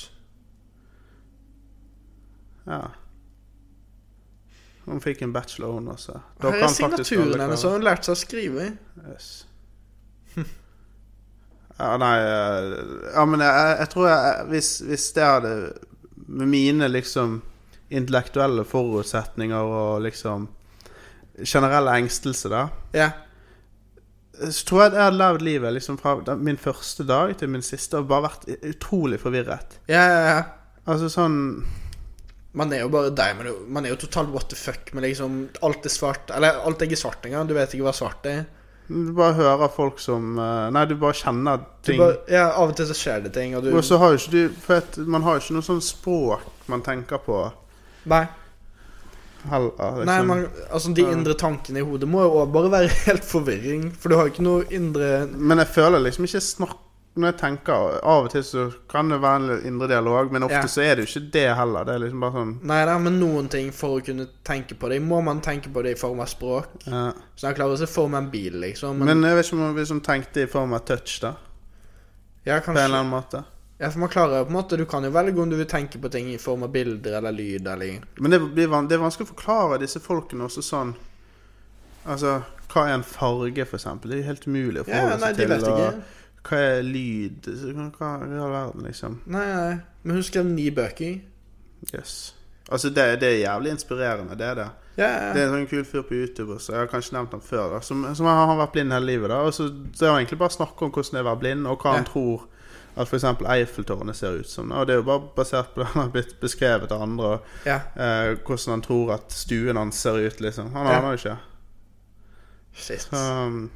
Speaker 3: Ja. Hun fikk en bachelor, hun også. Da
Speaker 2: Her
Speaker 3: kan
Speaker 2: er
Speaker 3: faktisk alle
Speaker 2: signaturen hennes,
Speaker 3: klare-
Speaker 2: og hun lærte seg å skrive.
Speaker 3: Yes. Ja, nei eh, Ja, men jeg, jeg tror jeg hvis, hvis det hadde Med mine liksom intellektuelle forutsetninger og liksom generell engstelse, da,
Speaker 2: Ja.
Speaker 3: så tror jeg jeg hadde levd livet liksom fra da- min første dag til min siste og bare vært utrolig forvirret.
Speaker 2: Ja, ja, ja.
Speaker 3: Altså sånn
Speaker 2: Man er jo bare deg. Man er jo, man er jo totalt what the fuck med liksom Alt er svart. Eller alt er ikke svart engang. Du vet ikke hva svart er.
Speaker 3: Du bare hører folk som eh, Nei, du bare kjenner
Speaker 2: Du
Speaker 3: ting.
Speaker 2: bare, ja, av og til så skjer det ting, og du
Speaker 3: Og så har jo ikke du For at man har jo ikke noe sånn språk man tenker på
Speaker 2: Nei.
Speaker 3: heller. Liksom.
Speaker 2: Nei, man, altså De
Speaker 3: Ja.
Speaker 2: indre tankene i hodet må jo også bare være helt forvirring. For du har jo ikke noe indre
Speaker 3: Men jeg føler liksom ikke snakk Når jeg tenker Av og til så kan det være en indre dialog, men ofte
Speaker 2: Ja.
Speaker 3: så er det jo ikke det heller. Det er liksom bare sånn
Speaker 2: Nei da, men noen ting for å kunne tenke på det. Må man tenke på det i form av språk?
Speaker 3: ja.
Speaker 2: Så jeg klarer å se for meg en bil, liksom. Men,
Speaker 3: Men jeg vet ikke om man liksom tenkte i form av touch, da.
Speaker 2: ja,
Speaker 3: På en
Speaker 2: kanskje,
Speaker 3: eller annen måte.
Speaker 2: ja, for man klarer jo på en måte Du kan jo velge om du vil tenke på ting i form av bilder eller lyd eller
Speaker 3: Men det, blir van det er vanskelig å forklare disse folkene også sånn Altså, hva er en farge, for eksempel? Det er jo helt umulig å
Speaker 2: Ja,
Speaker 3: forholde
Speaker 2: nei,
Speaker 3: seg
Speaker 2: de
Speaker 3: til.
Speaker 2: vet ikke.
Speaker 3: Og hva er lyd? Hva i all verden, liksom?
Speaker 2: Nei, nei. Men hun skrev ni bøker.
Speaker 3: Yes. Altså, det, det er jævlig inspirerende, det er det.
Speaker 2: Ja,
Speaker 3: Det
Speaker 2: ja.
Speaker 3: er en sånn kul fyr på YouTube også, jeg har kanskje nevnt ham før, da, som, som har, har vært blind hele livet. da, og så Det er jo egentlig bare snakk om hvordan det er å være blind, og hva han
Speaker 2: Ja.
Speaker 3: tror at f.eks. Eiffeltårnet ser ut som. da, og Det er jo bare basert på det han har blitt beskrevet av andre, og,
Speaker 2: ja.
Speaker 3: eh, hvordan han tror at stuen hans ser ut, liksom. Han
Speaker 2: Ja.
Speaker 3: aner jo ikke.
Speaker 2: Shit.
Speaker 3: Så um,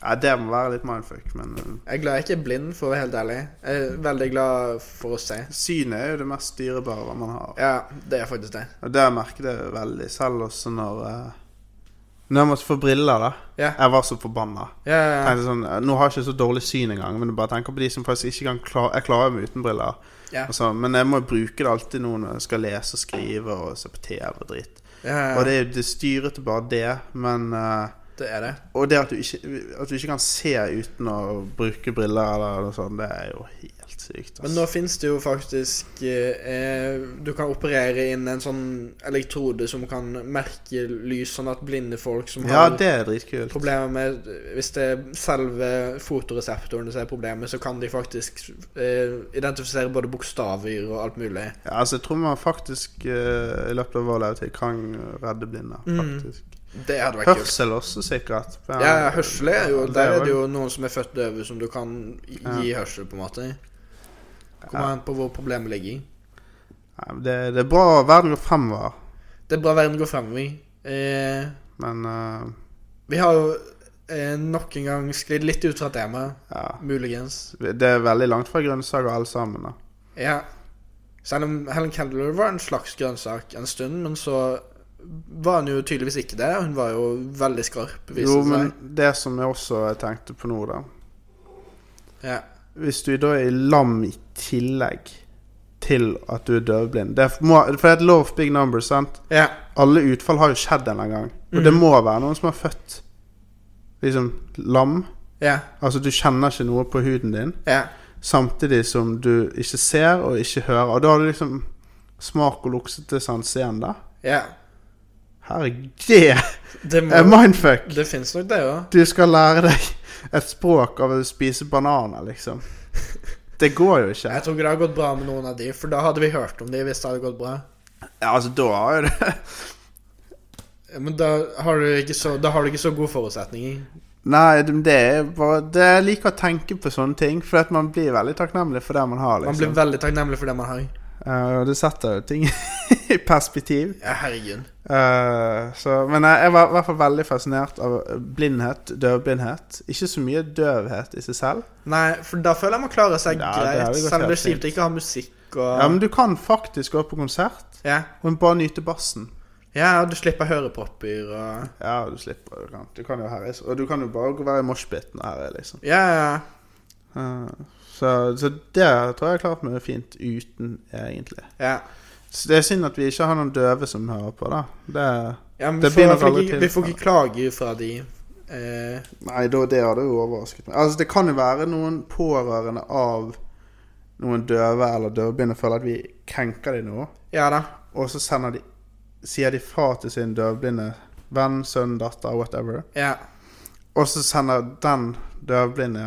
Speaker 3: ja, det må være litt mindfuck, men um,
Speaker 2: Jeg er glad jeg ikke er blind, for å være helt ærlig. Jeg er veldig glad for å se.
Speaker 3: synet er jo det mest dyrebare man har.
Speaker 2: Ja, det er faktisk det.
Speaker 3: Og der merket jeg det veldig, selv også når eh, Når jeg måtte få briller, da.
Speaker 2: Ja.
Speaker 3: Jeg var så forbanna.
Speaker 2: Ja, ja, ja.
Speaker 3: tenkte sånn, Nå har jeg ikke så dårlig syn engang, men jeg bare tenker på de som faktisk ikke kan klare Jeg klarer meg uten briller.
Speaker 2: Ja.
Speaker 3: Altså, men jeg må jo bruke det alltid nå når jeg skal lese og skrive og se på TV og dritt.
Speaker 2: ja,
Speaker 3: Og
Speaker 2: ja.
Speaker 3: det er jo det styrete bare det, men eh,
Speaker 2: Det er det.
Speaker 3: Og det at du, ikke, at du ikke kan se uten å bruke briller eller noe sånt, det er jo helt sykt.
Speaker 2: Men
Speaker 3: ass.
Speaker 2: nå fins det jo faktisk eh, Du kan operere inn en sånn elektrode som kan merke lys, sånn at blinde folk som
Speaker 3: ja,
Speaker 2: har
Speaker 3: det er dritkult.
Speaker 2: problemer med Hvis det er selve fotoreseptoren som er problemet, så kan de faktisk eh, identifisere både bokstaver og alt mulig.
Speaker 3: Ja, altså, jeg tror man faktisk eh, i løpet av vår levetid kan redde blinde.
Speaker 2: Mm.
Speaker 3: faktisk.
Speaker 2: Det hadde vært kult.
Speaker 3: Hørsel også, sikkert. Men-
Speaker 2: Ja, ja, hørsel er jo
Speaker 3: Det
Speaker 2: Der er
Speaker 3: vel-
Speaker 2: det jo noen som er født døve, som du kan gi hørsel, på en måte. Kommer
Speaker 3: Ja.
Speaker 2: an på hvor problemet ligger.
Speaker 3: Nei, men det, det er bra verden går fremover,
Speaker 2: Det er bra verden går fremover. Eh,
Speaker 3: men eh,
Speaker 2: vi har jo eh, nok en gang sklidd litt ut fra temaet.
Speaker 3: ja.
Speaker 2: Muligens.
Speaker 3: Det er veldig langt fra grønnsaker alle sammen. da.
Speaker 2: Ja. Selv om Helen Keller var en slags grønnsak en stund, men så var hun jo tydeligvis ikke det. Hun var jo veldig skarp, viser
Speaker 3: Jo,
Speaker 2: det
Speaker 3: men
Speaker 2: seg.
Speaker 3: det som jeg også tenkte på nå, da
Speaker 2: Ja.
Speaker 3: Hvis du da er lam i tillegg til at du er døvblind det er- må, For det er et lov of big numbers, sant?
Speaker 2: ja.
Speaker 3: Alle utfall har jo skjedd en eller annen gang. Og
Speaker 2: Mm.
Speaker 3: det må være noen som er født liksom lam.
Speaker 2: Ja.
Speaker 3: Altså, du kjenner ikke noe på huden din.
Speaker 2: Ja.
Speaker 3: Samtidig som du ikke ser og ikke hører. Og da har du liksom smak og luksete sans igjen, da.
Speaker 2: ja.
Speaker 3: Herregud, det
Speaker 2: Det, må,
Speaker 3: er mindfuck!
Speaker 2: det fins nok, det òg.
Speaker 3: Du skal lære deg et språk av å spise bananer, liksom. Det går jo ikke.
Speaker 2: Jeg tror ikke det har gått bra med noen av de, for da hadde vi hørt om de hvis det hadde gått bra.
Speaker 3: Ja, altså, da har jo det
Speaker 2: Men da har du ikke så, da har du ikke så gode forutsetninger.
Speaker 3: Nei, det det er bare det Jeg liker å tenke på sånne ting, for at man blir veldig takknemlig for det man har,
Speaker 2: Man blir
Speaker 3: liksom.
Speaker 2: veldig takknemlig for det man har.
Speaker 3: Eh, Og det setter jo ting i perspektiv.
Speaker 2: Ja, herregud.
Speaker 3: Eh, så, men jeg, jeg var i hvert fall veldig fascinert av blindhet, døvblindhet. Ikke så mye døvhet i seg selv.
Speaker 2: Nei, for da føler jeg man klarer seg
Speaker 3: Ja, det har
Speaker 2: greit.
Speaker 3: vi gått
Speaker 2: Selv om det
Speaker 3: helt
Speaker 2: er kjipt å ikke ha musikk og
Speaker 3: Ja, Men du kan faktisk gå på konsert
Speaker 2: ja.
Speaker 3: og bare nyte bassen.
Speaker 2: ja, og du slipper hørepropper og
Speaker 3: Ja, du slipper du kan. Du kan jo her, og du kan jo bare gå være i moshpiten og herje, liksom.
Speaker 2: Ja, ja.
Speaker 3: Eh, så, så det tror jeg jeg klarte meg fint uten, eh, egentlig.
Speaker 2: ja.
Speaker 3: Så Det er synd at vi ikke har noen døve som hører på, da. Det,
Speaker 2: ja men
Speaker 3: Det
Speaker 2: vi får, i
Speaker 3: blir nok
Speaker 2: hvert fall
Speaker 3: aldri
Speaker 2: ikke,
Speaker 3: til.
Speaker 2: vi får ikke klager fra de. Eh,
Speaker 3: nei, da, det hadde jo overrasket meg. Altså, det kan jo være noen pårørende av noen døve eller døvblinde føler at vi krenker dem nå,
Speaker 2: ja da.
Speaker 3: og så sender de, sier de fra til sin døvblinde venn, sønn, datter, whatever,
Speaker 2: Ja.
Speaker 3: og så sender den døvblinde,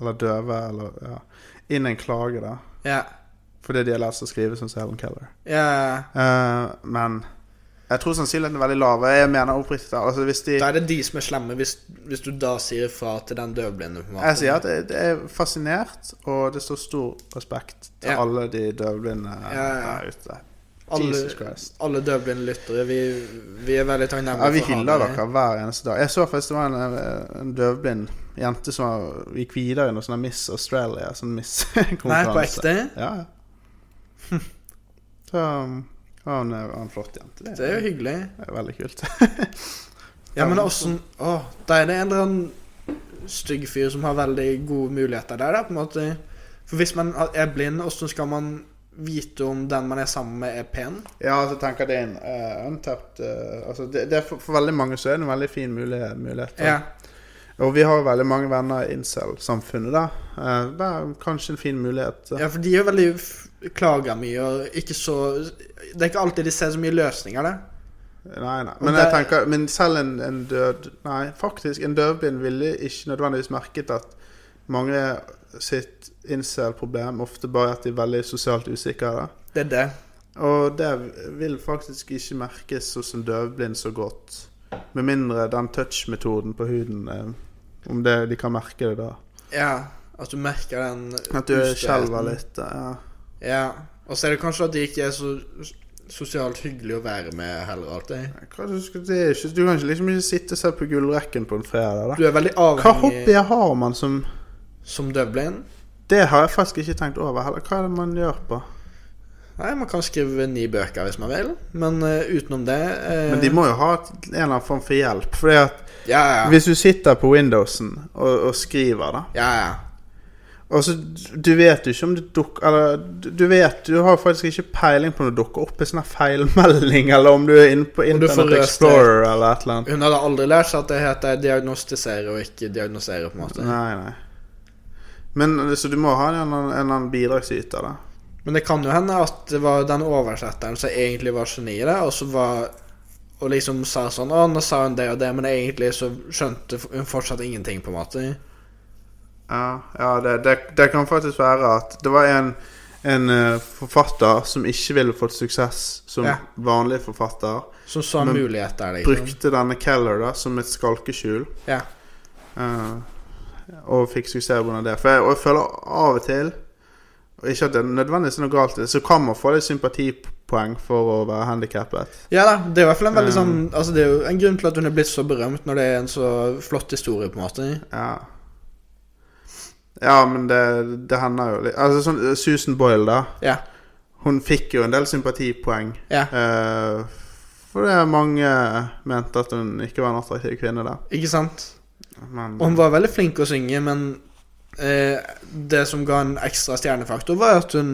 Speaker 3: eller døve, eller ja, inn en klage, da.
Speaker 2: Ja.
Speaker 3: Fordi de har lært seg å skrive sånn som Helen Keller.
Speaker 2: ja.
Speaker 3: Eh, men jeg tror sannsynligheten er veldig lav. Jeg mener oppriktig talt, altså hvis de
Speaker 2: Da er det de som er slemme, hvis, hvis du da sier fra til den døvblinde. på en måte.
Speaker 3: Jeg sier at jeg jeg er fascinert, og det står stor respekt til
Speaker 2: Ja.
Speaker 3: alle de døvblinde
Speaker 2: ja, ja.
Speaker 3: der ute.
Speaker 2: Alle,
Speaker 3: Jesus Christ.
Speaker 2: alle døvblinde lyttere, vi, vi er veldig takknemlige
Speaker 3: Ja, vi
Speaker 2: å ha
Speaker 3: hyller dere hver eneste dag. Jeg så faktisk det var en, eh, en døvblind jente som var- gikk videre i noe sånn Miss Australia, sånn
Speaker 2: Nei, på
Speaker 3: Miss-konkurranse.
Speaker 2: ekte?
Speaker 3: Ja, ja. Så um, ja, hun er en flott jente. Det
Speaker 2: Det er
Speaker 3: er,
Speaker 2: jo hyggelig.
Speaker 3: det er veldig kult.
Speaker 2: Ja, men åssen Å, da er det en eller annen stygg fyr som har veldig gode muligheter der, da, på en måte. For hvis man er blind, åssen skal man vite om den man er sammen med, er pen?
Speaker 3: Ja, altså tenker det er en eh, untapped eh, altså det, det er for, for veldig mange så er det en veldig fin mulighet. mulighet da.
Speaker 2: Ja.
Speaker 3: Og vi har jo veldig mange venner i incel-samfunnet da. Eh, det er kanskje en fin mulighet. eh.
Speaker 2: ja, for de er jo veldig f- klager mye og ikke så Det er ikke alltid de ser så mye løsninger, da.
Speaker 3: Nei, nei. Men,
Speaker 2: Og det-
Speaker 3: jeg tenker, men selv en, en død Nei, faktisk, en døvblind ville ikke nødvendigvis merket at mange sitt incel-problem ofte bare er at de er veldig sosialt usikre. da.
Speaker 2: Det er det.
Speaker 3: Og det vil faktisk ikke merkes hos en døvblind så godt. Med mindre den touch-metoden på huden eh, Om det, de kan merke det da.
Speaker 2: Ja. At du merker den
Speaker 3: At du
Speaker 2: ustøheten.
Speaker 3: skjelver litt. Ja.
Speaker 2: Ja. Og så er det kanskje at de ikke er så s- sosialt hyggelige å være med heller, alltid.
Speaker 3: Hva du, skal, det er ikke, du kan ikke liksom ikke sitte og se på gullrekken på en fredag.
Speaker 2: Du
Speaker 3: da
Speaker 2: er veldig
Speaker 3: Hva
Speaker 2: avhengig
Speaker 3: hobbyer har man som
Speaker 2: som døvblind.
Speaker 3: Det har jeg faktisk ikke tenkt over heller. Hva er det man gjør på?
Speaker 2: Nei, man kan skrive ni bøker hvis man vil, men eh, utenom det eh,
Speaker 3: Men de må jo ha et, en eller annen form for hjelp. Fordi at
Speaker 2: Ja, ja.
Speaker 3: hvis du sitter på Windowsen og, og skriver, da
Speaker 2: ja, ja.
Speaker 3: Altså, du vet jo ikke om det dukker Eller, du du vet Du har faktisk ikke peiling på om det dukker opp en sånn her feilmelding, eller om du er inne på
Speaker 2: Om du får
Speaker 3: Internet
Speaker 2: rødstrek.
Speaker 3: Explorer eller et eller annet.
Speaker 2: Hun hadde aldri lært seg at det heter diagnostisere og ikke diagnosere, på en måte.
Speaker 3: Nei, nei. Men så du må ha en eller annen, en eller annen bidragsyter, da.
Speaker 2: Men det kan jo hende at det var den oversetteren som egentlig var geniet, der, og så var Og liksom sa sånn Å, nå sa hun det og det, men egentlig så skjønte hun fortsatt ingenting, på en måte.
Speaker 3: Ja, ja det, det, det kan faktisk være at det var en, en eh, forfatter som ikke ville fått suksess som
Speaker 2: Ja.
Speaker 3: vanlig forfatter,
Speaker 2: Som så
Speaker 3: Men
Speaker 2: muligheter, liksom.
Speaker 3: brukte denne Keller da som et skalkeskjul.
Speaker 2: Ja.
Speaker 3: eh, og fikk suksess pga. det. For jeg, og jeg føler av og til og Ikke at det nødvendigvis er noe galt i det, så kan man få litt sympatipoeng for å være handikappet.
Speaker 2: Ja da, det er i hvert fall en veldig sånn
Speaker 3: Um.
Speaker 2: Altså, det er jo en grunn til at hun er blitt så berømt når det er en så flott historie, på en måte.
Speaker 3: Ja. Ja, men det, det hender jo litt Altså sånn eh, Susan Boyle, da.
Speaker 2: Ja.
Speaker 3: Hun fikk jo en del sympatipoeng.
Speaker 2: Ja.
Speaker 3: Eh, for det er mange mente at hun ikke var en attraktiv kvinne der.
Speaker 2: Ikke sant?
Speaker 3: Men
Speaker 2: Og hun var veldig flink å synge, men eh, det som ga en ekstra stjernefaktor, var at hun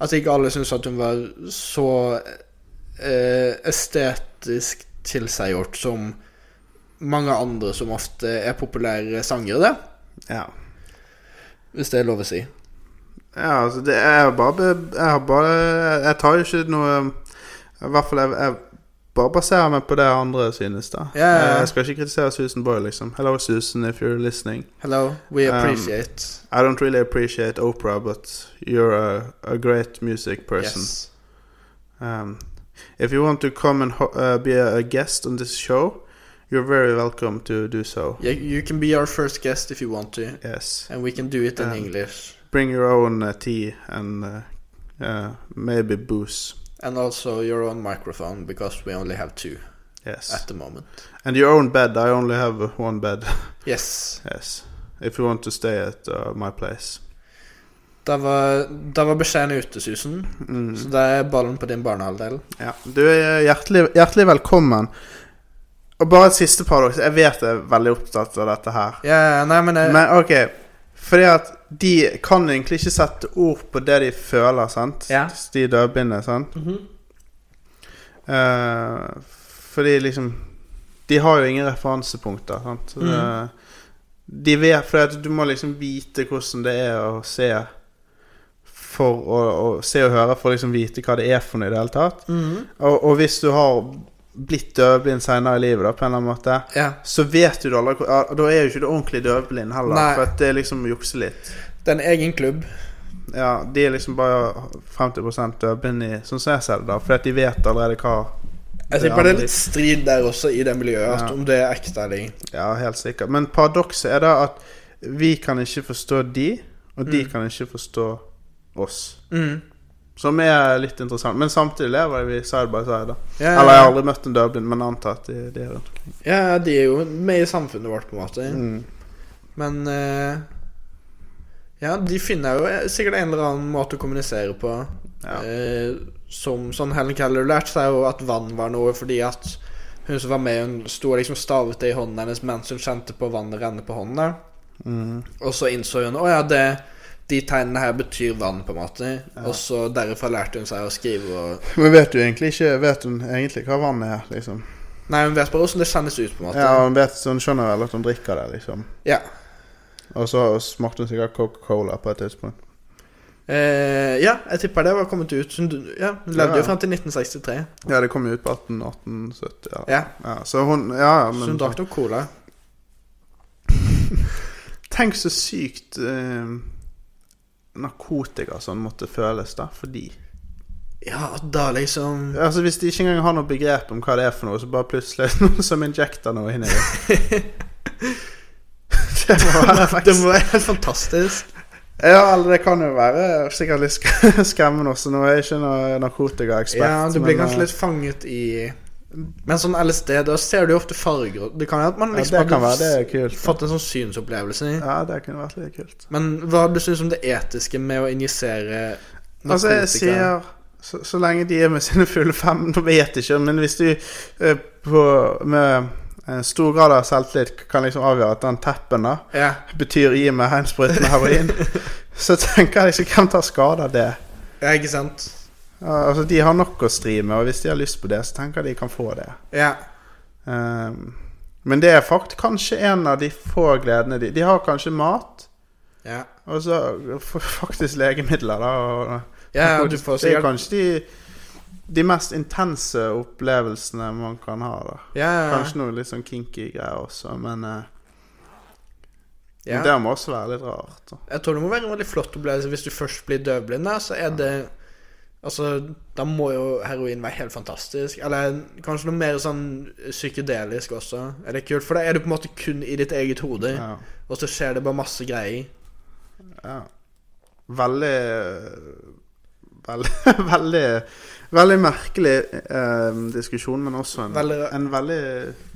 Speaker 2: At ikke alle syntes at hun var så eh, estetisk tilseggjort som mange andre som ofte er populære sangere, det.
Speaker 3: ja.
Speaker 2: Hvis det er lov å si.
Speaker 3: ja, altså det er jo bare be- Jeg har bare Jeg tar jo ikke noe I hvert fall jeg, jeg bare baserer meg på det andre synes, da.
Speaker 2: Ja, ja, ja.
Speaker 3: Jeg skal ikke kritisere Susan Boyle, liksom. Hello, Susan, if you're listening.
Speaker 2: Hello, we
Speaker 3: Um,
Speaker 2: appreciate
Speaker 3: I don't really appreciate Oprah, but you're a, a great music person.
Speaker 2: yes.
Speaker 3: Um, if you want to come and ho uh, be a, a guest on this show, you're very welcome to do so.
Speaker 2: You, you can be our first guest if you want to.
Speaker 3: Yes.
Speaker 2: And we can do it in
Speaker 3: Um,
Speaker 2: English.
Speaker 3: Bring your own uh, tea and uh, uh, maybe booze.
Speaker 2: And also your own microphone, because we only have two
Speaker 3: Yes.
Speaker 2: at the moment.
Speaker 3: And your own bed. I only have one bed.
Speaker 2: Yes.
Speaker 3: yes. If you want to stay at uh, my place.
Speaker 2: Da var, da var beskjeden ute, Susan.
Speaker 3: Mm.
Speaker 2: Så da er ballen på din barnehalvdel.
Speaker 3: Ja. Du er hjertelig, hjertelig velkommen. Og bare et siste paradoks. Jeg vet jeg er veldig opptatt av dette her.
Speaker 2: Ja, nei, men eh, jeg,
Speaker 3: Men ok, fordi at de kan egentlig ikke sette ord på det de føler, sant?
Speaker 2: Ja.
Speaker 3: De døvblinde, sant? Eh, fordi liksom De har jo ingen referansepunkter, sant? Så det- De vet For at du må liksom vite hvordan det er å se For å, å se og høre for å liksom vite hva det er for noe i det hele tatt.
Speaker 2: mm.
Speaker 3: Og, og hvis du har blitt døvblind senere i livet, da, på en eller annen måte,
Speaker 2: ja.
Speaker 3: så vet du det aldri ja, Da er jo ikke du ordentlig døvblind heller,
Speaker 2: Nei.
Speaker 3: for at det er liksom å jukse litt.
Speaker 2: Det er en egen klubb.
Speaker 3: Ja, De er liksom bare 50 døvblind i sånn som jeg ser det, da, fordi at de vet allerede hva
Speaker 2: Jeg
Speaker 3: det
Speaker 2: tipper det er
Speaker 3: andre-
Speaker 2: litt strid der også, i det miljøet, at
Speaker 3: Ja.
Speaker 2: om det er ekte eller ikke.
Speaker 3: Ja, helt sikkert. Men paradokset er da at vi kan ikke forstå de, og de kan ikke forstå oss.
Speaker 2: Mm.
Speaker 3: Som er litt interessant. Men samtidig lever vi side by side, da.
Speaker 2: Ja,
Speaker 3: Eller jeg
Speaker 2: ja,
Speaker 3: har aldri møtt en døvblind, men antar at de, de er rundt.
Speaker 2: ja, de er jo med i samfunnet vårt, på en måte.
Speaker 3: Mm.
Speaker 2: Men eh, Ja, de finner jo eh, sikkert en eller annen måte å kommunisere på.
Speaker 3: Ja.
Speaker 2: Eh, som sånn Helen Keller lærte seg jo at vann var noe fordi at hun som var med, hun sto og liksom stavet det i hånden hennes mens hun kjente på vannet renne på hånda.
Speaker 3: Mm.
Speaker 2: Og så innså hun å ja, det, de tegnene her betyr vann, på en måte. Og så derifra lærte hun seg å skrive og
Speaker 3: Men vet du egentlig ikke Vet hun egentlig hva vannet er, liksom?
Speaker 2: Nei, hun vet bare åssen det kjennes ut, på en måte.
Speaker 3: Ja, hun vet, så hun skjønner vel at hun drikker det, liksom.
Speaker 2: Ja.
Speaker 3: Og så smakte hun sikkert Coca-Cola på et tidspunkt.
Speaker 2: Eh, ja, jeg tipper det var kommet ut. Hun, ja, hun levde
Speaker 3: Ja.
Speaker 2: jo frem til 1963.
Speaker 3: Ja, det kom jo ut på 1870. Ja.
Speaker 2: Ja.
Speaker 3: Ja, så hun Ja, ja,
Speaker 2: Så hun
Speaker 3: men
Speaker 2: drakk nok cola.
Speaker 3: Tenk så sykt eh, narkotika sånn måtte føles, da, for de.
Speaker 2: Ja, da liksom
Speaker 3: Altså, hvis de ikke engang har noe begrep om hva det er for noe, så bare plutselig er det noen som injekter noe inn i det. det må være
Speaker 2: Det må være helt fantastisk.
Speaker 3: Ja, eller det kan jo være sikkert litt sk- skremmende også. Nå er jeg ikke noen narkotikaekspert.
Speaker 2: Ja, Du blir
Speaker 3: men,
Speaker 2: kanskje
Speaker 3: eh,
Speaker 2: litt fanget i Men sånn LSD, da ser du jo ofte farger. og Det kan jo at man
Speaker 3: ja,
Speaker 2: liksom
Speaker 3: Det kan
Speaker 2: hadde
Speaker 3: være det er kult.
Speaker 2: fått en sånn synsopplevelse.
Speaker 3: Ja, det kunne vært litt kult.
Speaker 2: Men hva du syns om det etiske med å injisere narkotika?
Speaker 3: Altså, jeg sier så, så lenge de er med sine fulle fem Nå vet jeg ikke, men hvis du eh, på, med eh, stor grad av selvtillit kan liksom avgjøre at den teppen da
Speaker 2: ja.
Speaker 3: betyr gi meg en sprøyte med heroin, så tenker jeg liksom hvem tar skade av det?
Speaker 2: ja, ikke sant?
Speaker 3: Ja, Altså, De har nok å stri med, og hvis de har lyst på det, så tenker jeg de kan få det.
Speaker 2: Ja.
Speaker 3: Ehm, men det er faktisk kanskje en av de få gledene de De har kanskje mat,
Speaker 2: Ja,
Speaker 3: og så f- faktisk legemidler, da. og...
Speaker 2: ja du får
Speaker 3: Det er
Speaker 2: sikkert
Speaker 3: kanskje de, de mest intense opplevelsene man kan ha. da
Speaker 2: ja, ja,
Speaker 3: Kanskje noe litt sånn kinky greier også, men eh, men
Speaker 2: ja.
Speaker 3: det må også være litt rart. Da.
Speaker 2: Jeg tror det må være en veldig flott opplevelse hvis du først blir døvblind. da, Så er det Altså, da må jo heroin være helt fantastisk. Eller kanskje noe mer sånn psykedelisk også. Er det kult? For da er du på en måte kun i ditt eget hode,
Speaker 3: Ja.
Speaker 2: og så skjer det bare masse greier.
Speaker 3: Ja. Veldig Veldig Veldig, veldig merkelig eh, diskusjon, men også en veldig,
Speaker 2: Veldig-
Speaker 3: en veldig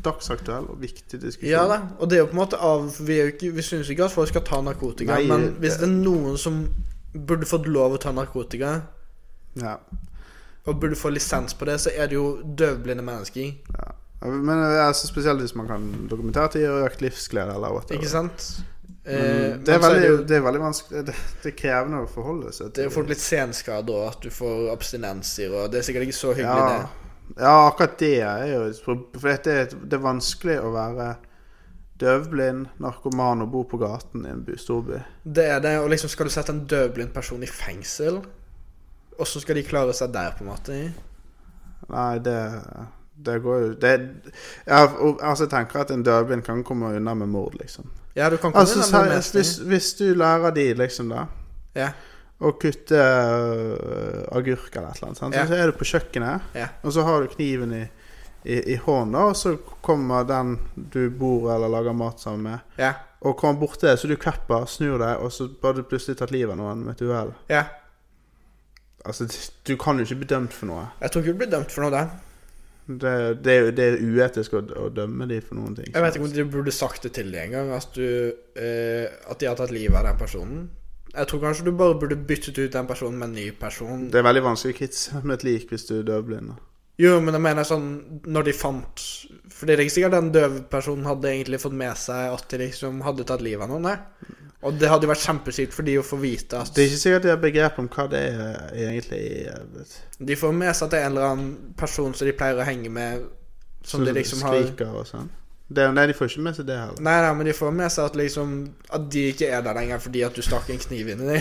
Speaker 3: dagsaktuell og viktig diskusjon.
Speaker 2: Ja da. Og det er jo på en måte av Vi, er jo ikke, vi syns ikke at folk skal ta narkotika,
Speaker 3: Nei,
Speaker 2: men
Speaker 3: det-
Speaker 2: hvis det er noen som burde fått lov å ta narkotika,
Speaker 3: Ja.
Speaker 2: og burde få lisens på det, så er det jo døvblinde mennesker.
Speaker 3: Men eh, altså, spesielt hvis man kan dokumentere at det gir økt livsglede. Eller whatever.
Speaker 2: Ikke sant? Eh,
Speaker 3: Men det, er
Speaker 2: men så
Speaker 3: veldig,
Speaker 2: det,
Speaker 3: det,
Speaker 2: jo,
Speaker 3: er veldig vanskelig Det, det er krevende å forholde seg
Speaker 2: det eh, er jo fort litt senskader, og at du får abstinenser, og det er sikkert ikke så hyggelig,
Speaker 3: ja,
Speaker 2: det.
Speaker 3: ja, akkurat det er jo et prob- For det er, det er vanskelig å være døvblind, narkoman og bo på gaten i en by, storby.
Speaker 2: Det er det, og liksom skal du sette en døvblind person i fengsel, og så skal de klare seg der, på en måte.
Speaker 3: Nei, det det går jo det, ja, og- altså Jeg tenker at en døvblind kan komme unna med mord, liksom.
Speaker 2: Ja, du kan komme
Speaker 3: Altså,
Speaker 2: inn med det meste.
Speaker 3: seriøst, hvis, hvis du lærer de, liksom, da
Speaker 2: Ja.
Speaker 3: å kutte øh, agurk eller et eller annet, sant?
Speaker 2: Ja.
Speaker 3: så er du på kjøkkenet,
Speaker 2: Ja.
Speaker 3: og så har du kniven i, i, i hånda, og så kommer den du bor eller lager mat sammen med,
Speaker 2: Ja,
Speaker 3: og kommer bort til deg, så du kapper, snur deg, og så bare du plutselig tatt livet av noen med et uhell.
Speaker 2: ja.
Speaker 3: Altså, du kan jo ikke bli dømt for noe.
Speaker 2: Jeg tror ikke du blir dømt for noe der.
Speaker 3: Det, det, er jo- det er uetisk å, å dømme de for noen ting.
Speaker 2: Jeg vet ikke om de burde sagt det til deg engang, at, du, eh, at de har tatt livet av den personen. Jeg tror kanskje du bare burde byttet ut den personen med en ny person.
Speaker 3: Det er veldig vanskelig å kritisere med et lik hvis du er døvblind. da.
Speaker 2: Jo, men jeg mener sånn når de fant Fordi det er ikke sikkert den døve personen hadde egentlig fått med seg at de liksom hadde tatt livet av noen. Nei. Og det hadde jo vært kjempesykt for de å få vite at
Speaker 3: Det er ikke sikkert de har begrep om hva det er egentlig jeg vet.
Speaker 2: De får med seg at det er en eller annen person som de pleier å henge med, som de liksom har Nei,
Speaker 3: skriker og sånn. Det, nei, de får ikke med seg det heller.
Speaker 2: nei, men de får med seg at liksom At de ikke er der lenger fordi at du stakk en kniv inn i dem.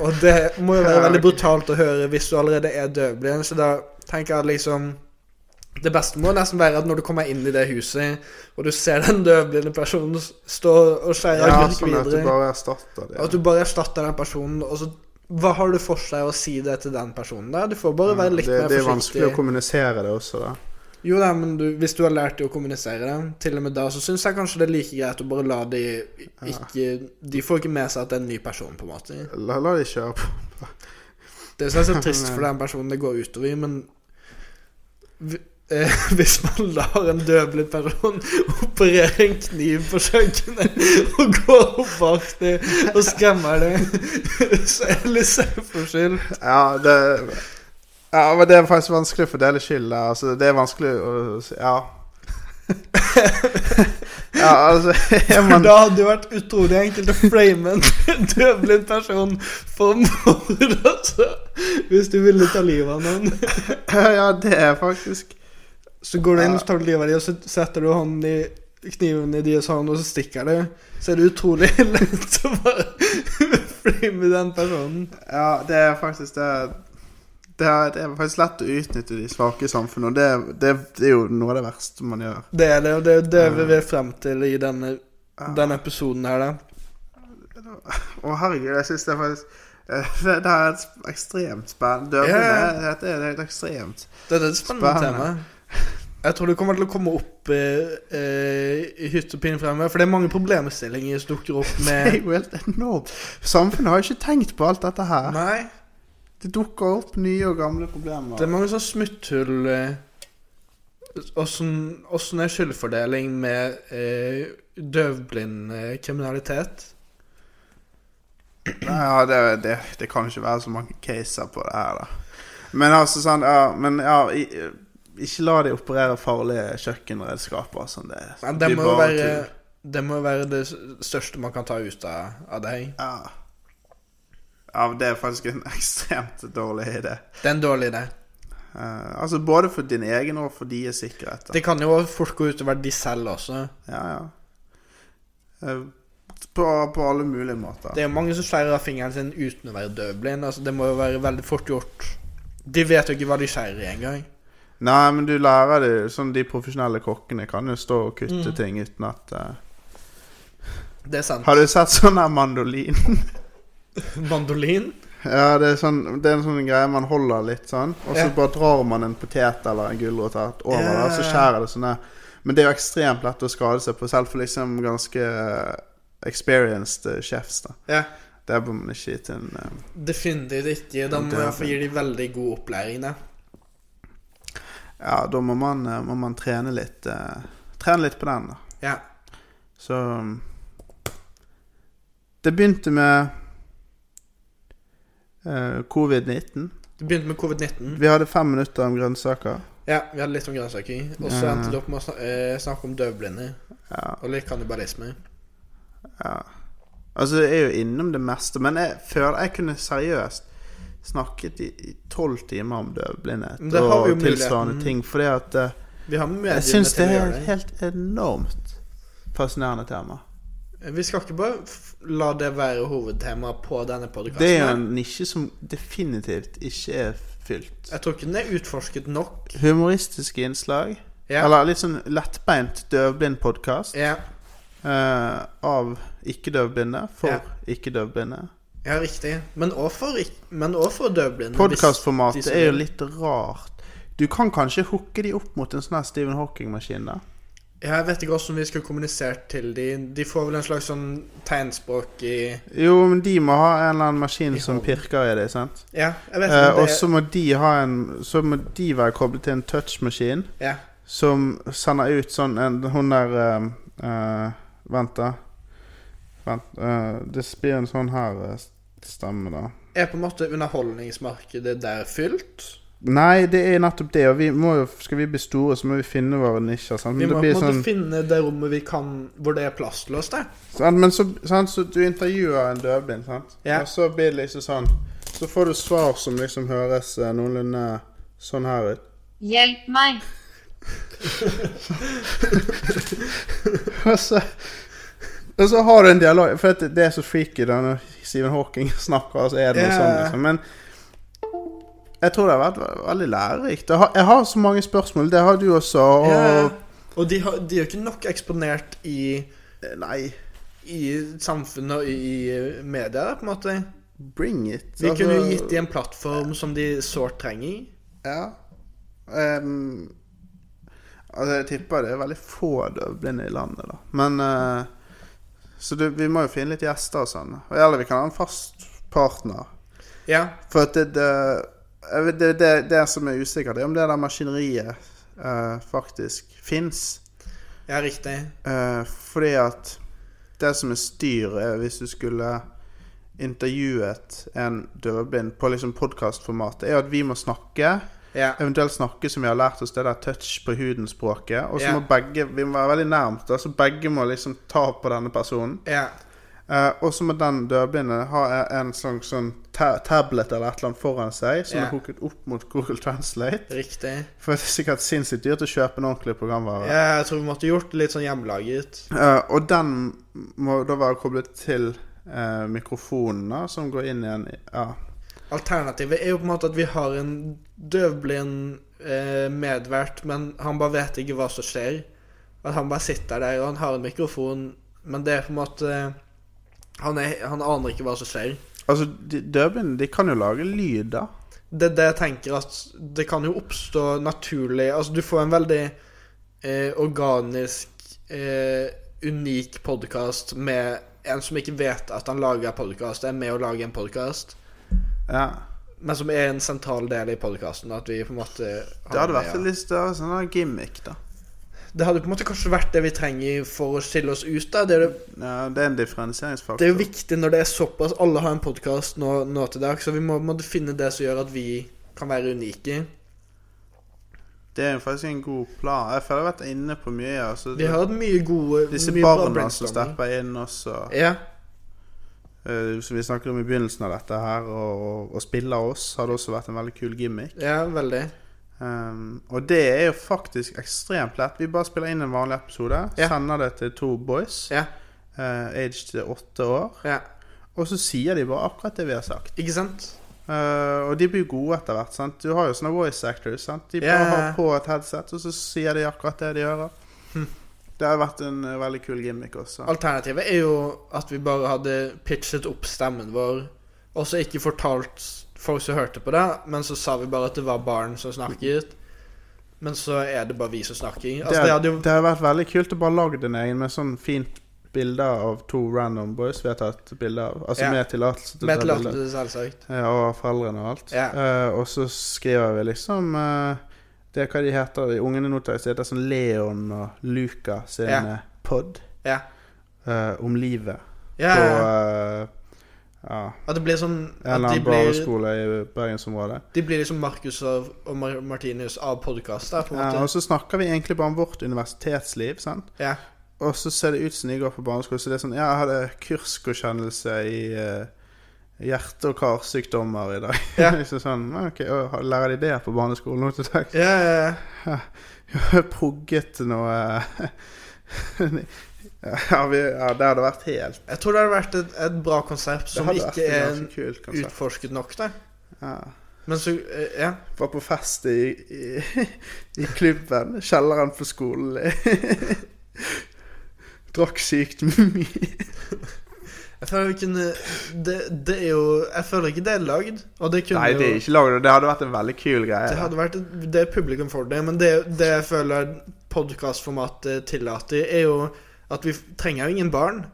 Speaker 2: Og det må jo være
Speaker 3: Ja,
Speaker 2: veldig
Speaker 3: ok.
Speaker 2: brutalt å høre hvis du allerede er døvblind, så da tenker jeg at liksom det beste må nesten være at når du kommer inn i det huset, og du ser den døvblinde personen s- stå og skjære
Speaker 3: Ja,
Speaker 2: agurk
Speaker 3: sånn at du
Speaker 2: videre,
Speaker 3: bare erstatter det.
Speaker 2: at du bare erstatter den personen, og så Hva har du for seg å si det til den personen der? Du får bare være litt
Speaker 3: Mm, det,
Speaker 2: mer
Speaker 3: det
Speaker 2: forsiktig.
Speaker 3: er vanskelig å kommunisere det også, da.
Speaker 2: Jo da, men du, hvis du har lært dem å kommunisere det, til og med da, så syns jeg kanskje det er like greit å bare la de ikke De får ikke med seg at det er en ny person, på en måte.
Speaker 3: La, la de kjøre på.
Speaker 2: Det syns jeg er trist for den personen det går utover i, men vi- eh, hvis man lar en døvblind person operere en kniv på kjøkkenet og går opp bak det og skremmer det, så er det litt selvforskyldt.
Speaker 3: Ja, det ja, men det er faktisk vanskelig å fordele skyld. da. Altså, det er vanskelig å Ja. ja, altså er man,
Speaker 2: Da hadde det vært utrolig enkelt å frame en døvblind person for mord, altså. Hvis du ville ta livet av noen.
Speaker 3: Ja, det er faktisk
Speaker 2: Så går du inn og tar du livet av dem, og så setter du hånden i kniven i deres hånd, og så stikker du. Så er det utrolig lett å bare frame den personen.
Speaker 3: Ja, det er faktisk det det er, det er faktisk lett å utnytte de svake i samfunnet, og det, det, det er jo noe av det verste man gjør.
Speaker 2: Det er det, og det er det vi vil frem til i denne, denne episoden her, da.
Speaker 3: Å, herregud, jeg syns det er faktisk eh, det, det er et ekstremt spennende Døvblinde
Speaker 2: Ja,
Speaker 3: det- Dette er helt ekstremt.
Speaker 2: Dette er et spennende
Speaker 3: Spennende.
Speaker 2: tema. Jeg tror det kommer til å komme opp eh, eh, i hytt og pine fremover, for det er mange problemstillinger som dukker opp
Speaker 3: Det er
Speaker 2: med
Speaker 3: jo helt enormt. Samfunnet har jo ikke tenkt på alt dette her.
Speaker 2: Nei.
Speaker 3: Det dukker opp nye og gamle problemer.
Speaker 2: Det er mange sånne smutthull eh, Åssen åssen er skyldfordeling med eh, døvblind eh, kriminalitet?
Speaker 3: Nei, Ja, det, det, det kan ikke være så mange caser på det her, da. Men altså sånn ja, men, ja, i- Ikke la de operere farlige kjøkkenredskaper. Sånn det,
Speaker 2: Men det
Speaker 3: blir
Speaker 2: må jo
Speaker 3: bare
Speaker 2: være
Speaker 3: tull.
Speaker 2: det må jo være det s- største man kan ta ut av, av deg.
Speaker 3: ja. ja, det er faktisk en ekstremt dårlig idé.
Speaker 2: Det er en dårlig idé.
Speaker 3: Eh, altså Både for din egen og for deres sikkerhet. Da.
Speaker 2: Det kan jo fort gå utover de selv også.
Speaker 3: Ja, ja. Eh, på, på alle mulige måter.
Speaker 2: Det er jo mange som skjærer av fingeren sin uten å være døvblind. Altså, det må jo være veldig fort gjort. De vet jo ikke hva de skjærer i engang.
Speaker 3: Nei, men du lærer det jo, sånn De profesjonelle kokkene kan jo stå og kutte
Speaker 2: Mm.
Speaker 3: ting uten at eh,
Speaker 2: Det er sant.
Speaker 3: Har du sett sånn der mandolin?
Speaker 2: Mandolin?
Speaker 3: Ja, det er, sånn, det er en sånn greie man holder litt sånn, og så
Speaker 2: Ja.
Speaker 3: bare drar man en potet eller en gulrot her over
Speaker 2: Ja.
Speaker 3: det, og så skjærer det sånn der. Men det er jo ekstremt lett å skade seg på, selv for liksom ganske eh, experienced eh, chefs. da.
Speaker 2: Ja.
Speaker 3: Det bør man ikke gi til en eh,
Speaker 2: Definitivt ikke. Da
Speaker 3: Ja,
Speaker 2: må
Speaker 3: det er
Speaker 2: jeg få gi de veldig god opplæring, da.
Speaker 3: Ja, da må man, eh, må man trene litt eh, Trene litt på den, da.
Speaker 2: Ja.
Speaker 3: Så mm, Det begynte med eh, covid-19.
Speaker 2: Du begynte med covid-19.
Speaker 3: Vi hadde fem minutter om grønnsaker.
Speaker 2: Ja, vi hadde litt om grønnsaker. Og så
Speaker 3: Ja.
Speaker 2: endte du opp med å snak eh, snakke om døvblinde
Speaker 3: Ja.
Speaker 2: og litt kannibalisme.
Speaker 3: Ja. Altså, jeg er jo innom det meste, men jeg føler jeg kunne seriøst snakket i i tolv timer om
Speaker 2: Men
Speaker 3: døvblindhet
Speaker 2: det har vi jo
Speaker 3: og tilsvarende
Speaker 2: muligheten.
Speaker 3: ting, fordi at eh,
Speaker 2: Vi har mediene
Speaker 3: Jeg syns det
Speaker 2: til å
Speaker 3: er
Speaker 2: gjøre
Speaker 3: et helt enormt fascinerende tema.
Speaker 2: Vi skal ikke bare f la det være hovedtemaet på denne
Speaker 3: Det er jo
Speaker 2: podkasten.
Speaker 3: en nisje som definitivt ikke er fylt.
Speaker 2: Jeg tror ikke den er utforsket nok.
Speaker 3: Humoristiske innslag,
Speaker 2: Ja.
Speaker 3: eller litt sånn lettbeint døvblind-podkast
Speaker 2: Ja,
Speaker 3: eh, av ikke-døvblinde for
Speaker 2: Ja.
Speaker 3: ikke-døvblinde.
Speaker 2: ja riktig. Men òg for, ikk- men også for døvblinde. hvis de
Speaker 3: Podkastformatet
Speaker 2: som
Speaker 3: er jo
Speaker 2: vil.
Speaker 3: litt rart. Du kan kanskje hooke de opp mot en sånn her Stephen Hawking-maskin. da
Speaker 2: Jeg vet ikke hvordan vi skulle kommunisert til de. De får vel en slags sånn tegnspråk i
Speaker 3: Jo, men de må ha en eller annen maskin
Speaker 2: I
Speaker 3: som
Speaker 2: hånden.
Speaker 3: pirker i det, sant?
Speaker 2: Ja, jeg vet ikke.
Speaker 3: Eh,
Speaker 2: om
Speaker 3: og
Speaker 2: det-
Speaker 3: så må de ha en Så må de være koblet til en touchmaskin
Speaker 2: ja.
Speaker 3: som sender ut sånn en Hun der eh, eh, Vent, da. Vent, eh, det blir en sånn her eh, stemme, da.
Speaker 2: Er på en måte underholdningsmarkedet der fylt?
Speaker 3: Nei, det er nettopp det. Og vi må jo, skal vi bli store, så må vi finne våre nisjer. Sant?
Speaker 2: Vi må
Speaker 3: Men, det
Speaker 2: på en
Speaker 3: blir
Speaker 2: måte
Speaker 3: sånn,
Speaker 2: finne det rommet vi kan hvor det er plass til oss, da.
Speaker 3: sant? Men så, sant? så du intervjuer en døvblind, sant?
Speaker 2: Ja.
Speaker 3: Og så blir det liksom sånn Så får du svar som liksom høres eh, noenlunde sånn her ut.
Speaker 4: Hjelp meg.
Speaker 3: Og så, og så har du en dialog For at det er så freaky da når Stephen Hawking snakker, så er det noe
Speaker 2: Ja.
Speaker 3: sånn, liksom. Men jeg tror det har vært ve- veldig lærerikt. Jeg har, jeg har så mange spørsmål. Det har du også. Og
Speaker 2: Ja. Og de, har, de er jo ikke nok eksponert i, eh,
Speaker 3: Nei,
Speaker 2: i samfunnet og i, i media, da, på en måte.
Speaker 3: bring it.
Speaker 2: Vi kunne jo
Speaker 3: Altså-
Speaker 2: gitt dem en plattform som de sårt trenger.
Speaker 3: Ja. Ehm, altså, jeg tipper det er veldig få døvblinde i landet, da. Men eh, Så det, vi må jo finne litt gjester og sånn. Eller vi kan ha en fast partner.
Speaker 2: Ja.
Speaker 3: For at det, det, jeg vet- det, det, det som er usikkert, er om det der maskineriet eh, faktisk fins.
Speaker 2: Ja, riktig.
Speaker 3: Eh, fordi at det som er styr, er hvis du skulle intervjuet en døvblind på liksom podkastformatet, er at vi må snakke.
Speaker 2: Ja.
Speaker 3: Eventuelt snakke som vi har lært oss det der touch på huden-språket. Og så
Speaker 2: Ja.
Speaker 3: må begge Vi må være veldig nærmt, da, så begge må liksom ta på denne personen.
Speaker 2: ja.
Speaker 3: Eh, og så må den døvblinde ha en slags sånn ta tablet eller et eller annet foran seg som
Speaker 2: Ja.
Speaker 3: er hooket opp mot Google Translate.
Speaker 2: Riktig.
Speaker 3: For det er sikkert sinnssykt dyrt å kjøpe en ordentlig programvare.
Speaker 2: Ja, jeg tror vi måtte gjort det litt sånn hjemmelaget.
Speaker 3: Eh, og den må da være koblet til eh, mikrofonen da, som går inn igjen i Ja.
Speaker 2: Alternativet er jo på en måte at vi har en døvblind eh, medvert, men han bare vet ikke hva som skjer. At han bare sitter der, og han har en mikrofon, men det er på en måte Han, er, han aner ikke hva som skjer.
Speaker 3: Altså, de- døvblinde de kan jo lage lyd, da.
Speaker 2: Det er det jeg tenker at det kan jo oppstå naturlig Altså, du får en veldig eh, organisk, eh, unik podkast med en som ikke vet at han lager podkast, er med å lage en podkast.
Speaker 3: Ja.
Speaker 2: Men som er en sentral del i podkasten. At vi på en måte har
Speaker 3: Det hadde
Speaker 2: med,
Speaker 3: vært en litt større sånn der gimmick, da.
Speaker 2: Det hadde på en måte kanskje vært det vi trenger for å skille oss ut. da Det er, jo-
Speaker 3: Ja, det er en
Speaker 2: det
Speaker 3: differensieringsfaktor.
Speaker 2: er jo viktig når det er såpass Alle har en podkast nå, nå til dags, så vi må på en måte finne det som gjør at vi kan være unike.
Speaker 3: Det er jo faktisk en god plan. Jeg føler jeg har vært inne på mye. Altså,
Speaker 2: Vi har hatt mye gode
Speaker 3: disse
Speaker 2: mye bra
Speaker 3: barna som
Speaker 2: brainstorming.
Speaker 3: stepper inn også,
Speaker 2: Ja.
Speaker 3: eh, som vi snakket om i begynnelsen av dette her, og, og, og spiller oss, hadde også vært en veldig kul gimmick.
Speaker 2: ja, veldig.
Speaker 3: Um, og det er jo faktisk ekstremt lett. Vi bare spiller inn en vanlig episode,
Speaker 2: Ja.
Speaker 3: sender det til to boys,
Speaker 2: Ja.
Speaker 3: eh, age til åtte år,
Speaker 2: ja.
Speaker 3: og så sier de bare akkurat det vi har sagt.
Speaker 2: Ikke sant?
Speaker 3: Eh, og de blir gode etter hvert. sant? Du har jo sånne voice actors. sant? De bare
Speaker 2: Ja. Hm.
Speaker 3: har på et headset, og så sier de akkurat det de hører. Det har vært en eh, veldig kul gimmick også.
Speaker 2: Alternativet er jo at vi bare hadde pitchet opp stemmen vår, og så ikke fortalt folk som hørte på det, men så sa vi bare at det var barn som snakket. Men så er det bare vi som snakker. Altså,
Speaker 3: det,
Speaker 2: det
Speaker 3: har-
Speaker 2: hadde jo
Speaker 3: det har vært veldig kult å bare lage en egen med sånn fint bilde av to random boys vi har tatt bilde av. Altså
Speaker 2: Ja.
Speaker 3: med tillatelse til å
Speaker 2: Med
Speaker 3: ta
Speaker 2: et
Speaker 3: bilder.
Speaker 2: latter, selvsagt.
Speaker 3: Ja, og foreldrene og alt.
Speaker 2: Ja.
Speaker 3: Eh, og så skriver vi liksom eh, Det er hva de heter, de ungene nå til dags, det heter sånn Leon og Luca sin
Speaker 2: Ja.
Speaker 3: eh, pod
Speaker 2: Ja.
Speaker 3: eh, om livet
Speaker 2: Ja,
Speaker 3: på
Speaker 2: ja.
Speaker 3: eh, ja,
Speaker 2: At det blir sånn
Speaker 3: en
Speaker 2: At
Speaker 3: eller
Speaker 2: de
Speaker 3: annen
Speaker 2: blir,
Speaker 3: barneskole i bergensområdet.
Speaker 2: de blir liksom Markus og, og Mar Martinus av podkaster, på en
Speaker 3: Ja, og
Speaker 2: måte.
Speaker 3: så snakker vi egentlig bare om vårt universitetsliv. sant?
Speaker 2: Ja.
Speaker 3: Og så ser det ut som de går på barneskole. Så det er sånn Ja, jeg hadde kursgodkjennelse i eh, hjerte- og karsykdommer i dag.
Speaker 2: Ja.
Speaker 3: så sånn, ok, og Lærer de det på barneskolen nå til dags?
Speaker 2: Ja, ja, ja.
Speaker 3: progget noe ja, vi, ja, det hadde vært helt
Speaker 2: Jeg tror det hadde vært et, et bra konsept som
Speaker 3: hadde vært
Speaker 2: ikke
Speaker 3: en
Speaker 2: er
Speaker 3: ganske kul konsept.
Speaker 2: utforsket nok, da.
Speaker 3: ja.
Speaker 2: Men så eh, Ja.
Speaker 3: Var på fest i, i, i klubben, kjelleren på skolen. Drakk sykt mye.
Speaker 2: Jeg føler vi kunne det, det er jo Jeg føler ikke det er lagd, og det kunne
Speaker 3: Nei, det er ikke lagd, og det hadde vært en veldig kul
Speaker 2: jo
Speaker 3: greie.
Speaker 2: det hadde vært et- Det er publikum for det, men det, det jeg føler podkastformatet tillater, er jo at vi trenger jo ingen barn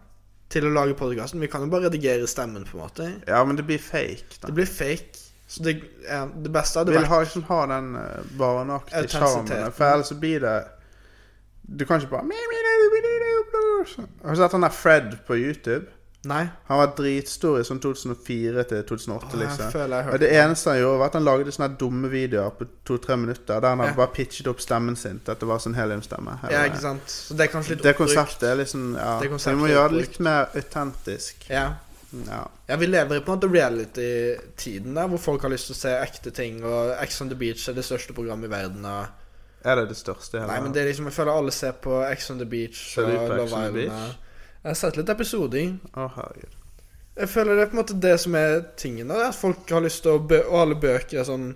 Speaker 2: til å lage podkasten. Vi kan jo bare redigere stemmen, på en måte.
Speaker 3: Ja, men det blir fake. da
Speaker 2: Det blir fake. Så det, ja, det beste hadde
Speaker 3: Vil
Speaker 2: vært
Speaker 3: ha, liksom, ha den eh, barneaktige
Speaker 2: Autentisiteten.
Speaker 3: sjarmen. For ellers så blir det Du kan ikke bare Har du sett han der Fred på YouTube?
Speaker 2: Nei.
Speaker 3: Han var dritstor i sånn 2004 til 2008,
Speaker 2: Åh, jeg
Speaker 3: liksom.
Speaker 2: føler jeg har hørt
Speaker 3: og det eneste han gjorde, var at han lagde sånne her dumme videoer på to-tre minutter der han
Speaker 2: Ja.
Speaker 3: bare pitchet opp stemmen sin til at det var sånn heliumstemme.
Speaker 2: Ja, ikke sant. Så det er kanskje litt
Speaker 3: Det
Speaker 2: oppbrukt.
Speaker 3: konseptet er liksom Ja.
Speaker 2: Det konseptet
Speaker 3: Vi må
Speaker 2: er
Speaker 3: gjøre det
Speaker 2: oppbrukt.
Speaker 3: litt mer autentisk.
Speaker 2: Ja.
Speaker 3: Ja.
Speaker 2: ja, vi lever i på en måte reality-tiden der, hvor folk har lyst til å se ekte ting, og Ex on the Beach er det største programmet i verden. Og...
Speaker 3: Er det det største?
Speaker 2: Nei, men det er liksom, jeg føler alle ser på Ex on the Beach
Speaker 3: Ser
Speaker 2: og
Speaker 3: du på Ex
Speaker 2: Love
Speaker 3: on the
Speaker 2: Island.
Speaker 3: Beach?
Speaker 2: og- Jeg har sett litt episoder.
Speaker 3: Å, herregud.
Speaker 2: Jeg føler det er på en måte det som er tingen. da, At folk har lyst til å bø Og alle bøker er sånn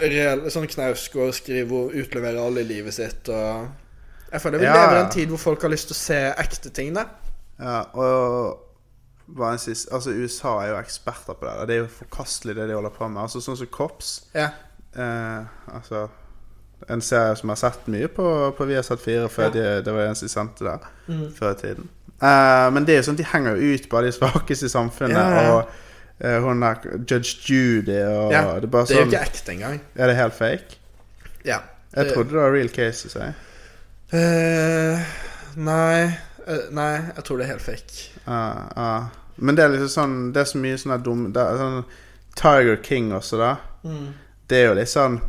Speaker 2: reell, Sånn Knausgård skriver og utleverer alle i livet sitt. Og jeg føler vi
Speaker 3: Ja,
Speaker 2: lever i
Speaker 3: ja.
Speaker 2: en tid hvor folk har lyst til å se ekte ting. da
Speaker 3: Ja, og hva en sist, altså USA er jo eksperter på det. der. Det er jo forkastelig, det de holder på med. Altså Sånn som Kops.
Speaker 2: Ja,
Speaker 3: Eh, altså En serie som jeg har sett mye på, på Viasat 4 før
Speaker 2: Ja.
Speaker 3: de, det var eneste de sendte der
Speaker 2: Mhm.
Speaker 3: før i tiden. Eh, men det er jo sånn de henger jo ut bare de svakeste i samfunnet.
Speaker 2: Ja, ja.
Speaker 3: Og eh, hun der Judge Judy og
Speaker 2: ja.
Speaker 3: Det er bare
Speaker 2: jo
Speaker 3: sånn
Speaker 2: ikke ekte engang.
Speaker 3: Er det helt fake?
Speaker 2: Ja.
Speaker 3: Jeg
Speaker 2: det-
Speaker 3: trodde det var real cases. Jeg.
Speaker 2: Eh, nei eh, Nei, jeg tror det er helt fake.
Speaker 3: Ja, ja. Eh, Men det er liksom sånn Det er så mye sånne dumme det er sånn Tiger King også, da.
Speaker 2: Mm.
Speaker 3: Det er jo litt sånn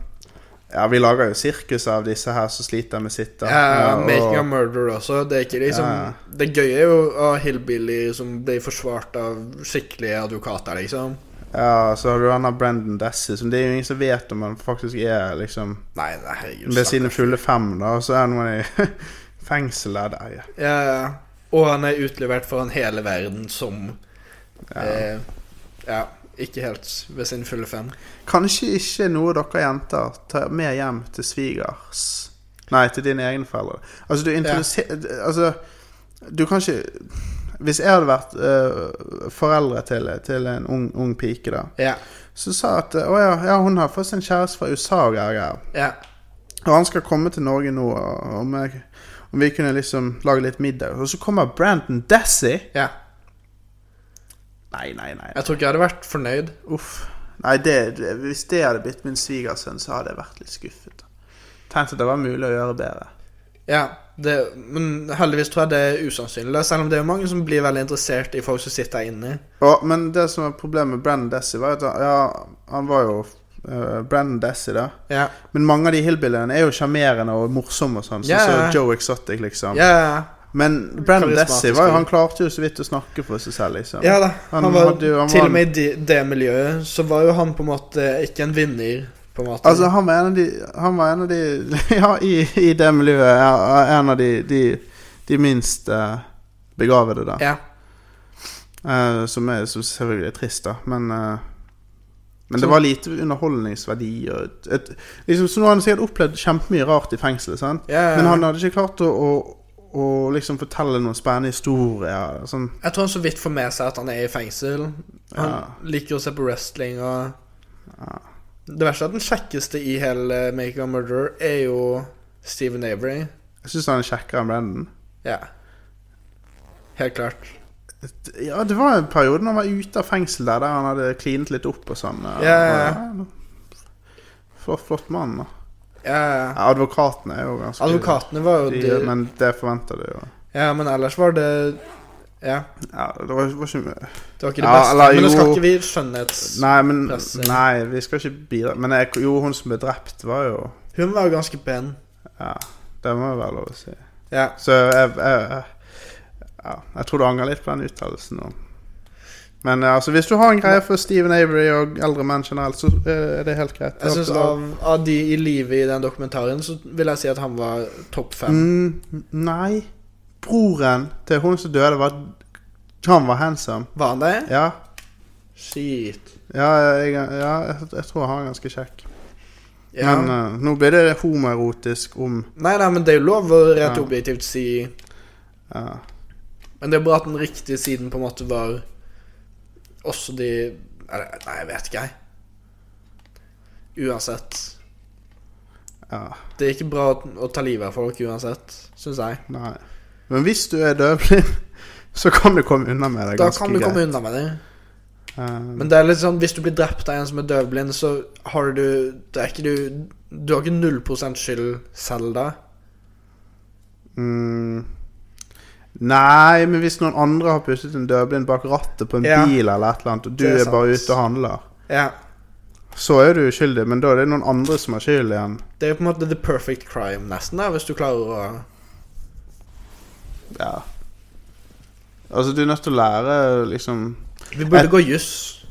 Speaker 3: Ja, vi lager jo sirkus av disse her som sliter med sitt. da. Eh,
Speaker 2: Ja,
Speaker 3: og-
Speaker 2: Eh, Making a Murderer også. Det er ikke liksom
Speaker 3: Ja.
Speaker 2: Det gøye er jo å ha hillbilly som blir forsvart av skikkelige advokater, liksom.
Speaker 3: Ja, så har du han der Brendan Dessy, som det er jo ingen som vet om han faktisk er liksom
Speaker 2: Nei, nei herregud.
Speaker 3: ved
Speaker 2: stakkars.
Speaker 3: sine fulle fem, da, og så er han noen i fengsel der. der ja.
Speaker 2: Ja, ja. Og han er utlevert foran hele verden som
Speaker 3: Ja.
Speaker 2: Eh, ja ikke helt ved sin fulle fem.
Speaker 3: Kanskje ikke noe dere jenter tar med hjem til svigers Nei, til dine egne foreldre. Altså, du introduserer Altså, du kan ikke Hvis jeg hadde vært eh, foreldre til, til en ung, ung pike, da,
Speaker 2: Ja.
Speaker 3: så sa jeg at Å ja, ja, hun har fått sin kjæreste fra USA, og greier, greier.
Speaker 2: ja.
Speaker 3: Og han skal komme til Norge nå, og om, jeg, om vi kunne liksom lage litt middag. Og så kommer Brandon Dassey!
Speaker 2: Ja.
Speaker 3: Nei, nei, nei.
Speaker 2: Jeg tror ikke jeg hadde vært fornøyd.
Speaker 3: Uff. Nei, det, det, hvis det hadde blitt min svigersønn, så hadde jeg vært litt skuffet. Tenkt at det var mulig å gjøre bedre.
Speaker 2: Ja, det, Men heldigvis tror jeg det er usannsynlig, da, selv om det er mange som blir veldig interessert i folk som sitter her inne.
Speaker 3: Og, men det som var problemet med Brandon Dassey, var at han, ja, han var jo eh, Brandon Dassey, da.
Speaker 2: Ja.
Speaker 3: Men mange av de hillbillyene er jo sjarmerende og morsomme og sånn. Sånn
Speaker 2: Ja,
Speaker 3: som
Speaker 2: ja.
Speaker 3: Joe Exotic, liksom.
Speaker 2: Ja, ja.
Speaker 3: Men Brandon
Speaker 2: Karismatisk,
Speaker 3: Dassey var
Speaker 2: ja.
Speaker 3: jo Han klarte jo så vidt å snakke for seg selv, liksom.
Speaker 2: Ja da.
Speaker 3: Han
Speaker 2: Han, var,
Speaker 3: hadde jo- han
Speaker 2: til
Speaker 3: var-
Speaker 2: og med i de- det miljøet så var jo han på en måte ikke en vinner, på en måte.
Speaker 3: Altså, han var en av de, han var en av de Ja, i, i det miljøet. Ja, en av de, de, de minst eh, begavede, da.
Speaker 2: ja.
Speaker 3: Eh, som, er, som selvfølgelig er trist, da. Men, eh, men det var lite underholdningsverdi. Og et, et, liksom, så nå har han sikkert opplevd kjempemye rart i fengselet, sant?
Speaker 2: Ja, ja, ja.
Speaker 3: men han hadde ikke klart å, å, å liksom fortelle noen spennende historier. Sånn.
Speaker 2: Jeg tror han så vidt får med seg at han er i fengsel. Han
Speaker 3: Ja.
Speaker 2: liker å se på wrestling og Det verste er at den kjekkeste i hele Make a Murderer er jo Steven Avery.
Speaker 3: Jeg syns han er kjekkere enn Brendan.
Speaker 2: Ja. Helt klart.
Speaker 3: Ja, det var en periode når han var ute av fengsel der, der han hadde klinet litt opp og sånn.
Speaker 2: Ja, ja, ja.
Speaker 3: Flott, flott mann. da.
Speaker 2: Ja.
Speaker 3: Ja, advokatene er jo ganske
Speaker 2: Advokatene var jo
Speaker 3: de,
Speaker 2: de,
Speaker 3: Men det forventer du jo.
Speaker 2: Ja, men ellers var det Ja.
Speaker 3: Ja, det var, var ikke mye
Speaker 2: Det var ikke det
Speaker 3: Ja,
Speaker 2: beste.
Speaker 3: eller
Speaker 2: men nå skal
Speaker 3: jo.
Speaker 2: ikke vi skjønnhets...
Speaker 3: Nei, men
Speaker 2: Presse.
Speaker 3: Nei, vi skal ikke bidra Men jeg, jo, hun som ble drept, var jo
Speaker 2: Hun var jo ganske pen.
Speaker 3: Ja, det må jo være lov å si.
Speaker 2: Ja.
Speaker 3: Så jeg, jeg, jeg, ja, jeg tror du angrer litt på den uttalelsen nå. Men ja, altså, hvis du har en greie for Steven Avery og eldre menn generelt, så eh, er det helt greit.
Speaker 2: Jeg synes av, av de i live i den dokumentaren, så vil jeg si at han var topp fem.
Speaker 3: mm, Nei. Broren til hun som døde, var Han var handsome.
Speaker 2: Var han det?
Speaker 3: Ja.
Speaker 2: Shit.
Speaker 3: Ja, jeg, ja, jeg, jeg tror han er ganske kjekk.
Speaker 2: Ja.
Speaker 3: Men eh, nå blir det homoerotisk om
Speaker 2: nei, nei, men det er jo lov å rett
Speaker 3: Ja.
Speaker 2: objektivt si
Speaker 3: ja.
Speaker 2: Men det er bra at den riktige siden på en måte var også de Eller, Nei, jeg vet ikke, jeg. Uansett.
Speaker 3: Ja,
Speaker 2: Det er ikke bra å, å ta livet av folk uansett, syns jeg.
Speaker 3: nei. Men hvis du er døvblind, så kan du komme unna med det
Speaker 2: Da
Speaker 3: ganske
Speaker 2: kan du komme
Speaker 3: greit. Mm.
Speaker 2: unna med det.
Speaker 3: Eh,
Speaker 2: Men det er litt sånn, hvis du blir drept av en som er døvblind, så har du Det er ikke du Du har ikke 0 skyld selv da.
Speaker 3: mm, nei, men hvis noen andre har pustet en døvblind bak rattet på en
Speaker 2: Ja.
Speaker 3: bil eller et eller annet, og du
Speaker 2: Det er
Speaker 3: er,
Speaker 2: sant.
Speaker 3: bare ute og handler,
Speaker 2: Ja.
Speaker 3: så er du uskyldig, men da er det noen andre som har skyld igjen.
Speaker 2: Det er jo på en måte the perfect crime, nesten, da, hvis du klarer å
Speaker 3: Ja. Altså, du er nødt til å lære liksom
Speaker 2: Vi burde
Speaker 3: Jeg-
Speaker 2: gå juss.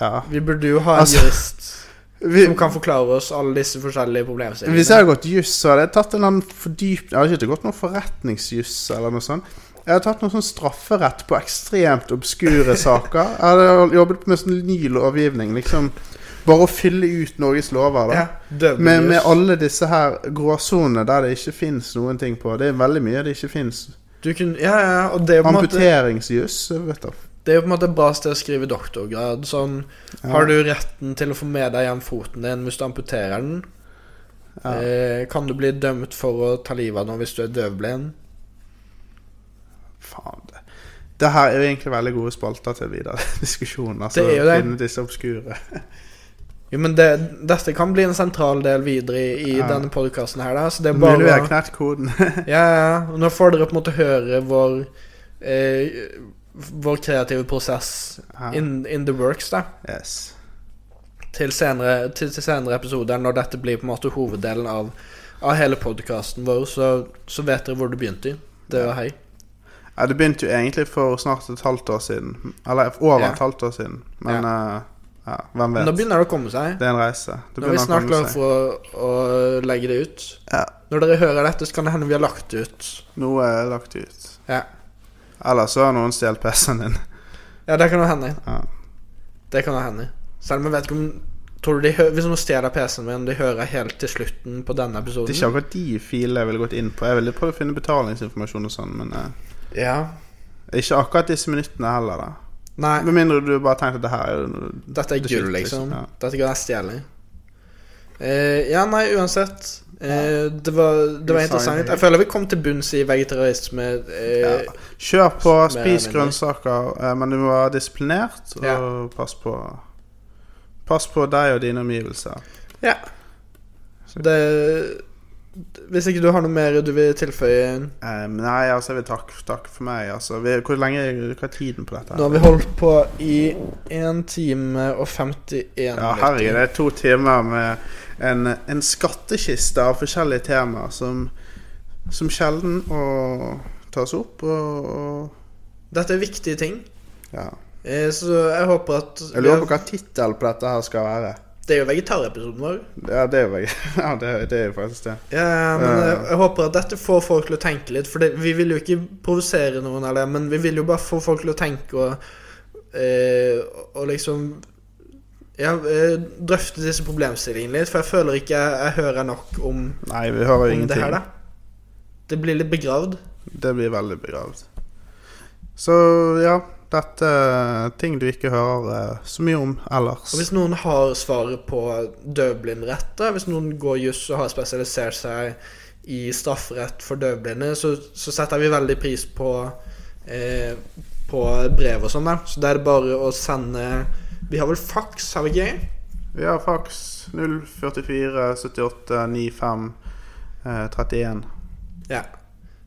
Speaker 3: Ja.
Speaker 2: Vi burde jo ha en
Speaker 3: Altså,
Speaker 2: jurist
Speaker 3: Vi,
Speaker 2: som kan forklare oss alle disse forskjellige
Speaker 3: hvis jeg
Speaker 2: problemstillingene.
Speaker 3: hadde gått juss, så hadde jeg tatt en eller annen fordyp... Jeg hadde ikke gått noe forretningsjuss eller noe sånt. Jeg hadde tatt noe sånn strafferett på ekstremt obskure saker. Jeg hadde jobbet med sånn ny lovgivning, liksom. Bare å fylle ut Norges lover, da.
Speaker 2: Ja, døvblind
Speaker 3: Med, med
Speaker 2: juss.
Speaker 3: alle disse her gråsonene der det ikke fins noen ting på. Det er veldig mye det ikke fins.
Speaker 2: Du kunne, ja, ja, og det er jo på en måte
Speaker 3: Amputeringsjuss, vet du.
Speaker 2: Det er jo på en måte et bra sted å skrive doktorgrad. Sånn,
Speaker 3: Ja.
Speaker 2: Har du retten til å få med deg hjem foten din hvis du amputerer den?
Speaker 3: Ja.
Speaker 2: Eh, kan du bli dømt for å ta livet av noen hvis du er døvblind?
Speaker 3: Faen, det. Det her er jo egentlig veldig gode spalter til videre diskusjon. Altså,
Speaker 2: Det er jo det.
Speaker 3: Finne disse obskure.
Speaker 2: Jo, men det, dette kan bli en sentral del videre i, i
Speaker 3: Ja.
Speaker 2: denne podkasten her, da. Så det er
Speaker 3: Mulig vi har
Speaker 2: bare å
Speaker 3: knekt koden.
Speaker 2: Ja, ja. Og nå får dere på en måte høre vår eh, Vår kreative prosess
Speaker 3: Ja.
Speaker 2: in, in the works, da.
Speaker 3: Yes.
Speaker 2: til senere, til, til senere episoder, når dette blir på en måte hoveddelen av, av hele podkasten vår, så, så vet dere hvor det begynte. i. Det var hei.
Speaker 3: Ja, det begynte jo egentlig for snart et halvt år siden. Eller over
Speaker 2: Ja.
Speaker 3: et halvt år siden. Men ja. ja, hvem
Speaker 2: Men nå
Speaker 3: vet.
Speaker 2: begynner det å komme seg.
Speaker 3: Det er en reise. Det
Speaker 2: Nå er vi
Speaker 3: begynner å
Speaker 2: snart
Speaker 3: komme
Speaker 2: klare
Speaker 3: seg.
Speaker 2: for å, å legge det ut.
Speaker 3: Ja.
Speaker 2: Når dere hører dette, så kan det hende vi har lagt det ut.
Speaker 3: Noe er lagt ut.
Speaker 2: Ja,
Speaker 3: Eller så har noen stjålet PC-en din.
Speaker 2: ja det kan jo hende.
Speaker 3: Ja.
Speaker 2: Det kan jo hende. Selv om jeg vet ikke om Tror du de hø Hvis noen stjeler PC-en min, de hører helt til slutten på denne
Speaker 3: Det er ikke
Speaker 2: episoden?
Speaker 3: akkurat de filene jeg ville gått inn på. Jeg ville prøvd å finne betalingsinformasjon og sånn, men eh,
Speaker 2: Ja.
Speaker 3: ikke akkurat disse minuttene heller, da.
Speaker 2: Nei.
Speaker 3: Med mindre du bare tenkte at det her er jo noe
Speaker 2: Dette er
Speaker 3: Det
Speaker 2: gull,
Speaker 3: skyter,
Speaker 2: liksom.
Speaker 3: ja.
Speaker 2: Dette kan jeg stjele. Eh, ja, nei, uansett. Eh, det var, det var interessant. Jeg føler vi kom til bunns i vegetarisme. Eh,
Speaker 3: Ja. Kjør på,
Speaker 2: Mer
Speaker 3: spis
Speaker 2: eller mindre.
Speaker 3: grønnsaker, eh, men du må være disiplinert, og
Speaker 2: Ja.
Speaker 3: pass på Pass på deg og dine omgivelser.
Speaker 2: ja. Det Hvis ikke du har noe mer du vil tilføye
Speaker 3: Eh, men nei, altså, jeg vil takke takk for meg. Altså. Vi, hvor lenge hva er tiden på dette?
Speaker 2: Nå har vi holdt på i 1 time og 51
Speaker 3: ja, herregud, det er to timer med en, en skattkiste av forskjellige temaer som, som sjelden å tas opp, og, og
Speaker 2: Dette er viktige ting.
Speaker 3: ja.
Speaker 2: Eh, så jeg håper at
Speaker 3: Jeg lurer på hva tittelen på dette her skal være.
Speaker 2: Det er jo vegetarepisoden vår.
Speaker 3: Ja, det er jo ja, det, er- det er jo faktisk det.
Speaker 2: Ja, men
Speaker 3: Eh.
Speaker 2: jeg, jeg håper at dette får folk til å tenke litt. For det, vi vil jo ikke provosere noen, eller, men vi vil jo bare få folk til å tenke og, eh, og- og liksom ja, eh, drøfte disse problemstillingene litt. For jeg føler ikke jeg, jeg hører nok om,
Speaker 3: Nei, vi hører jo
Speaker 2: om det
Speaker 3: ingenting.
Speaker 2: her, da. Det blir litt begravd.
Speaker 3: Det blir veldig begravd. Så ja, dette er ting du ikke hører eh, så mye om ellers.
Speaker 2: Og hvis noen har svaret på døvblindrett, da, hvis noen går juss og har spesialisert seg i strafferett for døvblinde, så, så setter vi veldig pris på eh, på brev og sånn, da. Så da er det bare å sende Vi har vel faks, har vi ikke?
Speaker 3: Vi har faks 044 78 95 eh, 31.
Speaker 2: Ja.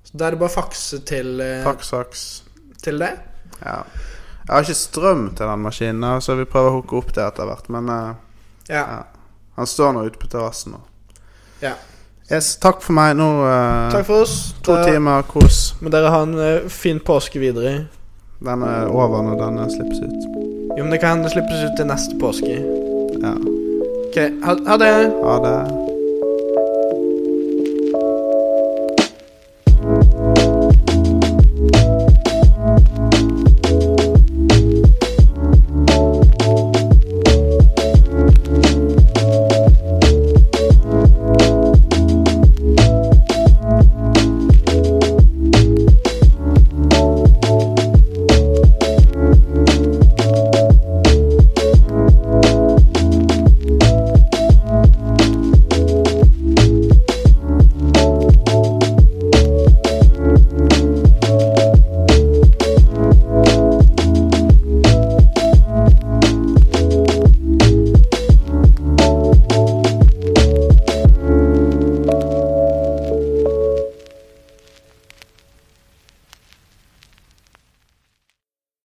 Speaker 2: Så da er det bare å fakse til, eh,
Speaker 3: Faks, faks.
Speaker 2: til det.
Speaker 3: Ja. Jeg har ikke strøm til den maskinen, da, så vi prøver å hooke opp det etter hvert. Men eh,
Speaker 2: Ja.
Speaker 3: ja. han står nå ute på terrassen nå.
Speaker 2: ja.
Speaker 3: Yes, takk for meg. Nå eh,
Speaker 2: Takk for oss.
Speaker 3: to
Speaker 2: Da
Speaker 3: timer kos.
Speaker 2: må dere ha en eh, fin påske videre.
Speaker 3: Den er over når den eh, slippes ut.
Speaker 2: Jo, men det kan slippes ut til neste påske.
Speaker 3: Ja.
Speaker 2: OK. Ha, ha det.
Speaker 3: Ha det.